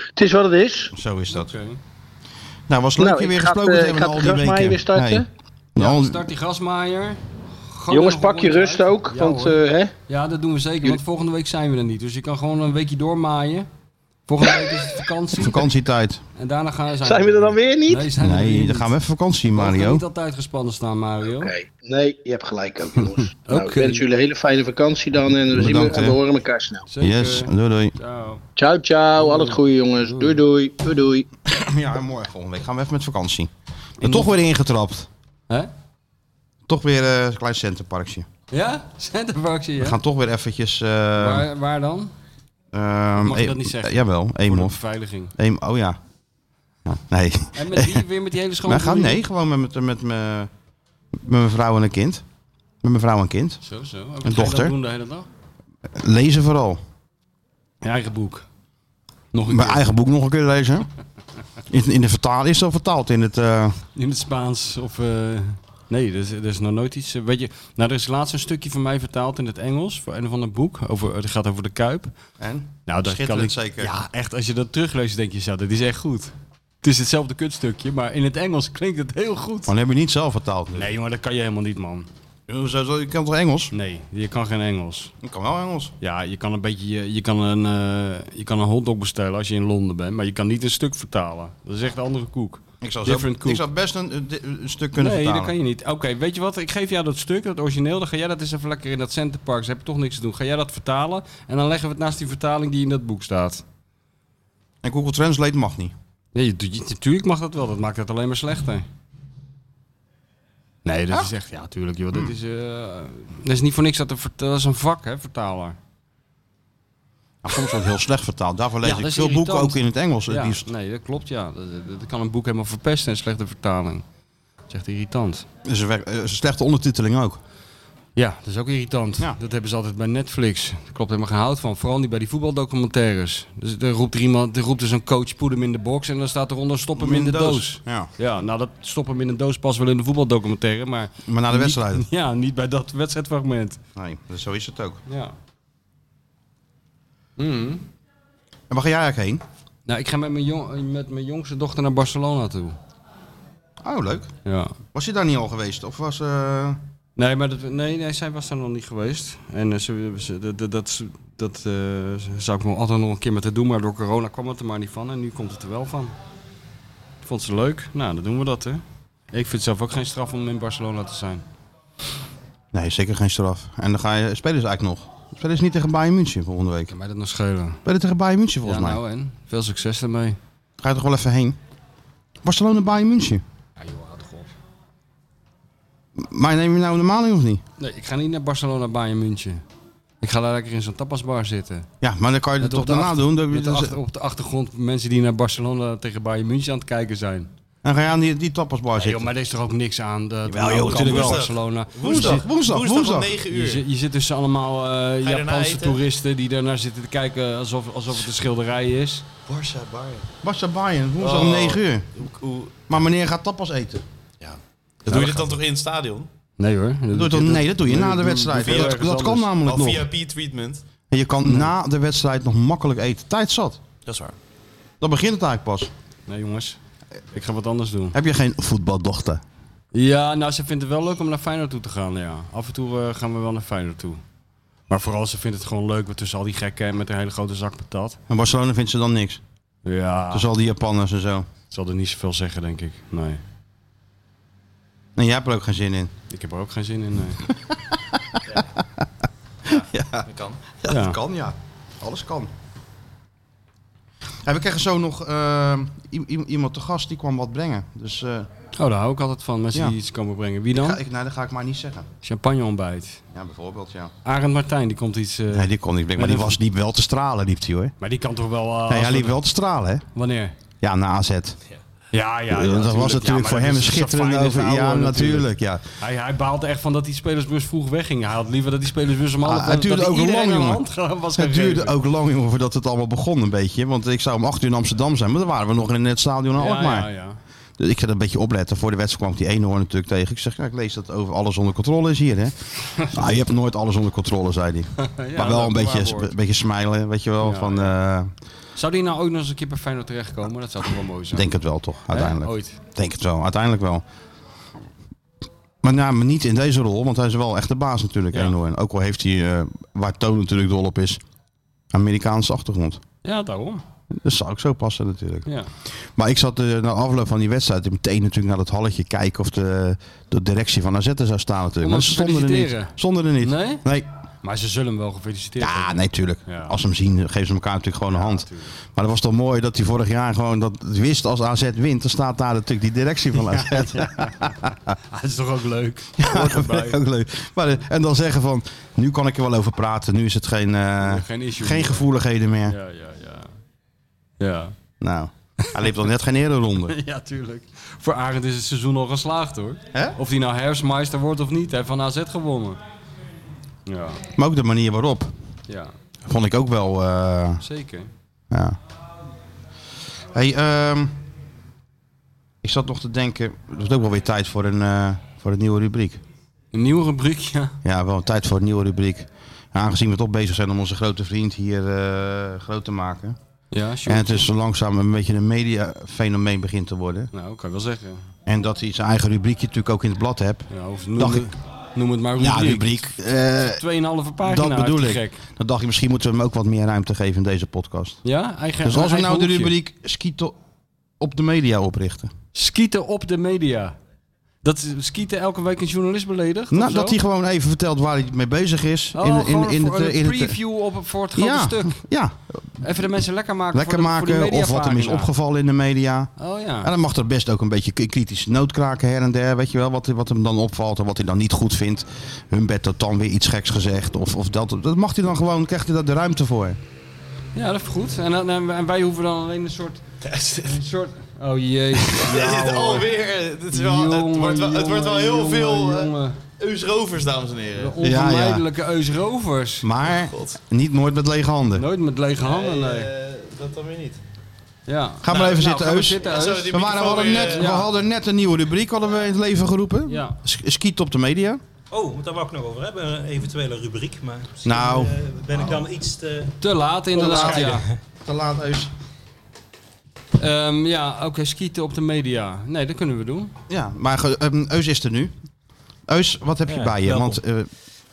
Speaker 8: het is wat het is.
Speaker 2: Zo is dat.
Speaker 3: Oké.
Speaker 2: Nou, was leuk
Speaker 8: Nou,
Speaker 2: je
Speaker 8: ik
Speaker 2: weer
Speaker 8: ga het,
Speaker 2: gesproken te
Speaker 8: eh,
Speaker 2: hebben
Speaker 8: ik
Speaker 2: na
Speaker 8: ga
Speaker 2: al
Speaker 8: het
Speaker 2: die
Speaker 8: terug,
Speaker 2: weken.
Speaker 8: maar weer starten.
Speaker 2: Nee.
Speaker 3: Ja,
Speaker 2: Nou,
Speaker 3: start die gasmaaier. Gooi
Speaker 8: Jongens,
Speaker 3: er
Speaker 8: pak
Speaker 3: nog
Speaker 8: je
Speaker 3: een
Speaker 8: rust
Speaker 3: uit.
Speaker 8: ook.
Speaker 3: Ja,
Speaker 8: want
Speaker 3: hoor.
Speaker 8: eh, hè?
Speaker 3: ja, dat doen we zeker. Want volgende week zijn we er niet. Dus je kan gewoon een weekje doormaaien. Volgende week is het vakantie.
Speaker 2: vakantietijd.
Speaker 3: En daarna gaan zijn,
Speaker 8: zijn we er dan weer niet?
Speaker 3: Nee, zijn we er
Speaker 2: Nee,
Speaker 3: weer
Speaker 2: dan gaan we
Speaker 3: niet.
Speaker 2: even vakantie,
Speaker 3: We gaan
Speaker 2: Mario.
Speaker 3: niet altijd gespannen staan, Mario.
Speaker 8: Nee, nee, je hebt gelijk ook jongens. Nou, ik
Speaker 3: Oké.
Speaker 8: wens jullie een hele fijne vakantie dan. En we, zien
Speaker 2: Bedankt,
Speaker 8: we, en we
Speaker 2: hè.
Speaker 8: horen elkaar snel.
Speaker 3: Zeker.
Speaker 2: Yes, doei doei.
Speaker 3: Ciao.
Speaker 8: Ciao, ciao. Al het goede jongens. Doei, doei. Doei, doei.
Speaker 2: Ja, morgen volgende week gaan we even met vakantie. En toch weer ingetrapt.
Speaker 3: Hè?
Speaker 2: Toch weer eh, een klein centerparkje.
Speaker 3: Ja? Centerparkje, ja?
Speaker 2: We gaan toch weer eventjes... eh,
Speaker 3: waar, waar dan?
Speaker 2: ehm,
Speaker 3: Mag je
Speaker 2: eh,
Speaker 3: dat niet zeggen?
Speaker 2: Jawel,
Speaker 3: Voor de
Speaker 2: Eemhof.
Speaker 3: beveiliging.
Speaker 2: Eem, oh ja. ja nee.
Speaker 3: En met die, weer met die hele schone
Speaker 2: Wij gaan,
Speaker 3: broer?
Speaker 2: nee, gewoon met, met, met, mijn- met mijn vrouw en een kind. Met mijn vrouw en kind.
Speaker 3: Zo, zo. Wat
Speaker 2: Een
Speaker 3: ga je
Speaker 2: dochter.
Speaker 3: dat doen de hele dag?
Speaker 2: Lezen vooral.
Speaker 3: Je eigen boek. Nog een
Speaker 2: Mijn
Speaker 3: keer.
Speaker 2: eigen boek nog een keer lezen. In, in de vertaal, is dat vertaald in het... eh,
Speaker 3: In het Spaans of... eh, Nee, er is, er is nog nooit iets. eh, Weet je, nou, er is laatst een stukje van mij vertaald in het Engels. Voor een of ander boek. Over, het gaat over de Kuip.
Speaker 2: en? Oh,
Speaker 3: Nou, dat kan ik,
Speaker 2: Schitterend zeker.
Speaker 3: Ja, echt. Als je dat terugleest, denk je zo, dat is echt goed. Het is hetzelfde kutstukje, maar in het Engels klinkt het heel goed.
Speaker 2: Maar dat heb je niet zelf vertaald.
Speaker 3: Nee, jongen, dat kan je helemaal niet, man.
Speaker 2: Je kan toch Engels?
Speaker 3: Nee, je kan geen Engels.
Speaker 2: Ik kan wel Oh, Engels.
Speaker 3: Ja, je kan een beetje, je, je kan een, eh, je kan een hotdog bestellen als je in Londen bent, maar je kan niet een stuk vertalen. Dat is echt een andere koek.
Speaker 2: Ik zou, zelf,
Speaker 3: Different
Speaker 2: ik
Speaker 3: cook.
Speaker 2: zou best een, een- een stuk kunnen
Speaker 3: nee, dat
Speaker 2: vertalen.
Speaker 3: kan je niet. Oké, weet je wat? Ik geef jou dat stuk, dat origineel. Dan ga jij dat eens even lekker in dat Centerpark. Ze hebben toch niks te doen. Ga jij dat vertalen en dan leggen we het naast die vertaling die in dat boek staat.
Speaker 2: En Google Translate mag niet.
Speaker 3: Nee, je- je- natuurlijk mag dat wel. Dat maakt het alleen maar slechter. Nee, dat is echt... Ja, tuurlijk, joh. Dat is, eh, dat is niet voor niks. Dat, er vert- dat is een vak, hè, vertaler.
Speaker 2: Nou, soms wordt heel slecht vertaald. Daarvoor lees
Speaker 3: Ja, dat
Speaker 2: ik
Speaker 3: is
Speaker 2: veel boeken
Speaker 3: irritant.
Speaker 2: ook in het Engels. eh, het
Speaker 3: Ja,
Speaker 2: liefst.
Speaker 3: nee, dat klopt, ja. Dat, dat- dat kan een boek helemaal verpesten, een slechte vertaling. Dat is echt irritant.
Speaker 2: Dat is een werk- eh, is een slechte ondertiteling ook.
Speaker 3: Ja, dat is ook irritant.
Speaker 2: Ja.
Speaker 3: Dat hebben ze altijd bij Netflix. Daar klopt helemaal geen hout van. Vooral niet bij die voetbaldocumentaires. Dus er roept er iemand, er roept er zo'n coach, poed hem in de box en dan staat eronder stop hem in de doos.
Speaker 2: Ja.
Speaker 3: Ja, nou dat stop hem in de doos past wel in de voetbaldocumentaire, maar...
Speaker 2: Maar na de
Speaker 3: niet-
Speaker 2: wedstrijd.
Speaker 3: Ja, niet bij dat wedstrijdfragment.
Speaker 2: Nee, dus zo is het ook.
Speaker 3: Ja.
Speaker 2: En waar ga jij eigenlijk heen?
Speaker 3: Hmm. Nou, ik ga met mijn, jong, met mijn jongste dochter naar Barcelona toe.
Speaker 2: Oh, leuk.
Speaker 3: Ja.
Speaker 2: Was je daar niet al geweest? Of was... eh,
Speaker 3: Nee, maar dat, nee, nee, zij was daar nog niet geweest. En eh, ze, ze- dat, dat, dat, dat, eh, zou ik nog altijd nog een keer met haar doen, maar door corona kwam het er maar niet van. En nu komt het er wel van. Vond ze leuk? Nou, dan doen we dat, hè. Ik vind het zelf ook geen straf om in Barcelona te zijn.
Speaker 2: Nee, zeker geen straf. En dan ga je... Spelen ze eigenlijk nog? Spelen ze niet tegen Bayern München volgende week?
Speaker 3: Kan mij dat nog schelen?
Speaker 2: Spelen tegen Bayern München volgens
Speaker 3: ja,
Speaker 2: mij.
Speaker 3: nou en? Veel succes daarmee.
Speaker 2: Ga je toch wel even heen? Barcelona, Bayern München.
Speaker 3: Ja, joh, houd toch op.
Speaker 2: Maar neem je nou normaal in of niet?
Speaker 3: Nee, ik ga niet naar Barcelona, Bayern München. Ik ga daar lekker in zo'n tapasbar zitten.
Speaker 2: Ja, maar dan kan je het
Speaker 3: Met
Speaker 2: toch
Speaker 3: op de
Speaker 2: daarna
Speaker 3: achter-
Speaker 2: doen. Dan,
Speaker 3: Met de
Speaker 2: dan-
Speaker 3: achter- op de achtergrond mensen die naar Barcelona tegen Bayern München aan het kijken zijn.
Speaker 2: dan ga je aan die, die tapasbar
Speaker 3: Nee,
Speaker 2: zitten.
Speaker 3: Ah, joh, maar er is toch ook niks aan. Dat
Speaker 2: Jawel, joh, natuurlijk
Speaker 4: wel.
Speaker 3: Barcelona.
Speaker 2: Woensdag, woensdag, woensdag.
Speaker 4: om 9
Speaker 3: Je,
Speaker 4: uur.
Speaker 3: zit- je zit tussen allemaal eh,
Speaker 4: daarna
Speaker 3: Japanse
Speaker 4: eten?
Speaker 3: toeristen die daarnaar zitten te kijken alsof, alsof het een schilderij is.
Speaker 4: Barça, Bayern.
Speaker 2: Barca Bayern, woensdag om
Speaker 4: Oh.
Speaker 2: 9 uur.
Speaker 4: Hoe, hoe,
Speaker 2: Maar meneer gaat tapas eten.
Speaker 4: doe je dit dan toch in het stadion?
Speaker 3: Nee hoor.
Speaker 2: Dat doe je toch- nee, dat doe je na de wedstrijd.
Speaker 3: doe je
Speaker 2: Dat,
Speaker 3: ergens
Speaker 2: dat kan
Speaker 3: anders.
Speaker 2: namelijk
Speaker 4: Al
Speaker 2: nog.
Speaker 4: VIP-treatment.
Speaker 2: En je kan na de wedstrijd nog makkelijk eten. Tijd zat.
Speaker 4: Dat is waar.
Speaker 2: Dan begint het eigenlijk pas.
Speaker 3: Nee jongens, ik ga wat anders doen.
Speaker 2: Heb je geen voetbaldochter?
Speaker 3: Ja, nou ze vindt het wel leuk om naar Feyenoord toe te gaan, ja. Af en toe eh, gaan we wel naar Feyenoord toe. Maar vooral ze vindt het gewoon leuk met tussen al die gekken en met een hele grote zak patat.
Speaker 2: En Barcelona vindt ze dan niks.
Speaker 3: Ja,
Speaker 2: Dus al die Japanners en zo.
Speaker 3: zal er niet zoveel zeggen denk ik. Nee,
Speaker 2: En jij hebt er ook geen zin in.
Speaker 3: ik heb er ook geen zin in. Nee.
Speaker 4: Dat kan.
Speaker 2: Ja,
Speaker 3: Ja.
Speaker 2: dat kan, ja. Alles kan. Ja, we kregen zo nog eh, i- i- iemand te gast die kwam wat brengen. Dus eh,
Speaker 3: Oh, daar hou ik altijd van, mensen
Speaker 2: Ja.
Speaker 3: die iets komen brengen. Wie
Speaker 2: ik
Speaker 3: dan?
Speaker 2: ga, ik, nou, dat ga ik maar niet zeggen.
Speaker 3: Champagne ontbijt.
Speaker 2: Ja, bijvoorbeeld, ja.
Speaker 3: Arend Martijn, die komt iets... eh,
Speaker 2: Nee, die kon niet brengen. Maar die was, liep wel te stralen, liep hij hoor.
Speaker 3: Maar die kan toch wel... eh,
Speaker 2: Nee,
Speaker 3: als
Speaker 2: hij liep
Speaker 3: we-
Speaker 2: wel te stralen, hè?
Speaker 3: Wanneer?
Speaker 2: Ja, na AZ.
Speaker 3: Ja, ja. ja,
Speaker 2: dat was
Speaker 3: Ja, maar
Speaker 2: natuurlijk voor
Speaker 3: dat
Speaker 2: hem
Speaker 3: is
Speaker 2: een schitterende
Speaker 3: fijne
Speaker 2: over.
Speaker 3: vrouw,
Speaker 2: Ja,
Speaker 3: hoor,
Speaker 2: natuurlijk, ja.
Speaker 3: Hij, hij baalde echt van dat die spelersbus vroeg wegging. Hij had liever dat die spelersbus om half...
Speaker 2: Ah, het duurde
Speaker 3: dat
Speaker 2: ook
Speaker 3: iedereen
Speaker 2: lang,
Speaker 3: aan de
Speaker 2: jongen.
Speaker 3: hand gaan was
Speaker 2: Het
Speaker 3: gegeven.
Speaker 2: duurde ook lang, jongen, voordat het allemaal begon een beetje. Want ik zou om acht uur in Amsterdam zijn, maar dan waren we nog in het stadion
Speaker 3: Ja,
Speaker 2: Alkmaar.
Speaker 3: ja, ja.
Speaker 2: Dus ik ga er een beetje opletten. Voor de wedstrijd kwam ik die eenhoorn natuurlijk tegen. Ik zeg, ja, ik lees dat over alles onder controle is hier, hè. nou, je hebt nooit alles onder controle, zei hij.
Speaker 3: Ja,
Speaker 2: maar wel
Speaker 3: dat
Speaker 2: een
Speaker 3: is waar
Speaker 2: beetje,
Speaker 3: woord.
Speaker 2: een beetje smilen, weet je wel.
Speaker 3: Ja,
Speaker 2: van, eh,
Speaker 3: Zou die nou ook nog eens een keer bij Feyenoord terechtkomen? Dat zou toch wel mooi zijn?
Speaker 2: denk het wel, toch,
Speaker 3: Hè? Oh.
Speaker 2: uiteindelijk.
Speaker 3: Ooit.
Speaker 2: Denk het wel, uiteindelijk wel. Maar, nou, maar niet in deze rol, want hij is wel echt de baas natuurlijk,
Speaker 3: Ja.
Speaker 2: Eenhoorn. Ook al heeft hij, eh, waar Toon natuurlijk dol op is, Amerikaanse achtergrond.
Speaker 3: Ja, daarom.
Speaker 2: Dat zou ook zo passen natuurlijk.
Speaker 3: Ja.
Speaker 2: Maar ik zat eh na afloop van die wedstrijd meteen natuurlijk naar dat halletje kijken of de, de directie van AZ er zou staan natuurlijk.
Speaker 3: Om
Speaker 2: Maar
Speaker 3: hem te
Speaker 2: stonden er niet.
Speaker 3: feliciteren.
Speaker 2: Stonden er niet.
Speaker 3: Nee?
Speaker 2: Nee.
Speaker 3: Maar ze zullen hem wel gefeliciteerd
Speaker 2: Ja,
Speaker 3: hebben.
Speaker 2: nee, tuurlijk.
Speaker 3: Ja.
Speaker 2: Als ze hem zien, geven ze elkaar natuurlijk gewoon een hand.
Speaker 3: natuurlijk.
Speaker 2: Maar dat was toch mooi dat hij vorig jaar gewoon dat wist als AZ wint, dan staat daar natuurlijk die directie van AZ.
Speaker 3: Ah, dat is toch ook leuk?
Speaker 2: dat vind ik ook leuk. Maar, eh, en dan zeggen van, nu kan ik er wel over praten. Nu is het geen, eh,
Speaker 3: Geen issue
Speaker 2: geen
Speaker 3: meer.
Speaker 2: gevoeligheden meer.
Speaker 3: Ja, ja, ja. Ja.
Speaker 2: Nou, hij liep dan net geen ereronde.
Speaker 3: Ja, tuurlijk. Voor Arend is het seizoen al geslaagd hoor.
Speaker 2: Hè?
Speaker 3: Of hij nou herfstmeister wordt of niet, hij heeft van AZ gewonnen. Ja,
Speaker 2: Maar ook de manier waarop,
Speaker 3: ja
Speaker 2: vond ik ook wel... eh,
Speaker 3: zeker.
Speaker 2: Ja. Hey, ehm, ik zat nog te denken, er is ook wel weer tijd voor een, eh, voor een nieuwe rubriek.
Speaker 3: Een nieuwe rubriek, ja.
Speaker 2: Ja, wel tijd voor een nieuwe rubriek. Aangezien we toch bezig zijn om onze grote vriend hier eh, groot te maken.
Speaker 3: Ja,
Speaker 2: En
Speaker 3: sure.
Speaker 2: het is zo langzaam een beetje een mediafenomeen begint te worden.
Speaker 3: Nou, kan je wel zeggen.
Speaker 2: En dat hij zijn eigen rubriekje natuurlijk ook in het blad hebt.
Speaker 3: Ja, of noem,
Speaker 2: Dacht
Speaker 3: het, noem het maar rubriek.
Speaker 2: Ja, rubriek. eh,
Speaker 3: 2,5 pagina,
Speaker 2: dat bedoel ik.
Speaker 3: hartstikke gek.
Speaker 2: Dan dacht ik, misschien moeten we hem ook wat meer ruimte geven in deze podcast.
Speaker 3: Ja, eigen
Speaker 2: Dus als we
Speaker 3: eigen
Speaker 2: nou de
Speaker 3: hoekje.
Speaker 2: rubriek Skito op de media oprichten.
Speaker 3: Skieten op de media. Dat is- skieten elke week een journalist beledigt? of
Speaker 2: Nou,
Speaker 3: zo?
Speaker 2: dat hij gewoon even vertelt waar hij mee bezig is.
Speaker 3: Oh, gewoon voor
Speaker 2: het, eh,
Speaker 3: een
Speaker 2: het, eh,
Speaker 3: preview op, voor het grote
Speaker 2: ja,
Speaker 3: stuk.
Speaker 2: Ja,
Speaker 3: Even de mensen lekker maken
Speaker 2: lekker
Speaker 3: voor de, voor die
Speaker 2: maken of wat hem is
Speaker 3: mediapagina.
Speaker 2: opgevallen in de media.
Speaker 3: Oh ja.
Speaker 2: En dan mag er best ook een beetje k- kritische noot kraken her en der. Weet je wel, wat, wat hem dan opvalt en wat hij dan niet goed vindt. Humbert had dan weer iets geks gezegd. Of, of dat, dat mag hij dan gewoon, krijgt hij daar de ruimte voor.
Speaker 3: Ja, dat is goed. En, dan- en, en wij hoeven dan alleen een soort... Een soort... Oh jee.
Speaker 2: Nou,
Speaker 4: Dit alweer. eh, Het, is wel, het, wordt wel, het wordt wel heel veel eh, Eusrovers, dames en heren.
Speaker 3: de onvermijdelijke Eusrovers.
Speaker 2: Maar niet nooit met lege handen.
Speaker 3: Nooit met lege handen, nee.
Speaker 4: Eh, dat dan weer niet.
Speaker 3: Ja.
Speaker 2: Ga maar even zitten,
Speaker 3: Nou, gaan we
Speaker 2: Eus.
Speaker 3: zitten,
Speaker 4: Ja,
Speaker 3: Eus.
Speaker 4: sorry, die
Speaker 2: We, waren, we,
Speaker 4: microfoon
Speaker 2: hadden net,
Speaker 4: weer, eh,
Speaker 2: we hadden net een nieuwe rubriek hadden we in het leven geroepen.
Speaker 3: Ja.
Speaker 2: Sk- Skiet op de media.
Speaker 9: Oh, want daar wou ik nog over hebben, een eventuele rubriek. Maar misschien,
Speaker 2: Nou.
Speaker 9: eh, ben ik dan iets te...
Speaker 3: Te laat inderdaad, ja.
Speaker 2: Te laat, Eus.
Speaker 3: Ehm, ja, oké, skieten op de media. Nee, dat kunnen we doen.
Speaker 2: Ja, maar ge- ehm, Eus is er nu. Eus, wat heb je
Speaker 9: Ja,
Speaker 2: bij je?
Speaker 9: welkom.
Speaker 2: Want eh,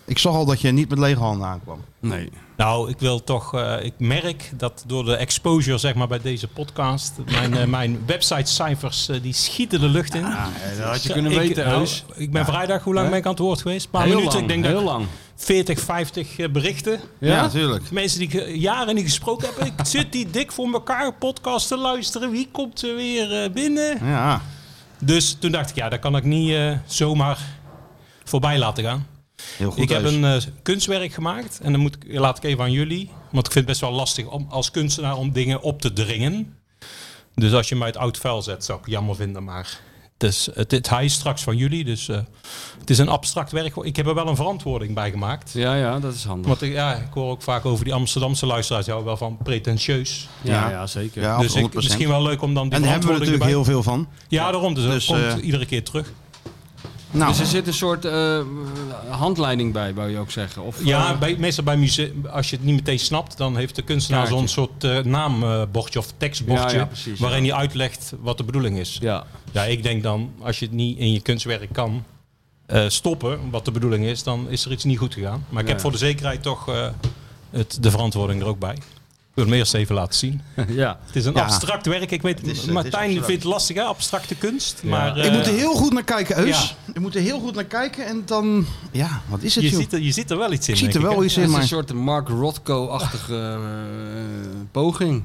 Speaker 2: ik zag al dat je niet met lege handen aankwam.
Speaker 3: Nee.
Speaker 9: Nou, ik wil toch... eh, ik merk dat door de exposure zeg maar, bij deze podcast... mijn, eh, mijn websitecijfers eh, die schieten de lucht in.
Speaker 3: Dat had Ah, je
Speaker 9: Ja,
Speaker 3: kunnen
Speaker 9: ik,
Speaker 3: weten,
Speaker 9: nou,
Speaker 3: Eus.
Speaker 9: ik ben vrijdag, hoe lang
Speaker 3: Ja.
Speaker 9: ben ik aan het woord geweest? Een paar
Speaker 3: Heel
Speaker 9: minuten.
Speaker 3: lang,
Speaker 9: Ik denk dat
Speaker 3: heel
Speaker 9: ik
Speaker 3: lang.
Speaker 9: 40, 50 eh, berichten.
Speaker 3: Ja?
Speaker 2: natuurlijk.
Speaker 9: Mensen die ik eh, jaren niet gesproken heb. Ik zit die dik voor elkaar podcast te luisteren. Wie komt er weer eh, binnen?
Speaker 2: Ja,
Speaker 9: Dus toen dacht ik, ja, dat kan ik niet eh, zomaar voorbij laten gaan.
Speaker 2: heel goed.
Speaker 9: ik heb
Speaker 2: Eus.
Speaker 9: een eh, kunstwerk gemaakt en dan moet ik, laat ik even aan jullie. Want ik vind het best wel lastig om, als kunstenaar om dingen op te dringen. Dus als je mij het oud vuil zet, zou ik het jammer vinden. Maar het is, het, het, hij is straks van jullie, dus eh, het is een abstract werk. Ik heb er wel een verantwoording bij gemaakt.
Speaker 3: Ja, ja, dat is handig.
Speaker 9: Want ik, ja, ik hoor ook vaak over die Amsterdamse luisteraars, jou wel van pretentieus.
Speaker 3: Ja, ja, zeker.
Speaker 2: Ja,
Speaker 9: dus ik,
Speaker 2: 100%.
Speaker 9: misschien wel leuk om dan die
Speaker 2: en daar hebben we
Speaker 9: verantwoording
Speaker 2: natuurlijk
Speaker 9: erbij-
Speaker 2: heel veel van.
Speaker 9: ja, daarom. Dus,
Speaker 2: Dus,
Speaker 9: dat komt
Speaker 2: eh,
Speaker 9: iedere keer terug.
Speaker 3: Nou. Dus er zit een soort eh, handleiding bij, wou je ook zeggen? Of,
Speaker 9: Ja,
Speaker 3: eh,
Speaker 9: bij, meestal bij museum, als je het niet meteen snapt, dan heeft de kunstenaar
Speaker 3: Kaartje.
Speaker 9: zo'n soort eh, naambordje of tekstbordje.
Speaker 3: Ja, ja, precies, ja.
Speaker 9: waarin hij uitlegt wat de bedoeling is.
Speaker 3: Ja.
Speaker 9: ja, ik denk dan, als je het niet in je kunstwerk kan eh, stoppen, wat de bedoeling is, dan is er iets niet goed gegaan. Maar ik
Speaker 3: Ja.
Speaker 9: heb voor de zekerheid toch eh, het, de verantwoording er ook bij. Ik wil hem eerst even laten zien.
Speaker 3: ja.
Speaker 9: Het is een
Speaker 2: Ja.
Speaker 9: abstract werk. Ik weet,
Speaker 2: is- het is
Speaker 9: Martijn
Speaker 2: abstract.
Speaker 9: vindt het lastig, hè? abstracte kunst. Maar,
Speaker 2: Je
Speaker 9: eh,
Speaker 2: moet er heel goed naar kijken, Eus.
Speaker 9: ja.
Speaker 2: Je moet er heel goed naar kijken en dan... Ja, wat is het,
Speaker 9: je,
Speaker 2: joh?
Speaker 9: ziet er, je ziet er wel iets in.
Speaker 2: Ik zie er
Speaker 9: denk ik,
Speaker 2: wel
Speaker 9: hè?
Speaker 2: iets
Speaker 3: Het
Speaker 2: in,
Speaker 3: is een
Speaker 2: maar...
Speaker 3: soort Mark Rothko-achtige eh, poging.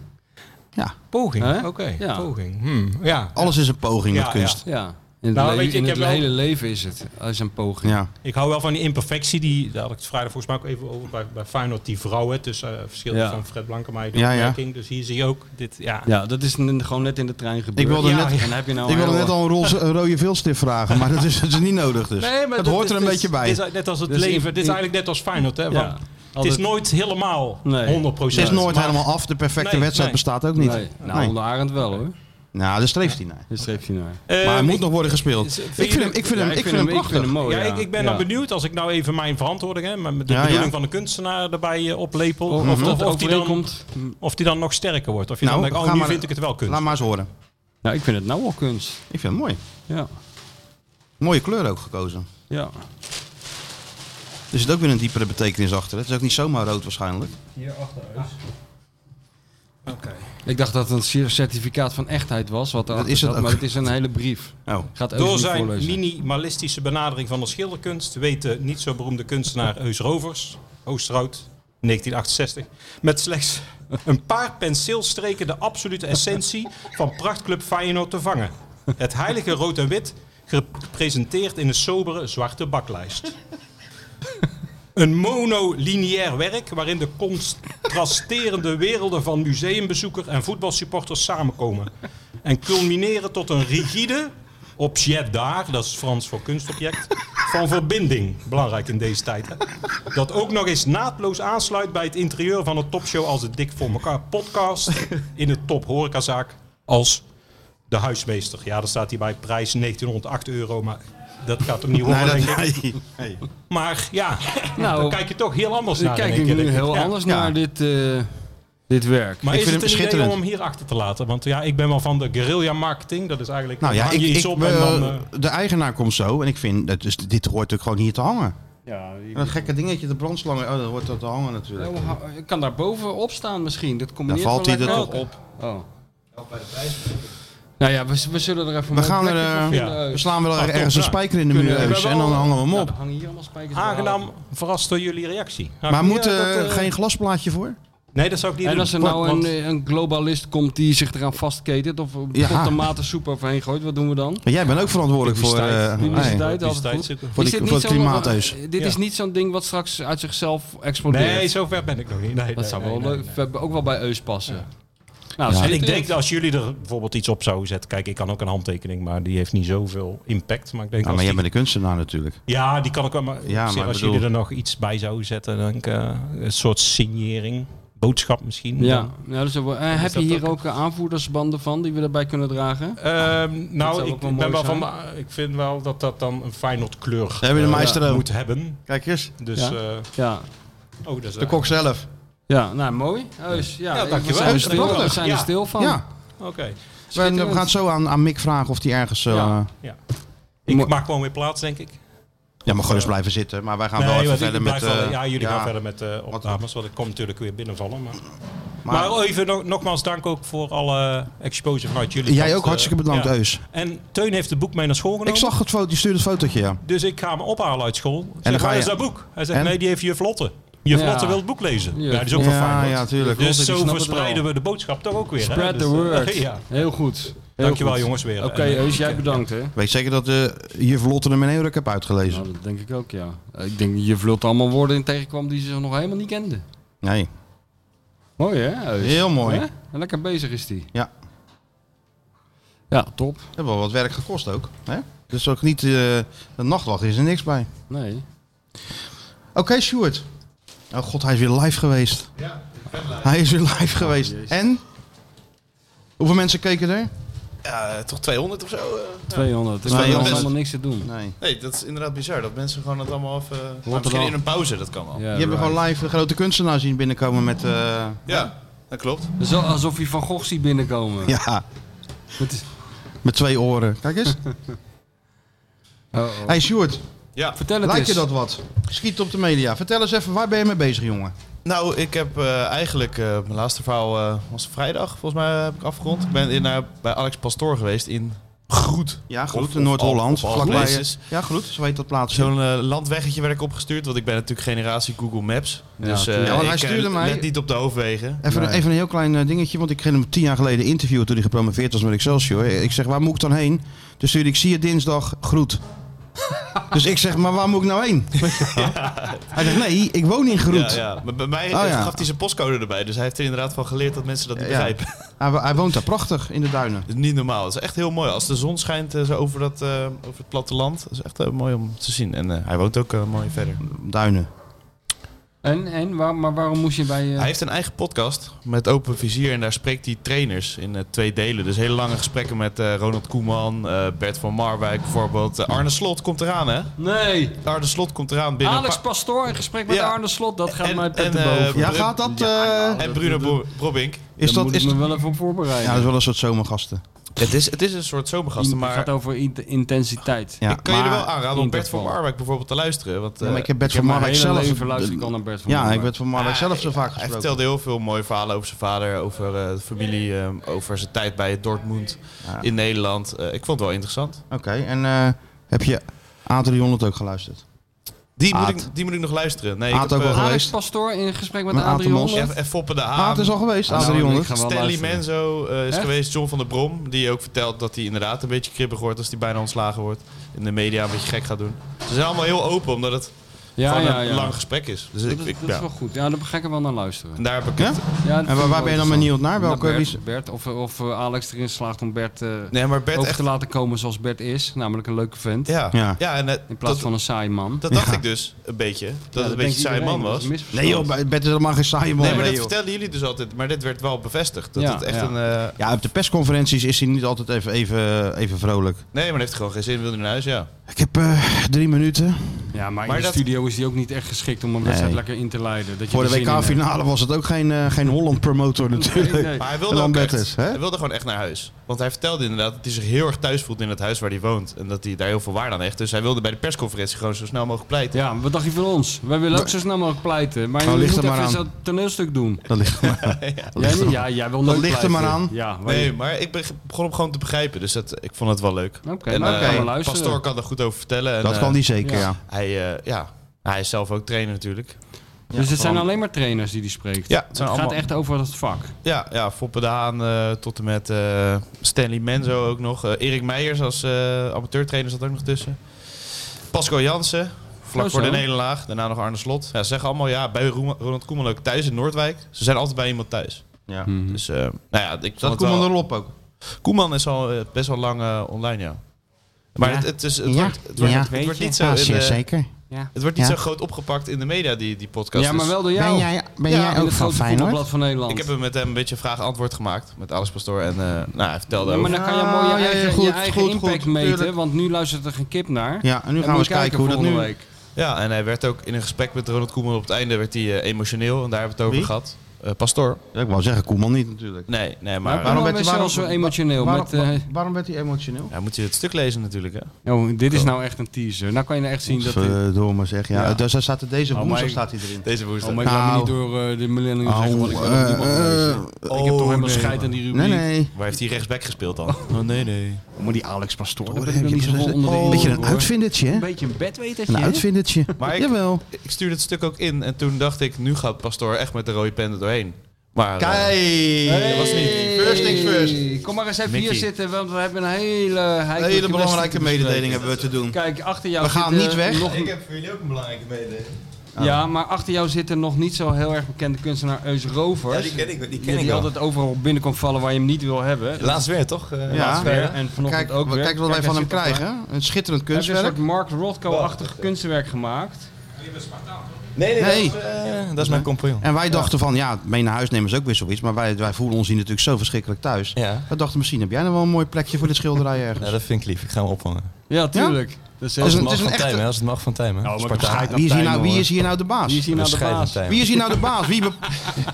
Speaker 2: Ja,
Speaker 9: Poging,
Speaker 3: Hè?
Speaker 9: oké.
Speaker 3: Ja.
Speaker 9: Poging. Hmm, ja.
Speaker 2: alles is een poging
Speaker 9: Ja,
Speaker 2: met kunst.
Speaker 3: Ja. In het,
Speaker 9: Nou,
Speaker 3: le-
Speaker 9: weet je,
Speaker 3: in
Speaker 9: ik
Speaker 3: het
Speaker 9: heb wel-
Speaker 3: hele leven is het als een poging.
Speaker 2: Ja.
Speaker 9: Ik hou wel van die imperfectie, die, daar had ik het vrijdag volgens mij ook even over bij, bij Feyenoord, die vrouw, hè, tussen eh, verschillende
Speaker 3: Ja.
Speaker 9: van Fred Blankenmeijer
Speaker 2: Ja, ja.
Speaker 9: opmerking. Dus hier zie je ook dit, ja.
Speaker 3: Ja, dat is n- gewoon net in de trein gebeurd.
Speaker 2: Ik wilde
Speaker 3: Ja,
Speaker 2: net-
Speaker 3: en heb je nou
Speaker 2: Ik wilde
Speaker 3: heel-
Speaker 2: net al een, roze, een rode vilstift vragen, maar dat is, dat is niet nodig dus.
Speaker 9: Nee, maar
Speaker 2: dat
Speaker 9: dit
Speaker 2: hoort
Speaker 9: is-
Speaker 2: er een
Speaker 9: dit is-
Speaker 2: beetje bij.
Speaker 9: Dit is net als het
Speaker 3: Dus in-
Speaker 9: leven, dit is
Speaker 3: in-
Speaker 9: eigenlijk net als Feyenoord, hè.
Speaker 3: Ja.
Speaker 9: want het
Speaker 3: Altijd-
Speaker 9: is nooit helemaal
Speaker 3: Nee.
Speaker 9: 100%.
Speaker 2: Het is nooit
Speaker 9: maar-
Speaker 2: helemaal af. De perfecte
Speaker 9: Nee,
Speaker 2: wedstrijd
Speaker 9: nee.
Speaker 2: bestaat ook niet.
Speaker 3: Nee. Nou,
Speaker 2: Nee.
Speaker 3: onder Arend wel hoor.
Speaker 2: Nou, daar streeft hij naar.
Speaker 3: Dus streep je naar.
Speaker 9: Eh,
Speaker 2: Maar hij
Speaker 9: ik-
Speaker 2: moet nog worden gespeeld.
Speaker 9: Is-
Speaker 2: Ik
Speaker 9: vind
Speaker 2: vind
Speaker 9: je
Speaker 2: hem,
Speaker 9: dit-
Speaker 2: ik vind hem, ik vind hem
Speaker 3: ik
Speaker 2: prachtig.
Speaker 3: vind hem mooi.
Speaker 9: ja, ik, ik ben
Speaker 3: Oh, Ja.
Speaker 9: dan benieuwd als ik nou even mijn verantwoording hè, maar met de
Speaker 2: Ja,
Speaker 9: bedoeling
Speaker 2: ja.
Speaker 9: van de kunstenaar erbij eh, oplepel.
Speaker 3: Of,
Speaker 9: Of, of,
Speaker 3: dat
Speaker 9: of die dan,
Speaker 3: overeenkomt.
Speaker 9: of die dan nog sterker wordt. Of je
Speaker 2: Nou,
Speaker 9: dan denkt,
Speaker 2: ga
Speaker 9: oh, nu
Speaker 2: maar-
Speaker 9: vind ik het wel kunst.
Speaker 2: Laat maar eens horen.
Speaker 3: Nou, ik vind het nou al kunst.
Speaker 2: Ik vind hem mooi.
Speaker 3: Ja.
Speaker 2: Mooie kleur ook gekozen.
Speaker 3: Ja.
Speaker 2: Er zit ook weer een diepere betekenis achter. Het is ook niet zomaar rood waarschijnlijk.
Speaker 3: Ik dacht dat het een certificaat van echtheid was, wat dat
Speaker 2: is
Speaker 3: is
Speaker 2: het ook.
Speaker 3: maar het is een hele brief.
Speaker 2: Oh.
Speaker 3: Gaat Eus
Speaker 9: Door
Speaker 3: niet
Speaker 9: zijn
Speaker 3: voorlezen.
Speaker 9: minimalistische benadering van de schilderkunst weten niet zo beroemde kunstenaar Eus Rovers, Oosterhout, 1968, met slechts een paar penseelstreken de absolute essentie van prachtclub Feyenoord te vangen. Het heilige rood en wit gepresenteerd in een sobere zwarte baklijst. Een monolineair werk waarin de contrasterende werelden van museumbezoeker en voetbalsupporters samenkomen. En culmineren tot een rigide objet daar, dat is Frans voor kunstobject, van verbinding. Belangrijk in deze tijd. Hè? Dat ook nog eens naadloos aansluit bij het interieur van een topshow als de Dik voor elkaar podcast in de top horecazaak als de huismeester. Ja, daar staat hij bij prijs 1908 euro, maar dat gaat hem niet horen,
Speaker 2: Nee, dat,
Speaker 9: denk ik.
Speaker 2: nee. Nee.
Speaker 9: Maar ja,
Speaker 3: Nou,
Speaker 2: Oh.
Speaker 9: dan kijk je toch heel anders
Speaker 3: Dan
Speaker 9: naar.
Speaker 3: kijk
Speaker 9: in één
Speaker 3: ik
Speaker 9: keer,
Speaker 3: nu
Speaker 9: Nou, denk ik.
Speaker 3: heel
Speaker 9: Ja.
Speaker 3: anders
Speaker 2: Ja.
Speaker 3: naar dit, eh, dit werk.
Speaker 9: Maar
Speaker 2: Ik
Speaker 9: is
Speaker 2: vind
Speaker 9: het een
Speaker 2: hem
Speaker 9: idee om
Speaker 2: schitterend.
Speaker 9: hem hier achter te laten? Want ja, ik ben wel van de guerrilla marketing. Dat is eigenlijk
Speaker 2: Nou ja,
Speaker 9: hang
Speaker 2: ik,
Speaker 9: je iets
Speaker 2: ik,
Speaker 9: op en dan... eh,
Speaker 2: eh, de eigenaar komt zo en ik vind, dat, dus dit hoort ook gewoon hier te hangen.
Speaker 3: ja,
Speaker 2: Een gekke dingetje, de brandslangen, oh, dat hoort dat te hangen natuurlijk.
Speaker 3: Nou, ik kan daar bovenop staan misschien. Dat
Speaker 2: Dan
Speaker 3: combineert
Speaker 2: valt
Speaker 3: wel
Speaker 2: hij er
Speaker 3: lekker.
Speaker 2: toch op.
Speaker 3: Oh. Nou ja, we, we zullen er even
Speaker 2: We
Speaker 3: een
Speaker 2: gaan er,
Speaker 3: plekje voor
Speaker 2: eh,
Speaker 3: vinden,
Speaker 9: ja.
Speaker 3: Eus.
Speaker 2: We slaan wel
Speaker 9: Ah, top,
Speaker 2: ergens een
Speaker 9: ja.
Speaker 2: spijker in de muur
Speaker 3: Kunnen we-
Speaker 2: Eus, en dan hangen we hem
Speaker 3: Nou,
Speaker 2: op.
Speaker 3: dan hangen hier allemaal spijkers.
Speaker 9: Aangenaam verrast door jullie reactie. Nou,
Speaker 2: Maar
Speaker 9: ik-
Speaker 2: moet
Speaker 9: ja,
Speaker 2: er
Speaker 9: dat, eh,
Speaker 2: geen glasplaatje voor?
Speaker 9: Nee, dat zou ik niet
Speaker 3: En
Speaker 9: doen.
Speaker 3: als er nou
Speaker 9: Want-
Speaker 3: een, een globalist komt die zich eraan vastketent of een
Speaker 2: Ja.
Speaker 3: pot tomatensoep overheen gooit, wat doen we dan?
Speaker 2: Maar jij bent ook verantwoordelijk voor,
Speaker 9: Publiciteit.
Speaker 2: eh,
Speaker 9: Publiciteit.
Speaker 2: nee,
Speaker 3: Publiciteit, altijd
Speaker 9: publiciteit
Speaker 3: goed.
Speaker 9: zoeken.
Speaker 2: voor,
Speaker 3: Is
Speaker 2: die,
Speaker 3: dit
Speaker 2: voor het
Speaker 3: niet zo'n-
Speaker 2: klimaat Eus.
Speaker 3: dit is
Speaker 9: Ja.
Speaker 3: niet zo'n ding wat straks uit zichzelf explodeert.
Speaker 9: Nee, zover ben ik nog niet. Nee,
Speaker 3: dat zou wel leuk, ook wel bij Eus passen. Nou,
Speaker 9: En
Speaker 3: schitterend.
Speaker 9: ik denk dat als jullie er bijvoorbeeld iets op zouden zetten... Kijk, ik kan ook een handtekening, maar die heeft niet zoveel impact. Maar ik denk
Speaker 2: Ja, maar jij
Speaker 9: als die-
Speaker 2: bent een kunstenaar natuurlijk.
Speaker 9: Ja, die kan ik wel. Maar,
Speaker 2: Ja,
Speaker 9: ik zeg,
Speaker 2: maar
Speaker 9: als
Speaker 2: bedoel-
Speaker 9: jullie er nog iets bij zouden zetten, dan ik, eh, een soort signering, boodschap misschien.
Speaker 3: Ja,
Speaker 9: dan-
Speaker 3: ja dus, hebben we- eh, heb je
Speaker 9: dat
Speaker 3: hier
Speaker 9: ook-
Speaker 3: ook eh, aanvoerdersbanden van die we erbij kunnen dragen?
Speaker 9: Ehm,
Speaker 3: zou
Speaker 9: nou,
Speaker 3: ook
Speaker 9: ik,
Speaker 3: wel mooi
Speaker 9: ben wel
Speaker 3: zijn.
Speaker 9: van, de- ik vind wel dat dat dan een Feyenoord kleur
Speaker 2: Hebben de eh, meester ook.
Speaker 9: moet hebben.
Speaker 2: Kijk eens.
Speaker 9: Dus,
Speaker 3: Ja.
Speaker 9: eh,
Speaker 3: Ja,
Speaker 9: oh, dat is
Speaker 2: De kok zelf.
Speaker 3: ja nou mooi. Heus, ja,
Speaker 9: Ja, dankjewel.
Speaker 3: We zijn, er
Speaker 2: Is
Speaker 3: stil-
Speaker 2: prachtig.
Speaker 3: we zijn er
Speaker 9: Ja.
Speaker 3: stil van.
Speaker 2: Ja,
Speaker 9: Oké.
Speaker 2: we we
Speaker 3: Schitterend.
Speaker 2: gaan zo aan, aan Mick vragen of hij ergens... eh,
Speaker 3: Ja.
Speaker 2: ja.
Speaker 9: Ik
Speaker 3: Mooi.
Speaker 9: maak gewoon weer plaats, denk ik.
Speaker 2: maar gewoon eens blijven zitten. Maar wij gaan wel even
Speaker 9: want ik
Speaker 2: verder met...
Speaker 9: blijf wel-
Speaker 2: eh,
Speaker 9: ja, jullie gaan verder met eh opnames, want ik kom natuurlijk weer binnenvallen. Maar, maar,
Speaker 2: Maar,
Speaker 9: even nog- nogmaals dank ook voor alle exposure vanuit jullie.
Speaker 2: jij
Speaker 9: kant,
Speaker 2: ook
Speaker 9: eh,
Speaker 2: hartstikke bedankt,
Speaker 9: ja.
Speaker 2: Eus.
Speaker 9: En Teun heeft het boek mee naar school genomen.
Speaker 2: Ik zag het foto, je stuurde het fotootje, ja.
Speaker 9: Dus ik ga hem ophalen uit school. Ik
Speaker 2: dan ga
Speaker 9: zeg, waar
Speaker 2: je-
Speaker 9: is dat boek? Hij zegt,
Speaker 2: En?
Speaker 9: nee, die heeft juf Lotte. Juf
Speaker 3: Ja.
Speaker 9: Lotte wil het boek lezen.
Speaker 3: Ja.
Speaker 9: Ja, dat is ook wel
Speaker 2: Ja,
Speaker 9: fijn.
Speaker 2: ja, tuurlijk.
Speaker 9: Dus
Speaker 3: Lotte, die
Speaker 9: zo
Speaker 3: snapt het
Speaker 9: verspreiden
Speaker 3: wel.
Speaker 9: we de boodschap toch ook weer. hè?
Speaker 3: Spread the
Speaker 9: Dus, eh,
Speaker 3: word.
Speaker 9: ja.
Speaker 3: Heel goed. Heel
Speaker 9: Dankjewel
Speaker 3: goed.
Speaker 9: jongens weer.
Speaker 3: Oké,
Speaker 9: En, eh,
Speaker 3: Eus, jij bedankt hè.
Speaker 2: Weet zeker dat eh juf Lotte hem in Eurek heb uitgelezen?
Speaker 3: Nou, dat denk ik ook, ja. Ik denk dat je vlult allemaal woorden in tegenkwam die ze nog helemaal niet kenden.
Speaker 2: Nee,
Speaker 3: Mooi hè, Eus?
Speaker 2: heel mooi.
Speaker 3: Hè? Lekker bezig is die.
Speaker 2: Ja.
Speaker 3: Ja, top.
Speaker 2: Hebben wel wat werk gekost ook. Hè? Dus ook niet... eh de nachtwacht is er niks bij.
Speaker 3: Nee.
Speaker 2: Oké, Stuart. Oh god, hij is weer live geweest. Ja,
Speaker 9: Oh,
Speaker 2: Hij is weer live geweest. en? Hoeveel mensen keken er?
Speaker 4: Ja, toch 200 of zo? eh, ja.
Speaker 3: 200. Er is
Speaker 4: Nou,
Speaker 3: helemaal
Speaker 4: dat is-
Speaker 3: helemaal niks te doen.
Speaker 2: Nee.
Speaker 4: Nee, dat is inderdaad bizar. Dat mensen gewoon het allemaal even... Maar misschien
Speaker 3: wel.
Speaker 4: in een pauze, dat kan wel.
Speaker 3: Ja,
Speaker 2: Je hebt
Speaker 3: right.
Speaker 2: gewoon live een grote kunstenaar zien binnenkomen met... eh,
Speaker 4: Ja, dat klopt.
Speaker 3: Zo- alsof je Van Gogh ziet binnenkomen.
Speaker 2: ja,
Speaker 3: Met-
Speaker 2: met twee oren. Kijk eens.
Speaker 3: oh, oh.
Speaker 2: Hey Sjoerd,
Speaker 4: Ja.
Speaker 3: Vertel het
Speaker 2: lijkt
Speaker 3: eens.
Speaker 2: je dat wat? Schiet op de media. Vertel eens even, waar ben je mee bezig, jongen?
Speaker 4: Nou, ik heb eh, eigenlijk, eh, mijn laatste verhaal eh, was vrijdag, volgens mij eh, heb ik afgerond. Ik ben in, eh, bij Alex Pastoor geweest in Groet.
Speaker 2: Ja,
Speaker 4: Of-
Speaker 2: goed.
Speaker 4: of
Speaker 2: In Noord-Holland.
Speaker 4: al- of al
Speaker 2: Vlakbij.
Speaker 4: places.
Speaker 2: eh, Ja, goed. Zo heet dat plaatsje.
Speaker 4: Zo'n eh, landweggetje werd ik opgestuurd, want ik ben natuurlijk generatie Google Maps.
Speaker 3: Ja,
Speaker 4: dus eh,
Speaker 3: tuurlijk.
Speaker 2: Ja, want
Speaker 4: ik
Speaker 2: hij
Speaker 4: eh,
Speaker 2: stuurde mij-
Speaker 4: let niet op de hoofdwegen.
Speaker 2: Even, een- even een heel klein eh, dingetje, want ik ging hem tien jaar geleden interviewen toen hij gepromoveerd was met Excelsior. Ik zeg, waar moet ik dan heen? Toen stuurde ik, zie je dinsdag, groet. dus ik zeg, maar waar moet ik nou heen? Hij zegt, nee, ik woon in Groet.
Speaker 4: Ja, ja. Maar bij mij
Speaker 2: Oh,
Speaker 4: eh,
Speaker 2: ja.
Speaker 4: gaf hij zijn postcode erbij, dus hij heeft er inderdaad van geleerd dat mensen dat niet
Speaker 2: Ja.
Speaker 4: begrijpen.
Speaker 2: Hij, wo- hij woont daar prachtig, in de duinen.
Speaker 4: Dat is niet normaal. Het is echt heel mooi. Als de zon schijnt eh, zo over, dat, eh, over het platteland, dat is echt eh, mooi om te zien. En eh, hij woont ook eh, mooi verder.
Speaker 2: Duinen.
Speaker 3: En, en waar, maar waarom moest je bij... eh,
Speaker 4: Hij heeft een eigen podcast met Open Vizier en daar spreekt hij trainers in eh, twee delen. Dus hele lange gesprekken met eh, Ronald Koeman, eh, Bert van Marwijk bijvoorbeeld. Eh, Arne Slot komt eraan, hè?
Speaker 3: Nee.
Speaker 4: Arne Slot komt eraan binnen.
Speaker 3: Alex
Speaker 4: een
Speaker 3: Pastoor in gesprek met
Speaker 4: Ja.
Speaker 3: Arne Slot. Dat gaat
Speaker 4: En-
Speaker 3: mij
Speaker 4: en,
Speaker 3: pet te
Speaker 4: eh,
Speaker 3: boven.
Speaker 2: Ja,
Speaker 4: dat-
Speaker 2: gaat dat... eh,
Speaker 4: paar- en Bruno Bro- Brobink.
Speaker 2: is
Speaker 3: Daar
Speaker 2: dat...
Speaker 3: moet
Speaker 2: Is,
Speaker 3: ik me
Speaker 2: ja,
Speaker 3: wel even op voorbereiden.
Speaker 2: dat is wel een soort zomergasten.
Speaker 4: Het is, het is een soort zomergasten,
Speaker 3: Het
Speaker 4: maar
Speaker 3: gaat over int- intensiteit.
Speaker 2: Ja,
Speaker 4: ik kan je er
Speaker 2: maar-
Speaker 4: wel aanraden om
Speaker 3: in dat
Speaker 4: Bert van
Speaker 3: geval.
Speaker 4: Marwijk bijvoorbeeld te luisteren. Want,
Speaker 2: Ja, maar
Speaker 4: eh,
Speaker 2: ik heb Bert
Speaker 3: Ik heb
Speaker 2: van
Speaker 3: mijn
Speaker 2: Marwijk
Speaker 3: hele
Speaker 2: zelf...
Speaker 3: leven luister ik al naar Bert van
Speaker 2: ja, ik
Speaker 3: Marwijk.
Speaker 2: ben van Marwijk zelf zo vaak
Speaker 4: Ah, Hij
Speaker 2: gesproken.
Speaker 4: vertelde heel veel mooie verhalen over zijn vader, over eh, de familie, eh, over zijn tijd bij Dortmund
Speaker 2: Ja.
Speaker 4: in Nederland. Eh, ik vond het wel interessant.
Speaker 2: Oké, en eh, heb je A300 ook geluisterd?
Speaker 4: Die moet,
Speaker 2: Aad.
Speaker 4: ik, die moet ik nog luisteren. Nee, ik
Speaker 2: Aad
Speaker 4: heb,
Speaker 2: ook wel
Speaker 4: eh,
Speaker 3: Alex
Speaker 2: geweest.
Speaker 3: Pastoor in gesprek met
Speaker 2: Met Aad de Mos.
Speaker 3: Adrian.
Speaker 4: F- F- Foppe de Haan.
Speaker 2: Ah, het is al geweest,
Speaker 3: nou, ik
Speaker 2: A300.
Speaker 3: ga- wel
Speaker 4: Stanley
Speaker 3: luisteren.
Speaker 4: Menzo eh, is
Speaker 3: Echt?
Speaker 4: geweest, John van der Brom, die ook vertelt dat hij inderdaad een beetje kribbig wordt als hij bijna ontslagen wordt. In de media een beetje gek gaat doen. Ze zijn allemaal heel open, omdat het
Speaker 3: Ja,
Speaker 4: gewoon
Speaker 3: ja,
Speaker 4: een
Speaker 3: ja.
Speaker 4: lang gesprek is. Dus ik,
Speaker 3: Dat, is-
Speaker 4: ik-
Speaker 3: dat is
Speaker 4: ja.
Speaker 3: wel goed. Ja, daar ga ik er wel naar luisteren.
Speaker 4: En daar heb ik
Speaker 2: Ja?
Speaker 4: het.
Speaker 3: Ja, dat
Speaker 2: En
Speaker 3: vind
Speaker 2: waar,
Speaker 3: ik
Speaker 2: waar ben
Speaker 3: wel
Speaker 2: je dan
Speaker 3: interessant.
Speaker 2: benieuwd naar? Welke,
Speaker 3: Naar
Speaker 2: wie is-
Speaker 3: Bert, Bert of, of eh, Alex erin slaagt om Bert, eh
Speaker 4: Nee, maar Bert
Speaker 3: over
Speaker 4: echt...
Speaker 3: te laten komen zoals Bert is. Namelijk een leuke vent.
Speaker 4: Ja, ja.
Speaker 2: Ja.
Speaker 4: en eh,
Speaker 3: In plaats
Speaker 4: dat,
Speaker 3: van een saaie man.
Speaker 4: dat dacht ik dus een beetje. Dat het een beetje een saaie man was. Nee,
Speaker 2: Nee joh, bij- Bert is helemaal geen saai man.
Speaker 4: maar dat
Speaker 2: joh.
Speaker 4: vertelden jullie dus altijd. Maar dit werd wel bevestigd. Dat
Speaker 3: Ja,
Speaker 4: het echt
Speaker 3: ja.
Speaker 4: een... eh,
Speaker 2: Ja, op de persconferenties is hij niet altijd even, even, even vrolijk.
Speaker 4: nee, maar dat heeft gewoon geen zin. Wil hij naar huis? Ja.
Speaker 2: Ik heb eh, drie minuten.
Speaker 3: Ja, maar in
Speaker 4: Maar
Speaker 3: de
Speaker 4: dat-
Speaker 3: studio is hij ook niet echt geschikt om een wedstrijd
Speaker 2: Nee.
Speaker 3: lekker in te leiden. Dat je
Speaker 2: Voor de
Speaker 3: er zin in hebt.
Speaker 2: WK-finale was het ook geen, eh, geen Holland-promotor natuurlijk.
Speaker 3: Nee, nee.
Speaker 4: Maar hij wilde,
Speaker 2: Dan
Speaker 4: ook echt,
Speaker 2: Bert is, hè?
Speaker 4: hij wilde gewoon echt naar huis. Want hij vertelde inderdaad dat hij zich heel erg thuis voelt in het huis waar hij woont. En dat hij daar heel veel waarde aan hecht. Dus hij wilde bij de persconferentie gewoon zo snel mogelijk pleiten.
Speaker 3: Ja, wat dacht je van ons? Wij willen ook zo snel mogelijk pleiten. Maar je
Speaker 2: Nou, ligt
Speaker 3: moet
Speaker 2: er maar
Speaker 3: even
Speaker 2: aan.
Speaker 3: zo'n toneelstuk doen.
Speaker 2: Dat ligt,
Speaker 3: Jij, niet? ja, jij wil leuk
Speaker 2: ligt er
Speaker 3: pleiten.
Speaker 2: maar aan.
Speaker 3: Ja, wij-
Speaker 4: Nee, maar ik beg- begon hem gewoon te begrijpen. Dus dat, ik vond het wel leuk.
Speaker 3: Oké,
Speaker 4: en
Speaker 3: nou,
Speaker 4: eh,
Speaker 3: gaan we luisteren.
Speaker 4: Pastoor kan er goed over vertellen. En,
Speaker 2: dat
Speaker 4: eh,
Speaker 2: kan die zeker,
Speaker 3: ja.
Speaker 2: ja.
Speaker 4: Hij, eh, ja, hij is zelf ook trainer natuurlijk.
Speaker 3: dus het zijn alleen maar trainers die die spreekt.
Speaker 4: Ja, het
Speaker 3: het
Speaker 4: zijn
Speaker 3: gaat
Speaker 4: allemaal-
Speaker 3: echt over het vak.
Speaker 4: Ja, ja Foppe de Haan eh, tot en met eh, Stanley Menzo ook nog. Eh, Erik Meijers als eh amateurtrainer zat ook nog tussen. Pasco Jansen, vlak
Speaker 3: Oh,
Speaker 4: voor de
Speaker 3: zo.
Speaker 4: nederlaag. Daarna nog Arne Slot. Ja, ze zeggen allemaal ja, bij Roem- Ronald Koeman ook thuis in Noordwijk. Ze zijn altijd bij iemand thuis.
Speaker 2: Ja.
Speaker 3: Mhm.
Speaker 4: Dus eh, nou ja, ik vond
Speaker 2: Dat
Speaker 4: het
Speaker 2: Koeman
Speaker 4: wel-
Speaker 2: erop ook.
Speaker 4: Koeman is al eh, best wel lang eh, online, ja. Maar
Speaker 3: Ja.
Speaker 4: het, het, is, het, wordt, het, wordt,
Speaker 2: Ja.
Speaker 4: het wordt niet zo...
Speaker 2: Ja,
Speaker 4: in de-
Speaker 2: zeer
Speaker 3: eh,
Speaker 2: zeker.
Speaker 4: het wordt niet
Speaker 2: Ja.
Speaker 4: zo groot opgepakt in de media, die, die podcast.
Speaker 3: Ja, maar
Speaker 4: Dus
Speaker 3: wel door jou.
Speaker 2: ben
Speaker 4: Ja, jij
Speaker 3: oh. in het grote voetbalblad van Nederland.
Speaker 4: Ik heb hem met hem een beetje vraag-antwoord gemaakt. Met Alex Pastoor. En eh, nou, hij vertelde
Speaker 3: Ja,
Speaker 4: over...
Speaker 3: maar dan kan je mooi je
Speaker 2: Ah, ja, ja,
Speaker 3: eigen,
Speaker 2: goed,
Speaker 3: je eigen
Speaker 2: goed,
Speaker 3: impact
Speaker 2: goed,
Speaker 3: meten,
Speaker 2: tuurlijk.
Speaker 3: want nu luistert er geen kip naar.
Speaker 2: Ja, en nu
Speaker 3: En
Speaker 2: gaan we
Speaker 3: moet
Speaker 2: eens
Speaker 3: je
Speaker 2: kijken hoe dat nu...
Speaker 3: volgende week.
Speaker 4: Ja, en hij werd ook in een gesprek met Ronald Koeman op het einde werd hij, eh, emotioneel. En daar hebben we het over
Speaker 2: Wie?
Speaker 4: gehad. Eh, Pastoor.
Speaker 2: Ja, ik wou zeggen, Koeman niet natuurlijk.
Speaker 4: Nee, nee, maar...
Speaker 3: Maar waarom
Speaker 2: werd-
Speaker 3: ben je
Speaker 2: waarom-
Speaker 3: zelf zo emotioneel?
Speaker 2: Waarom,
Speaker 3: met, eh,
Speaker 2: wa- waarom werd hij emotioneel?
Speaker 4: Ja, moet je het stuk lezen natuurlijk, hè?
Speaker 3: oh, dit is nou echt een teaser. Nou kan je nou echt zien dat... dit-
Speaker 2: Verdomme zeg. Ja,
Speaker 3: Ja.
Speaker 2: Dus daar staat er deze
Speaker 3: Oh, maar
Speaker 2: woensdag
Speaker 3: ik-
Speaker 2: staat hij erin.
Speaker 4: Deze woensdag.
Speaker 3: Oh, maar ik laat me
Speaker 2: Nou.
Speaker 3: niet door eh, de millennium zeggen wat ik wil.
Speaker 2: Oh,
Speaker 3: dat niemand
Speaker 2: eh,
Speaker 3: lezen.
Speaker 4: eh,
Speaker 3: ik heb toch
Speaker 4: oh,
Speaker 3: helemaal
Speaker 4: nee,
Speaker 3: scheid
Speaker 4: man.
Speaker 3: aan die rubriek.
Speaker 2: Nee, nee.
Speaker 4: Waar heeft hij rechtsback gespeeld dan? Oh, nee, nee.
Speaker 3: Maar die Alex Pastoor, daar
Speaker 2: Een
Speaker 3: ben ik nog niet zo van onder de
Speaker 2: Een beetje
Speaker 3: indruk,
Speaker 2: een
Speaker 3: hoor.
Speaker 2: uitvindertje, hè?
Speaker 3: Een beetje een bedwetertje.
Speaker 2: Een
Speaker 3: hè?
Speaker 2: uitvindertje.
Speaker 4: Maar ik-
Speaker 2: Jawel.
Speaker 4: Ik stuurde het stuk ook in en toen dacht ik, nu gaat Pastoor echt met de rode pen er doorheen. Maar... eh,
Speaker 2: Kijk!
Speaker 3: Hey,
Speaker 4: was niet.
Speaker 2: First things first.
Speaker 3: Kom maar eens even
Speaker 4: Mickey.
Speaker 3: hier zitten, want we hebben een hele...
Speaker 2: Een
Speaker 3: heikele
Speaker 2: hele
Speaker 3: kwestie te
Speaker 2: belangrijke
Speaker 3: bespreken.
Speaker 2: mededeling hebben we te doen.
Speaker 3: Kijk, achter jou
Speaker 2: We gaan
Speaker 3: zitten
Speaker 2: niet weg.
Speaker 3: nog-
Speaker 4: heb voor jullie ook een belangrijke mededeling.
Speaker 3: Ja,
Speaker 2: Oh.
Speaker 3: maar achter jou zit er nog niet zo heel erg bekende kunstenaar Eus Rovers.
Speaker 4: ik,
Speaker 3: Die- die altijd overal binnenkomt vallen waar je hem niet wil hebben.
Speaker 4: Laatst weer, toch? Eh,
Speaker 2: Ja.
Speaker 4: laatst weer.
Speaker 3: En- En vanochtend
Speaker 2: Kijk,
Speaker 3: ook weer.
Speaker 2: kijk wat wij
Speaker 3: hij
Speaker 2: van hem
Speaker 3: zit
Speaker 2: krijgen.
Speaker 3: daar.
Speaker 2: hè? Een schitterend
Speaker 3: Hij heeft een
Speaker 2: kunstwerk.
Speaker 3: soort Mark Rothko-achtig kunstwerk gemaakt.
Speaker 4: Nee, nee,
Speaker 2: Nee.
Speaker 4: dat was, eh, ja, dat is mijn compagnon.
Speaker 2: En wij dachten van, ja, mee naar huis nemen is ook weer zoiets. Maar wij, wij voelen ons hier natuurlijk zo verschrikkelijk thuis.
Speaker 4: Ja.
Speaker 2: We dachten, misschien heb jij nou wel een mooi plekje voor dit schilderij ergens.
Speaker 10: Ja, dat vind ik lief. Ik ga hem ophangen.
Speaker 3: Ja, tuurlijk. Dat is heel
Speaker 10: Als het
Speaker 2: Als een- het
Speaker 10: mag
Speaker 2: is
Speaker 10: van
Speaker 2: een
Speaker 10: Tijmen,
Speaker 2: echte-
Speaker 10: als het mag van Tijmen.
Speaker 3: Ja, maar
Speaker 10: Spartaan.
Speaker 3: bescheid-
Speaker 2: Wie is, hier nou,
Speaker 10: Tijmen,
Speaker 2: wie is hier nou de baas?
Speaker 3: Wie is hier nou de
Speaker 10: Bescheid aan
Speaker 3: baas?
Speaker 10: Tijmen.
Speaker 2: Wie is hier nou de baas? Wie, be-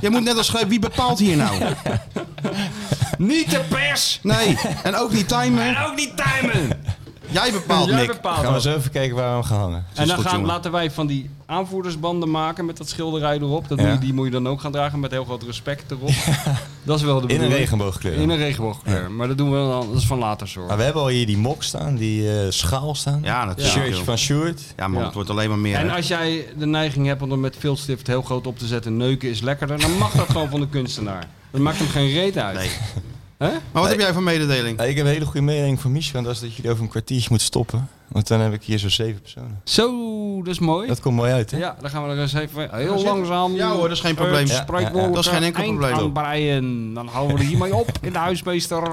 Speaker 2: Jij moet net als schrijven, wie bepaalt hier nou?
Speaker 3: Niet de pers!
Speaker 2: Nee, en ook niet timer.
Speaker 3: En ook niet timen!
Speaker 2: Jij bepaalt,
Speaker 3: Jij
Speaker 2: Nick.
Speaker 3: bepaalt
Speaker 10: Gaan we
Speaker 3: dat.
Speaker 10: eens even kijken waar we hem gaan hangen.
Speaker 3: En dan
Speaker 2: goed,
Speaker 3: gaan,
Speaker 2: jongen.
Speaker 3: laten wij van die aanvoerdersbanden maken met dat schilderij erop. Dat moet
Speaker 10: Ja.
Speaker 3: je- die moet je dan ook gaan dragen met heel groot respect erop. Dat is wel
Speaker 10: In
Speaker 3: de
Speaker 10: een
Speaker 3: bedoeling.
Speaker 10: regenboogkleur.
Speaker 3: In een regenboogkleur. Maar dat doen we dan, dat is van later zorg.
Speaker 10: Maar we hebben al hier die mok staan, die eh, schaal staan.
Speaker 2: Ja,
Speaker 10: het
Speaker 2: natuurlijk.
Speaker 10: shirtje
Speaker 2: joh.
Speaker 10: van Sjoerd.
Speaker 2: Ja, man,
Speaker 3: Ja.
Speaker 2: het wordt alleen maar meer.
Speaker 3: En
Speaker 2: hè.
Speaker 3: als jij de neiging hebt om er met viltstift heel groot op te zetten, neuken is lekkerder, dan mag dat gewoon van de kunstenaar. Dat maakt hem geen reet uit.
Speaker 2: Nee.
Speaker 3: Hè?
Speaker 2: Maar wat heb jij voor mededeling?
Speaker 10: Ja, ik heb een hele goede mening van Michel. En dat is dat jullie over een kwartiertje moet stoppen. Want dan heb ik hier zo'n zeven personen.
Speaker 3: Zo, dat is mooi.
Speaker 10: Dat komt mooi uit, hè?
Speaker 3: Ja, dan gaan we er eens even heel langzaam.
Speaker 2: Ja hoor, dat is geen probleem.
Speaker 10: Ja,
Speaker 3: Spreekwoord. eh,
Speaker 10: ja, ja.
Speaker 2: Dat is geen enkel probleem.
Speaker 3: Aanbreien. Dan houden we er hiermee op in de huismeester.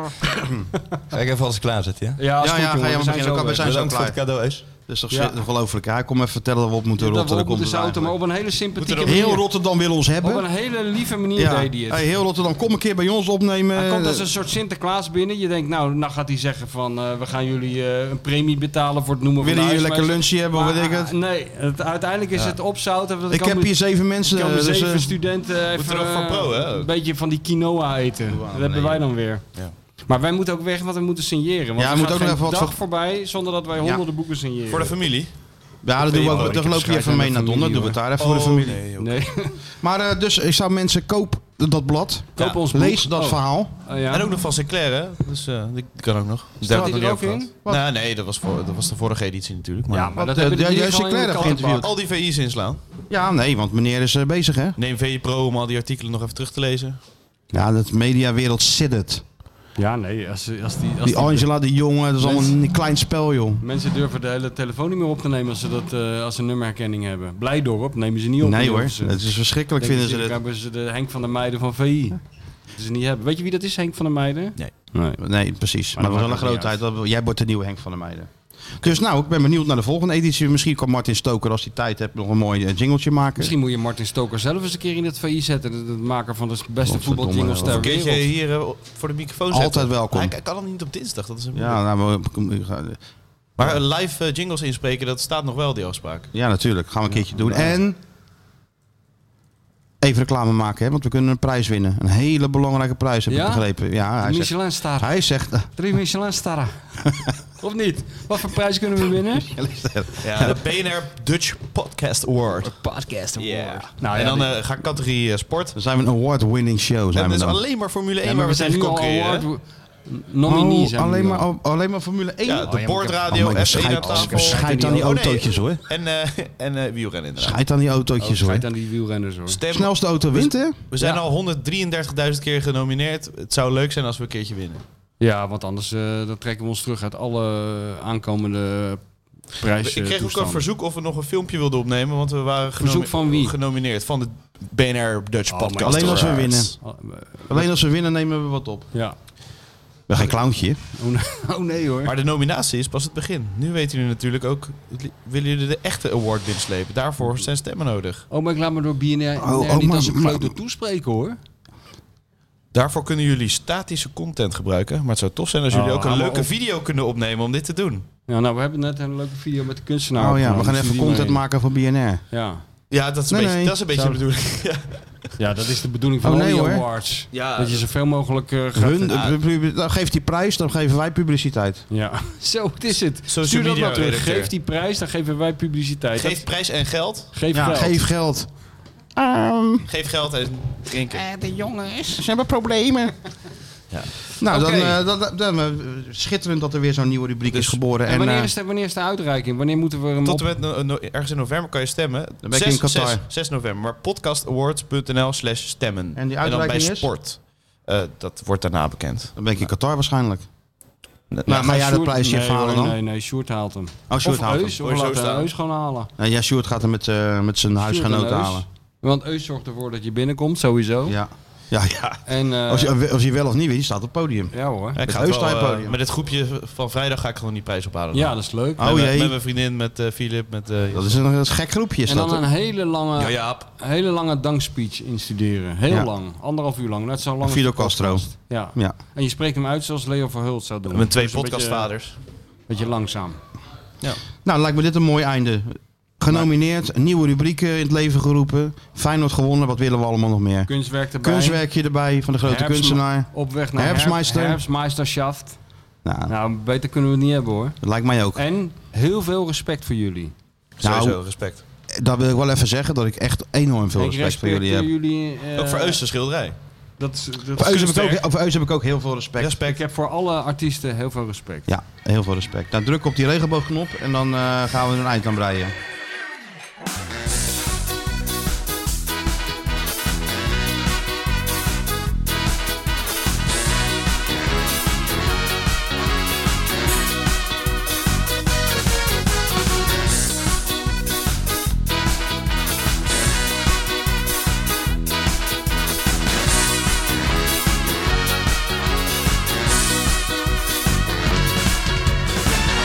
Speaker 10: Ga ik even alles klaarzetten, ja?
Speaker 3: Ja, is
Speaker 2: Ja,
Speaker 3: goed,
Speaker 2: ja, ga
Speaker 3: jongen,
Speaker 2: jij
Speaker 3: we
Speaker 2: maar
Speaker 3: zijn
Speaker 2: beginnen.
Speaker 3: zo
Speaker 2: Kan- we
Speaker 3: weg.
Speaker 2: zijn zo
Speaker 10: Bedankt voor
Speaker 2: klaar.
Speaker 10: het cadeau, Eus.
Speaker 2: Dat is toch
Speaker 3: Ja.
Speaker 2: zin- ongelooflijk. hè? Kom even vertellen dat we op moeten
Speaker 3: Dat
Speaker 2: rotten.
Speaker 3: we
Speaker 2: Dan
Speaker 3: op
Speaker 2: komt
Speaker 3: moeten
Speaker 2: het
Speaker 3: zouten, maar
Speaker 2: eigenlijk.
Speaker 3: op een hele sympathieke manier.
Speaker 2: Heel Rotterdam wil ons
Speaker 3: Op
Speaker 2: hebben.
Speaker 3: een hele lieve manier
Speaker 2: Ja.
Speaker 3: deed hij het.
Speaker 2: Hey, eh, heel Rotterdam, kom een keer bij ons opnemen.
Speaker 3: Hij komt als een soort Sinterklaas binnen. Je denkt, nou, nou gaat hij zeggen van... eh, we gaan jullie eh, een premie betalen voor het noemen
Speaker 2: Willen
Speaker 3: van de
Speaker 2: jullie lekker
Speaker 3: huismeester.
Speaker 2: lunchje hebben of
Speaker 3: Maar, eh,
Speaker 2: weet ik het?
Speaker 3: Nee, het, uiteindelijk is het opzouten. want
Speaker 2: Ik
Speaker 3: kan
Speaker 2: heb
Speaker 3: met-
Speaker 2: hier zeven mensen.
Speaker 3: kan met
Speaker 2: dus,
Speaker 3: zeven
Speaker 2: eh,
Speaker 3: studenten even
Speaker 4: er ook van
Speaker 3: eh,
Speaker 4: pro, hè, ook.
Speaker 3: een beetje van die quinoa eten. dat hebben wij dan weer. Maar wij moeten ook weg, want we moeten signeren. Want
Speaker 2: Ja,
Speaker 3: er
Speaker 2: moet
Speaker 3: gaat
Speaker 2: ook nog
Speaker 3: geen
Speaker 2: even wat
Speaker 3: dag
Speaker 2: voor-
Speaker 3: voorbij zonder dat wij honderden boeken signeren.
Speaker 4: Voor de familie?
Speaker 2: Ja, dat doen we
Speaker 4: Ik
Speaker 2: ook.
Speaker 4: heb
Speaker 2: Dan loop je
Speaker 3: gescheiden
Speaker 2: even mee
Speaker 3: aan de
Speaker 2: naar Don. Dan doen we het
Speaker 3: familie,
Speaker 2: daar even voor de familie.
Speaker 3: Oh, Nee,
Speaker 2: Maar eh, dus, ik zou mensen, koop dat blad.
Speaker 3: koop ons boek.
Speaker 2: Lees dat
Speaker 3: Oh,
Speaker 2: verhaal.
Speaker 3: eh, ja.
Speaker 4: En ook nog van Sinclair, hè? Dus eh, die kan ook nog.
Speaker 3: Staat
Speaker 4: Die
Speaker 3: hij er ook
Speaker 4: gehad.
Speaker 3: in?
Speaker 2: Wat?
Speaker 4: Nou, nee, dat was, voor, dat was de vorige editie natuurlijk. Maar
Speaker 3: Ja, maar dat
Speaker 2: eh,
Speaker 3: hebben
Speaker 2: jij-
Speaker 3: die
Speaker 2: jij
Speaker 3: hier
Speaker 2: hebt
Speaker 3: gewoon in
Speaker 2: Sinclair
Speaker 3: de
Speaker 2: geïnterviewd.
Speaker 3: kant.
Speaker 4: al die VI's inslaan.
Speaker 2: Ja, nee, want meneer is eh, bezig, hè?
Speaker 4: Neem VI Pro om al die artikelen nog even terug te lezen.
Speaker 2: Ja, dat mediawereld zit het.
Speaker 3: Ja, nee, als, als die... Als
Speaker 2: Die Angela, die jongen, dat is allemaal een klein spel, joh.
Speaker 3: Mensen durven de hele telefoon niet meer op te nemen als ze, dat, eh, als ze nummerherkenning hebben. Blijdorp nemen ze niet op.
Speaker 2: Nee
Speaker 3: Dan
Speaker 2: hoor,
Speaker 3: durven ze.
Speaker 2: het is verschrikkelijk,
Speaker 3: Denken
Speaker 2: vinden ze
Speaker 3: ze,
Speaker 2: dit.
Speaker 3: hebben ze de Henk van der Meijden van VI. Dat ze niet hebben. Weet je wie dat is, Henk van der Meijden?
Speaker 10: Nee.
Speaker 3: nee.
Speaker 2: Nee, precies. Maar,
Speaker 3: Maar
Speaker 2: dat
Speaker 3: dat
Speaker 2: was wel
Speaker 3: maakt
Speaker 2: een
Speaker 3: ook
Speaker 2: grootheid.
Speaker 3: niet
Speaker 2: Dat- Jij wordt de nieuwe Henk van der Meijden. Dus nou, ik ben benieuwd naar de volgende editie. Misschien kan Martin Stoker, als hij tijd heeft, nog een mooi eh, jingletje maken.
Speaker 3: Misschien moet je Martin Stoker zelf eens een keer in het VI zetten. De, de maker van de beste
Speaker 2: Godverdomme,
Speaker 3: voetbaljingles
Speaker 2: joh.
Speaker 3: ter
Speaker 4: Kun je
Speaker 3: wereld.
Speaker 4: hier eh, voor de microfoon zetten?
Speaker 2: Altijd welkom.
Speaker 4: Hij, hij kan al niet op dinsdag, dat is een moeilijk.
Speaker 2: Ja, nou, we-
Speaker 4: Maar eh, live eh, jingles inspreken, dat staat nog wel, die afspraak.
Speaker 2: ja, natuurlijk. Gaan we een keertje doen. En even reclame maken, hè, want we kunnen een prijs winnen. Een hele belangrijke prijs, heb ik
Speaker 3: Ja?
Speaker 2: begrepen. Ja, hij zegt...
Speaker 3: Michelin star.
Speaker 2: Hij zegt...
Speaker 3: Drie Michelin starren. of niet? Wat voor prijs kunnen we winnen?
Speaker 4: Ja, de BNR Dutch Podcast Award.
Speaker 3: Podcast.
Speaker 4: Nou, en dan eh, ga ik categorie eh, sport.
Speaker 2: Dan zijn we een award-winning show, zijn
Speaker 4: En
Speaker 2: we
Speaker 4: dat is
Speaker 2: dan.
Speaker 4: alleen maar Formule 1
Speaker 3: Ja,
Speaker 4: waar
Speaker 3: maar we zijn nu al
Speaker 4: concurreren. hè?
Speaker 3: award nominees.
Speaker 2: Oh, alleen, maar, oh, alleen maar Formule 1?
Speaker 4: Ja, de boordradio,
Speaker 2: Oh, maar
Speaker 4: F1 aan
Speaker 2: schijt-
Speaker 4: tafel.
Speaker 2: schijt aan die
Speaker 4: Oh, nee.
Speaker 2: autootjes, hoor.
Speaker 4: En, eh en eh, wielrennen inderdaad.
Speaker 2: Schijt aan die autootjes, hoor.
Speaker 3: Oh, Schijt aan die wielrenners hoor.
Speaker 4: Stem,
Speaker 2: Snelste auto wint, hè?
Speaker 4: we zijn
Speaker 3: Ja.
Speaker 4: al 133.000 keer genomineerd. Het zou leuk zijn als we een keertje winnen.
Speaker 3: Ja, want anders eh, dan trekken we ons terug uit alle aankomende prijzen.
Speaker 4: ik kreeg ook een
Speaker 3: toestanden.
Speaker 4: verzoek of we nog een filmpje wilden opnemen, want we waren
Speaker 3: Verzoek
Speaker 4: genomi-
Speaker 3: van wie?
Speaker 4: genomineerd van de BNR Dutch
Speaker 3: Oh, maar
Speaker 4: Podcast.
Speaker 2: Alleen als we
Speaker 4: Awards.
Speaker 2: winnen.
Speaker 3: Oh, eh,
Speaker 2: Alleen als we winnen nemen we wat op.
Speaker 3: Ja.
Speaker 2: We geen clowntje. hè?
Speaker 3: Oh, nee- oh, nee hoor.
Speaker 4: Maar de nominatie is pas het begin. Nu weten jullie natuurlijk ook, het li- willen jullie de echte award binnenslepen? Daarvoor zijn stemmen nodig.
Speaker 3: Oh, maar ik laat me door BNR
Speaker 2: Oh, oh,
Speaker 3: niet
Speaker 2: maar-
Speaker 3: als een
Speaker 2: maar-
Speaker 3: grote toespreken hoor.
Speaker 4: Daarvoor kunnen jullie statische content gebruiken. Maar het zou tof zijn als jullie
Speaker 3: Oh,
Speaker 4: ook een
Speaker 3: hou maar
Speaker 4: leuke
Speaker 3: op.
Speaker 4: video kunnen opnemen om dit te doen.
Speaker 3: Ja, nou, we hebben net een leuke video met de kunstenaar.
Speaker 2: Oh ja, we
Speaker 3: opgenomen,
Speaker 2: gaan
Speaker 3: dus
Speaker 2: even
Speaker 3: die
Speaker 2: content
Speaker 3: mee.
Speaker 2: maken voor BNR.
Speaker 3: Ja.
Speaker 4: Ja, dat is een
Speaker 2: Nee,
Speaker 4: beetje,
Speaker 2: nee.
Speaker 4: Dat is een beetje de
Speaker 3: Zouden-
Speaker 4: bedoeling.
Speaker 3: ja, dat is de bedoeling van
Speaker 2: Oh,
Speaker 3: al
Speaker 2: nee,
Speaker 3: die
Speaker 2: hoor.
Speaker 3: awards.
Speaker 4: Ja,
Speaker 3: Dat je zoveel mogelijk eh, gaat...
Speaker 2: Hun, eh, pub- dan geeft die prijs, dan geven wij publiciteit.
Speaker 3: Ja, zo het is het.
Speaker 4: Social
Speaker 3: Stuur dat
Speaker 4: media
Speaker 3: maar terug.
Speaker 4: redacteur.
Speaker 3: Geef die prijs, dan geven wij publiciteit.
Speaker 4: Geef
Speaker 3: Geef,
Speaker 4: prijs en geld.
Speaker 3: geef
Speaker 2: Ja,
Speaker 3: geld.
Speaker 2: geef geld.
Speaker 4: Geef geld en drinken.
Speaker 2: Ze hebben problemen. Nou, dan, eh, dan, dan, eh, schitterend dat er weer zo'n nieuwe rubriek is geboren.
Speaker 3: En
Speaker 2: En,
Speaker 3: wanneer
Speaker 2: eh,
Speaker 3: is, de, wanneer is de uitreiking? Wanneer moeten we hem
Speaker 4: Tot en
Speaker 3: op...
Speaker 4: met no- no- ergens in november kan je stemmen. Dan
Speaker 2: ben ik in Qatar.
Speaker 4: 6, 6 november. Maar podcastawards.nl slash stemmen.
Speaker 2: En die
Speaker 4: dan bij
Speaker 2: uitreiking is?
Speaker 4: sport. Eh, dat wordt daarna bekend.
Speaker 2: Dan ben ik in Qatar waarschijnlijk. Oh,
Speaker 4: Nou,
Speaker 2: Nou, maar ja, dat
Speaker 3: Sjoerd-
Speaker 2: prijsje
Speaker 3: nee,
Speaker 2: verhalen
Speaker 3: hoor,
Speaker 2: dan.
Speaker 3: Nee, nee, Sjoerd haalt hem.
Speaker 2: Oh, Sjoerd
Speaker 3: of
Speaker 2: haalt hem.
Speaker 3: Eus,
Speaker 4: Hoor je
Speaker 3: Of
Speaker 4: zo
Speaker 3: laten we
Speaker 4: staan?
Speaker 3: Eus gewoon halen.
Speaker 2: Nou, ja, Sjoerd gaat er met, eh, met zijn
Speaker 3: Sjoerd en
Speaker 2: huisgenoten
Speaker 3: Eus.
Speaker 2: halen.
Speaker 3: Want Eus zorgt ervoor dat je binnenkomt, sowieso.
Speaker 2: Ja. Ja, ja.
Speaker 3: En, eh,
Speaker 2: als, je, als je wel of niet wint, staat op het podium.
Speaker 3: Ja hoor.
Speaker 4: Ja, ik
Speaker 2: Met
Speaker 4: ga het
Speaker 2: Heus
Speaker 4: wel,
Speaker 2: naar het
Speaker 4: eh,
Speaker 2: podium.
Speaker 4: met het groepje van vrijdag ga ik gewoon die prijs ophalen.
Speaker 3: Ja, dat is leuk.
Speaker 4: Met,
Speaker 2: Oh,
Speaker 4: mijn-
Speaker 2: jee.
Speaker 4: met mijn vriendin, met eh, Filip, met... eh,
Speaker 2: Dat is een, dat is een gek groepje. Is
Speaker 3: En
Speaker 2: dat, eh,
Speaker 3: dan
Speaker 2: hè?
Speaker 3: een hele lange,
Speaker 4: Ja, Jaap.
Speaker 3: hele lange dankspeech instuderen. Heel
Speaker 2: Ja.
Speaker 3: lang. Anderhalf uur lang. Net zo lang. als
Speaker 2: Fidel
Speaker 3: de podcast.
Speaker 2: Castro.
Speaker 3: Ja.
Speaker 2: Ja.
Speaker 3: En je spreekt hem uit zoals Leo Verhult zou doen.
Speaker 4: Met twee
Speaker 3: Dus een beetje-
Speaker 4: podcastvaders.
Speaker 3: Beetje, langzaam.
Speaker 2: Nou, lijkt me dit een mooi einde. Genomineerd, nieuwe rubrieken in het leven geroepen. Feyenoord gewonnen, wat willen we allemaal nog meer?
Speaker 3: Kunstwerk erbij.
Speaker 2: Kunstwerkje erbij van de grote
Speaker 3: Herbstma-
Speaker 2: kunstenaar.
Speaker 3: Op weg naar
Speaker 2: Herbstmeister.
Speaker 3: Herbstmeister. Herbstmeisterschaft.
Speaker 2: Nou,
Speaker 3: Nou, beter kunnen we het niet hebben hoor.
Speaker 2: dat lijkt mij ook.
Speaker 3: En heel veel respect voor jullie.
Speaker 2: Nou,
Speaker 4: Sowieso, respect.
Speaker 2: Dat wil ik wel even zeggen, dat ik echt enorm veel
Speaker 3: ik
Speaker 2: respect voor jullie
Speaker 3: respecteer
Speaker 2: heb.
Speaker 3: jullie. eh,
Speaker 4: Ook voor Eus de schilderij.
Speaker 3: Dat, is- dat
Speaker 2: Voor
Speaker 3: is
Speaker 2: Eus heb, ik
Speaker 3: kunstwerk.
Speaker 2: ook- voor Eus heb ik ook heel veel respect.
Speaker 3: Ik heb voor alle artiesten heel veel respect.
Speaker 2: Ja, heel veel respect. Nou, druk op die regenboogknop en dan eh, gaan we er een eind aan breien.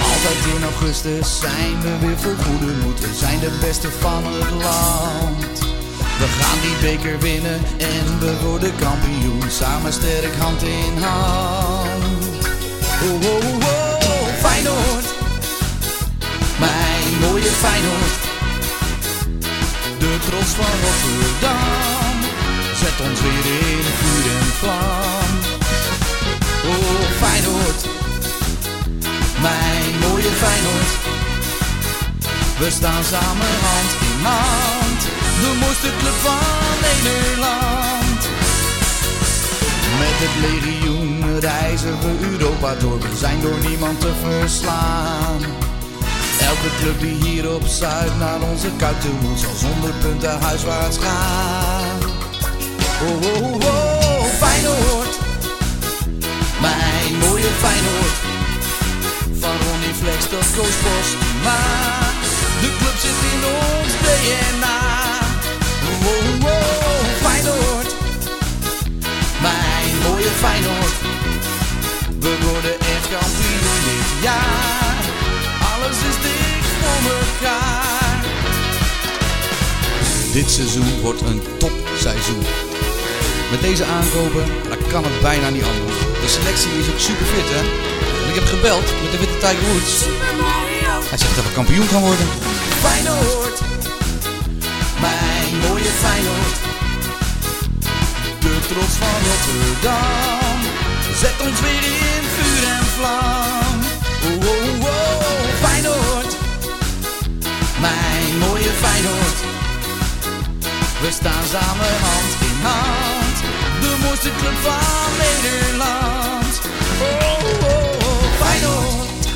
Speaker 1: Altijd in augustus zijn we weer vol goede moed. We zijn de beste van het land. We gaan die beker winnen en we worden kampioen. Samen sterk hand in hand. Oh, oh, oh, oh, Feyenoord. Mijn mooie Feyenoord. De trots van Rotterdam. Zet ons weer in vuur en vlam. Oh, Feyenoord. Mijn mooie Feyenoord We staan samen hand in hand De mooiste club van Nederland Met het legioen reizen we Europa door We zijn door niemand te verslaan Elke club die hier op Zuid naar onze kuit toe moet Zal zonder punten huiswaarts gaan Oh, oh, oh, oh Feyenoord Mijn mooie Feyenoord van Ronnie Flex tot Koos Postma De club zit in ons DNA Wow, wow, Feyenoord Mijn mooie Feyenoord We worden echt kampioen dit jaar Alles is dicht voor elkaar Dit seizoen wordt een topseizoen met deze aankopen, dan kan het bijna niet anders. De selectie is ook super fit, hè? En ik heb gebeld met de witte Tiger Woods. Hij zegt dat we kampioen gaan worden. Feyenoord, mijn mooie Feyenoord. De trots van Rotterdam, zet ons weer in vuur en vlam. Oh, oh, oh, Feyenoord, mijn mooie Feyenoord. We staan samen hand in hand. De mooiste club van Nederland. Oh, oh, oh Feyenoord.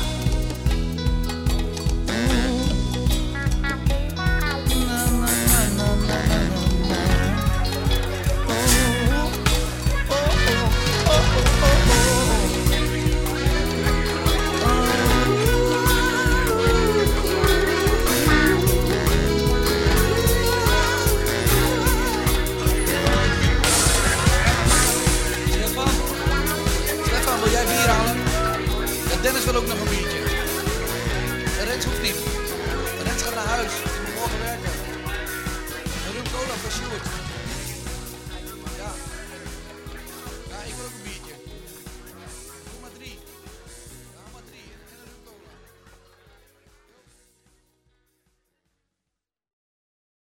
Speaker 1: Stefan, Stefan, wil jij bier halen? En Dennis wil ook nog een biertje. En Rens hoeft niet. Rens gaat naar huis. Die moet morgen werken. En Ruud Cola voor Sjoerd.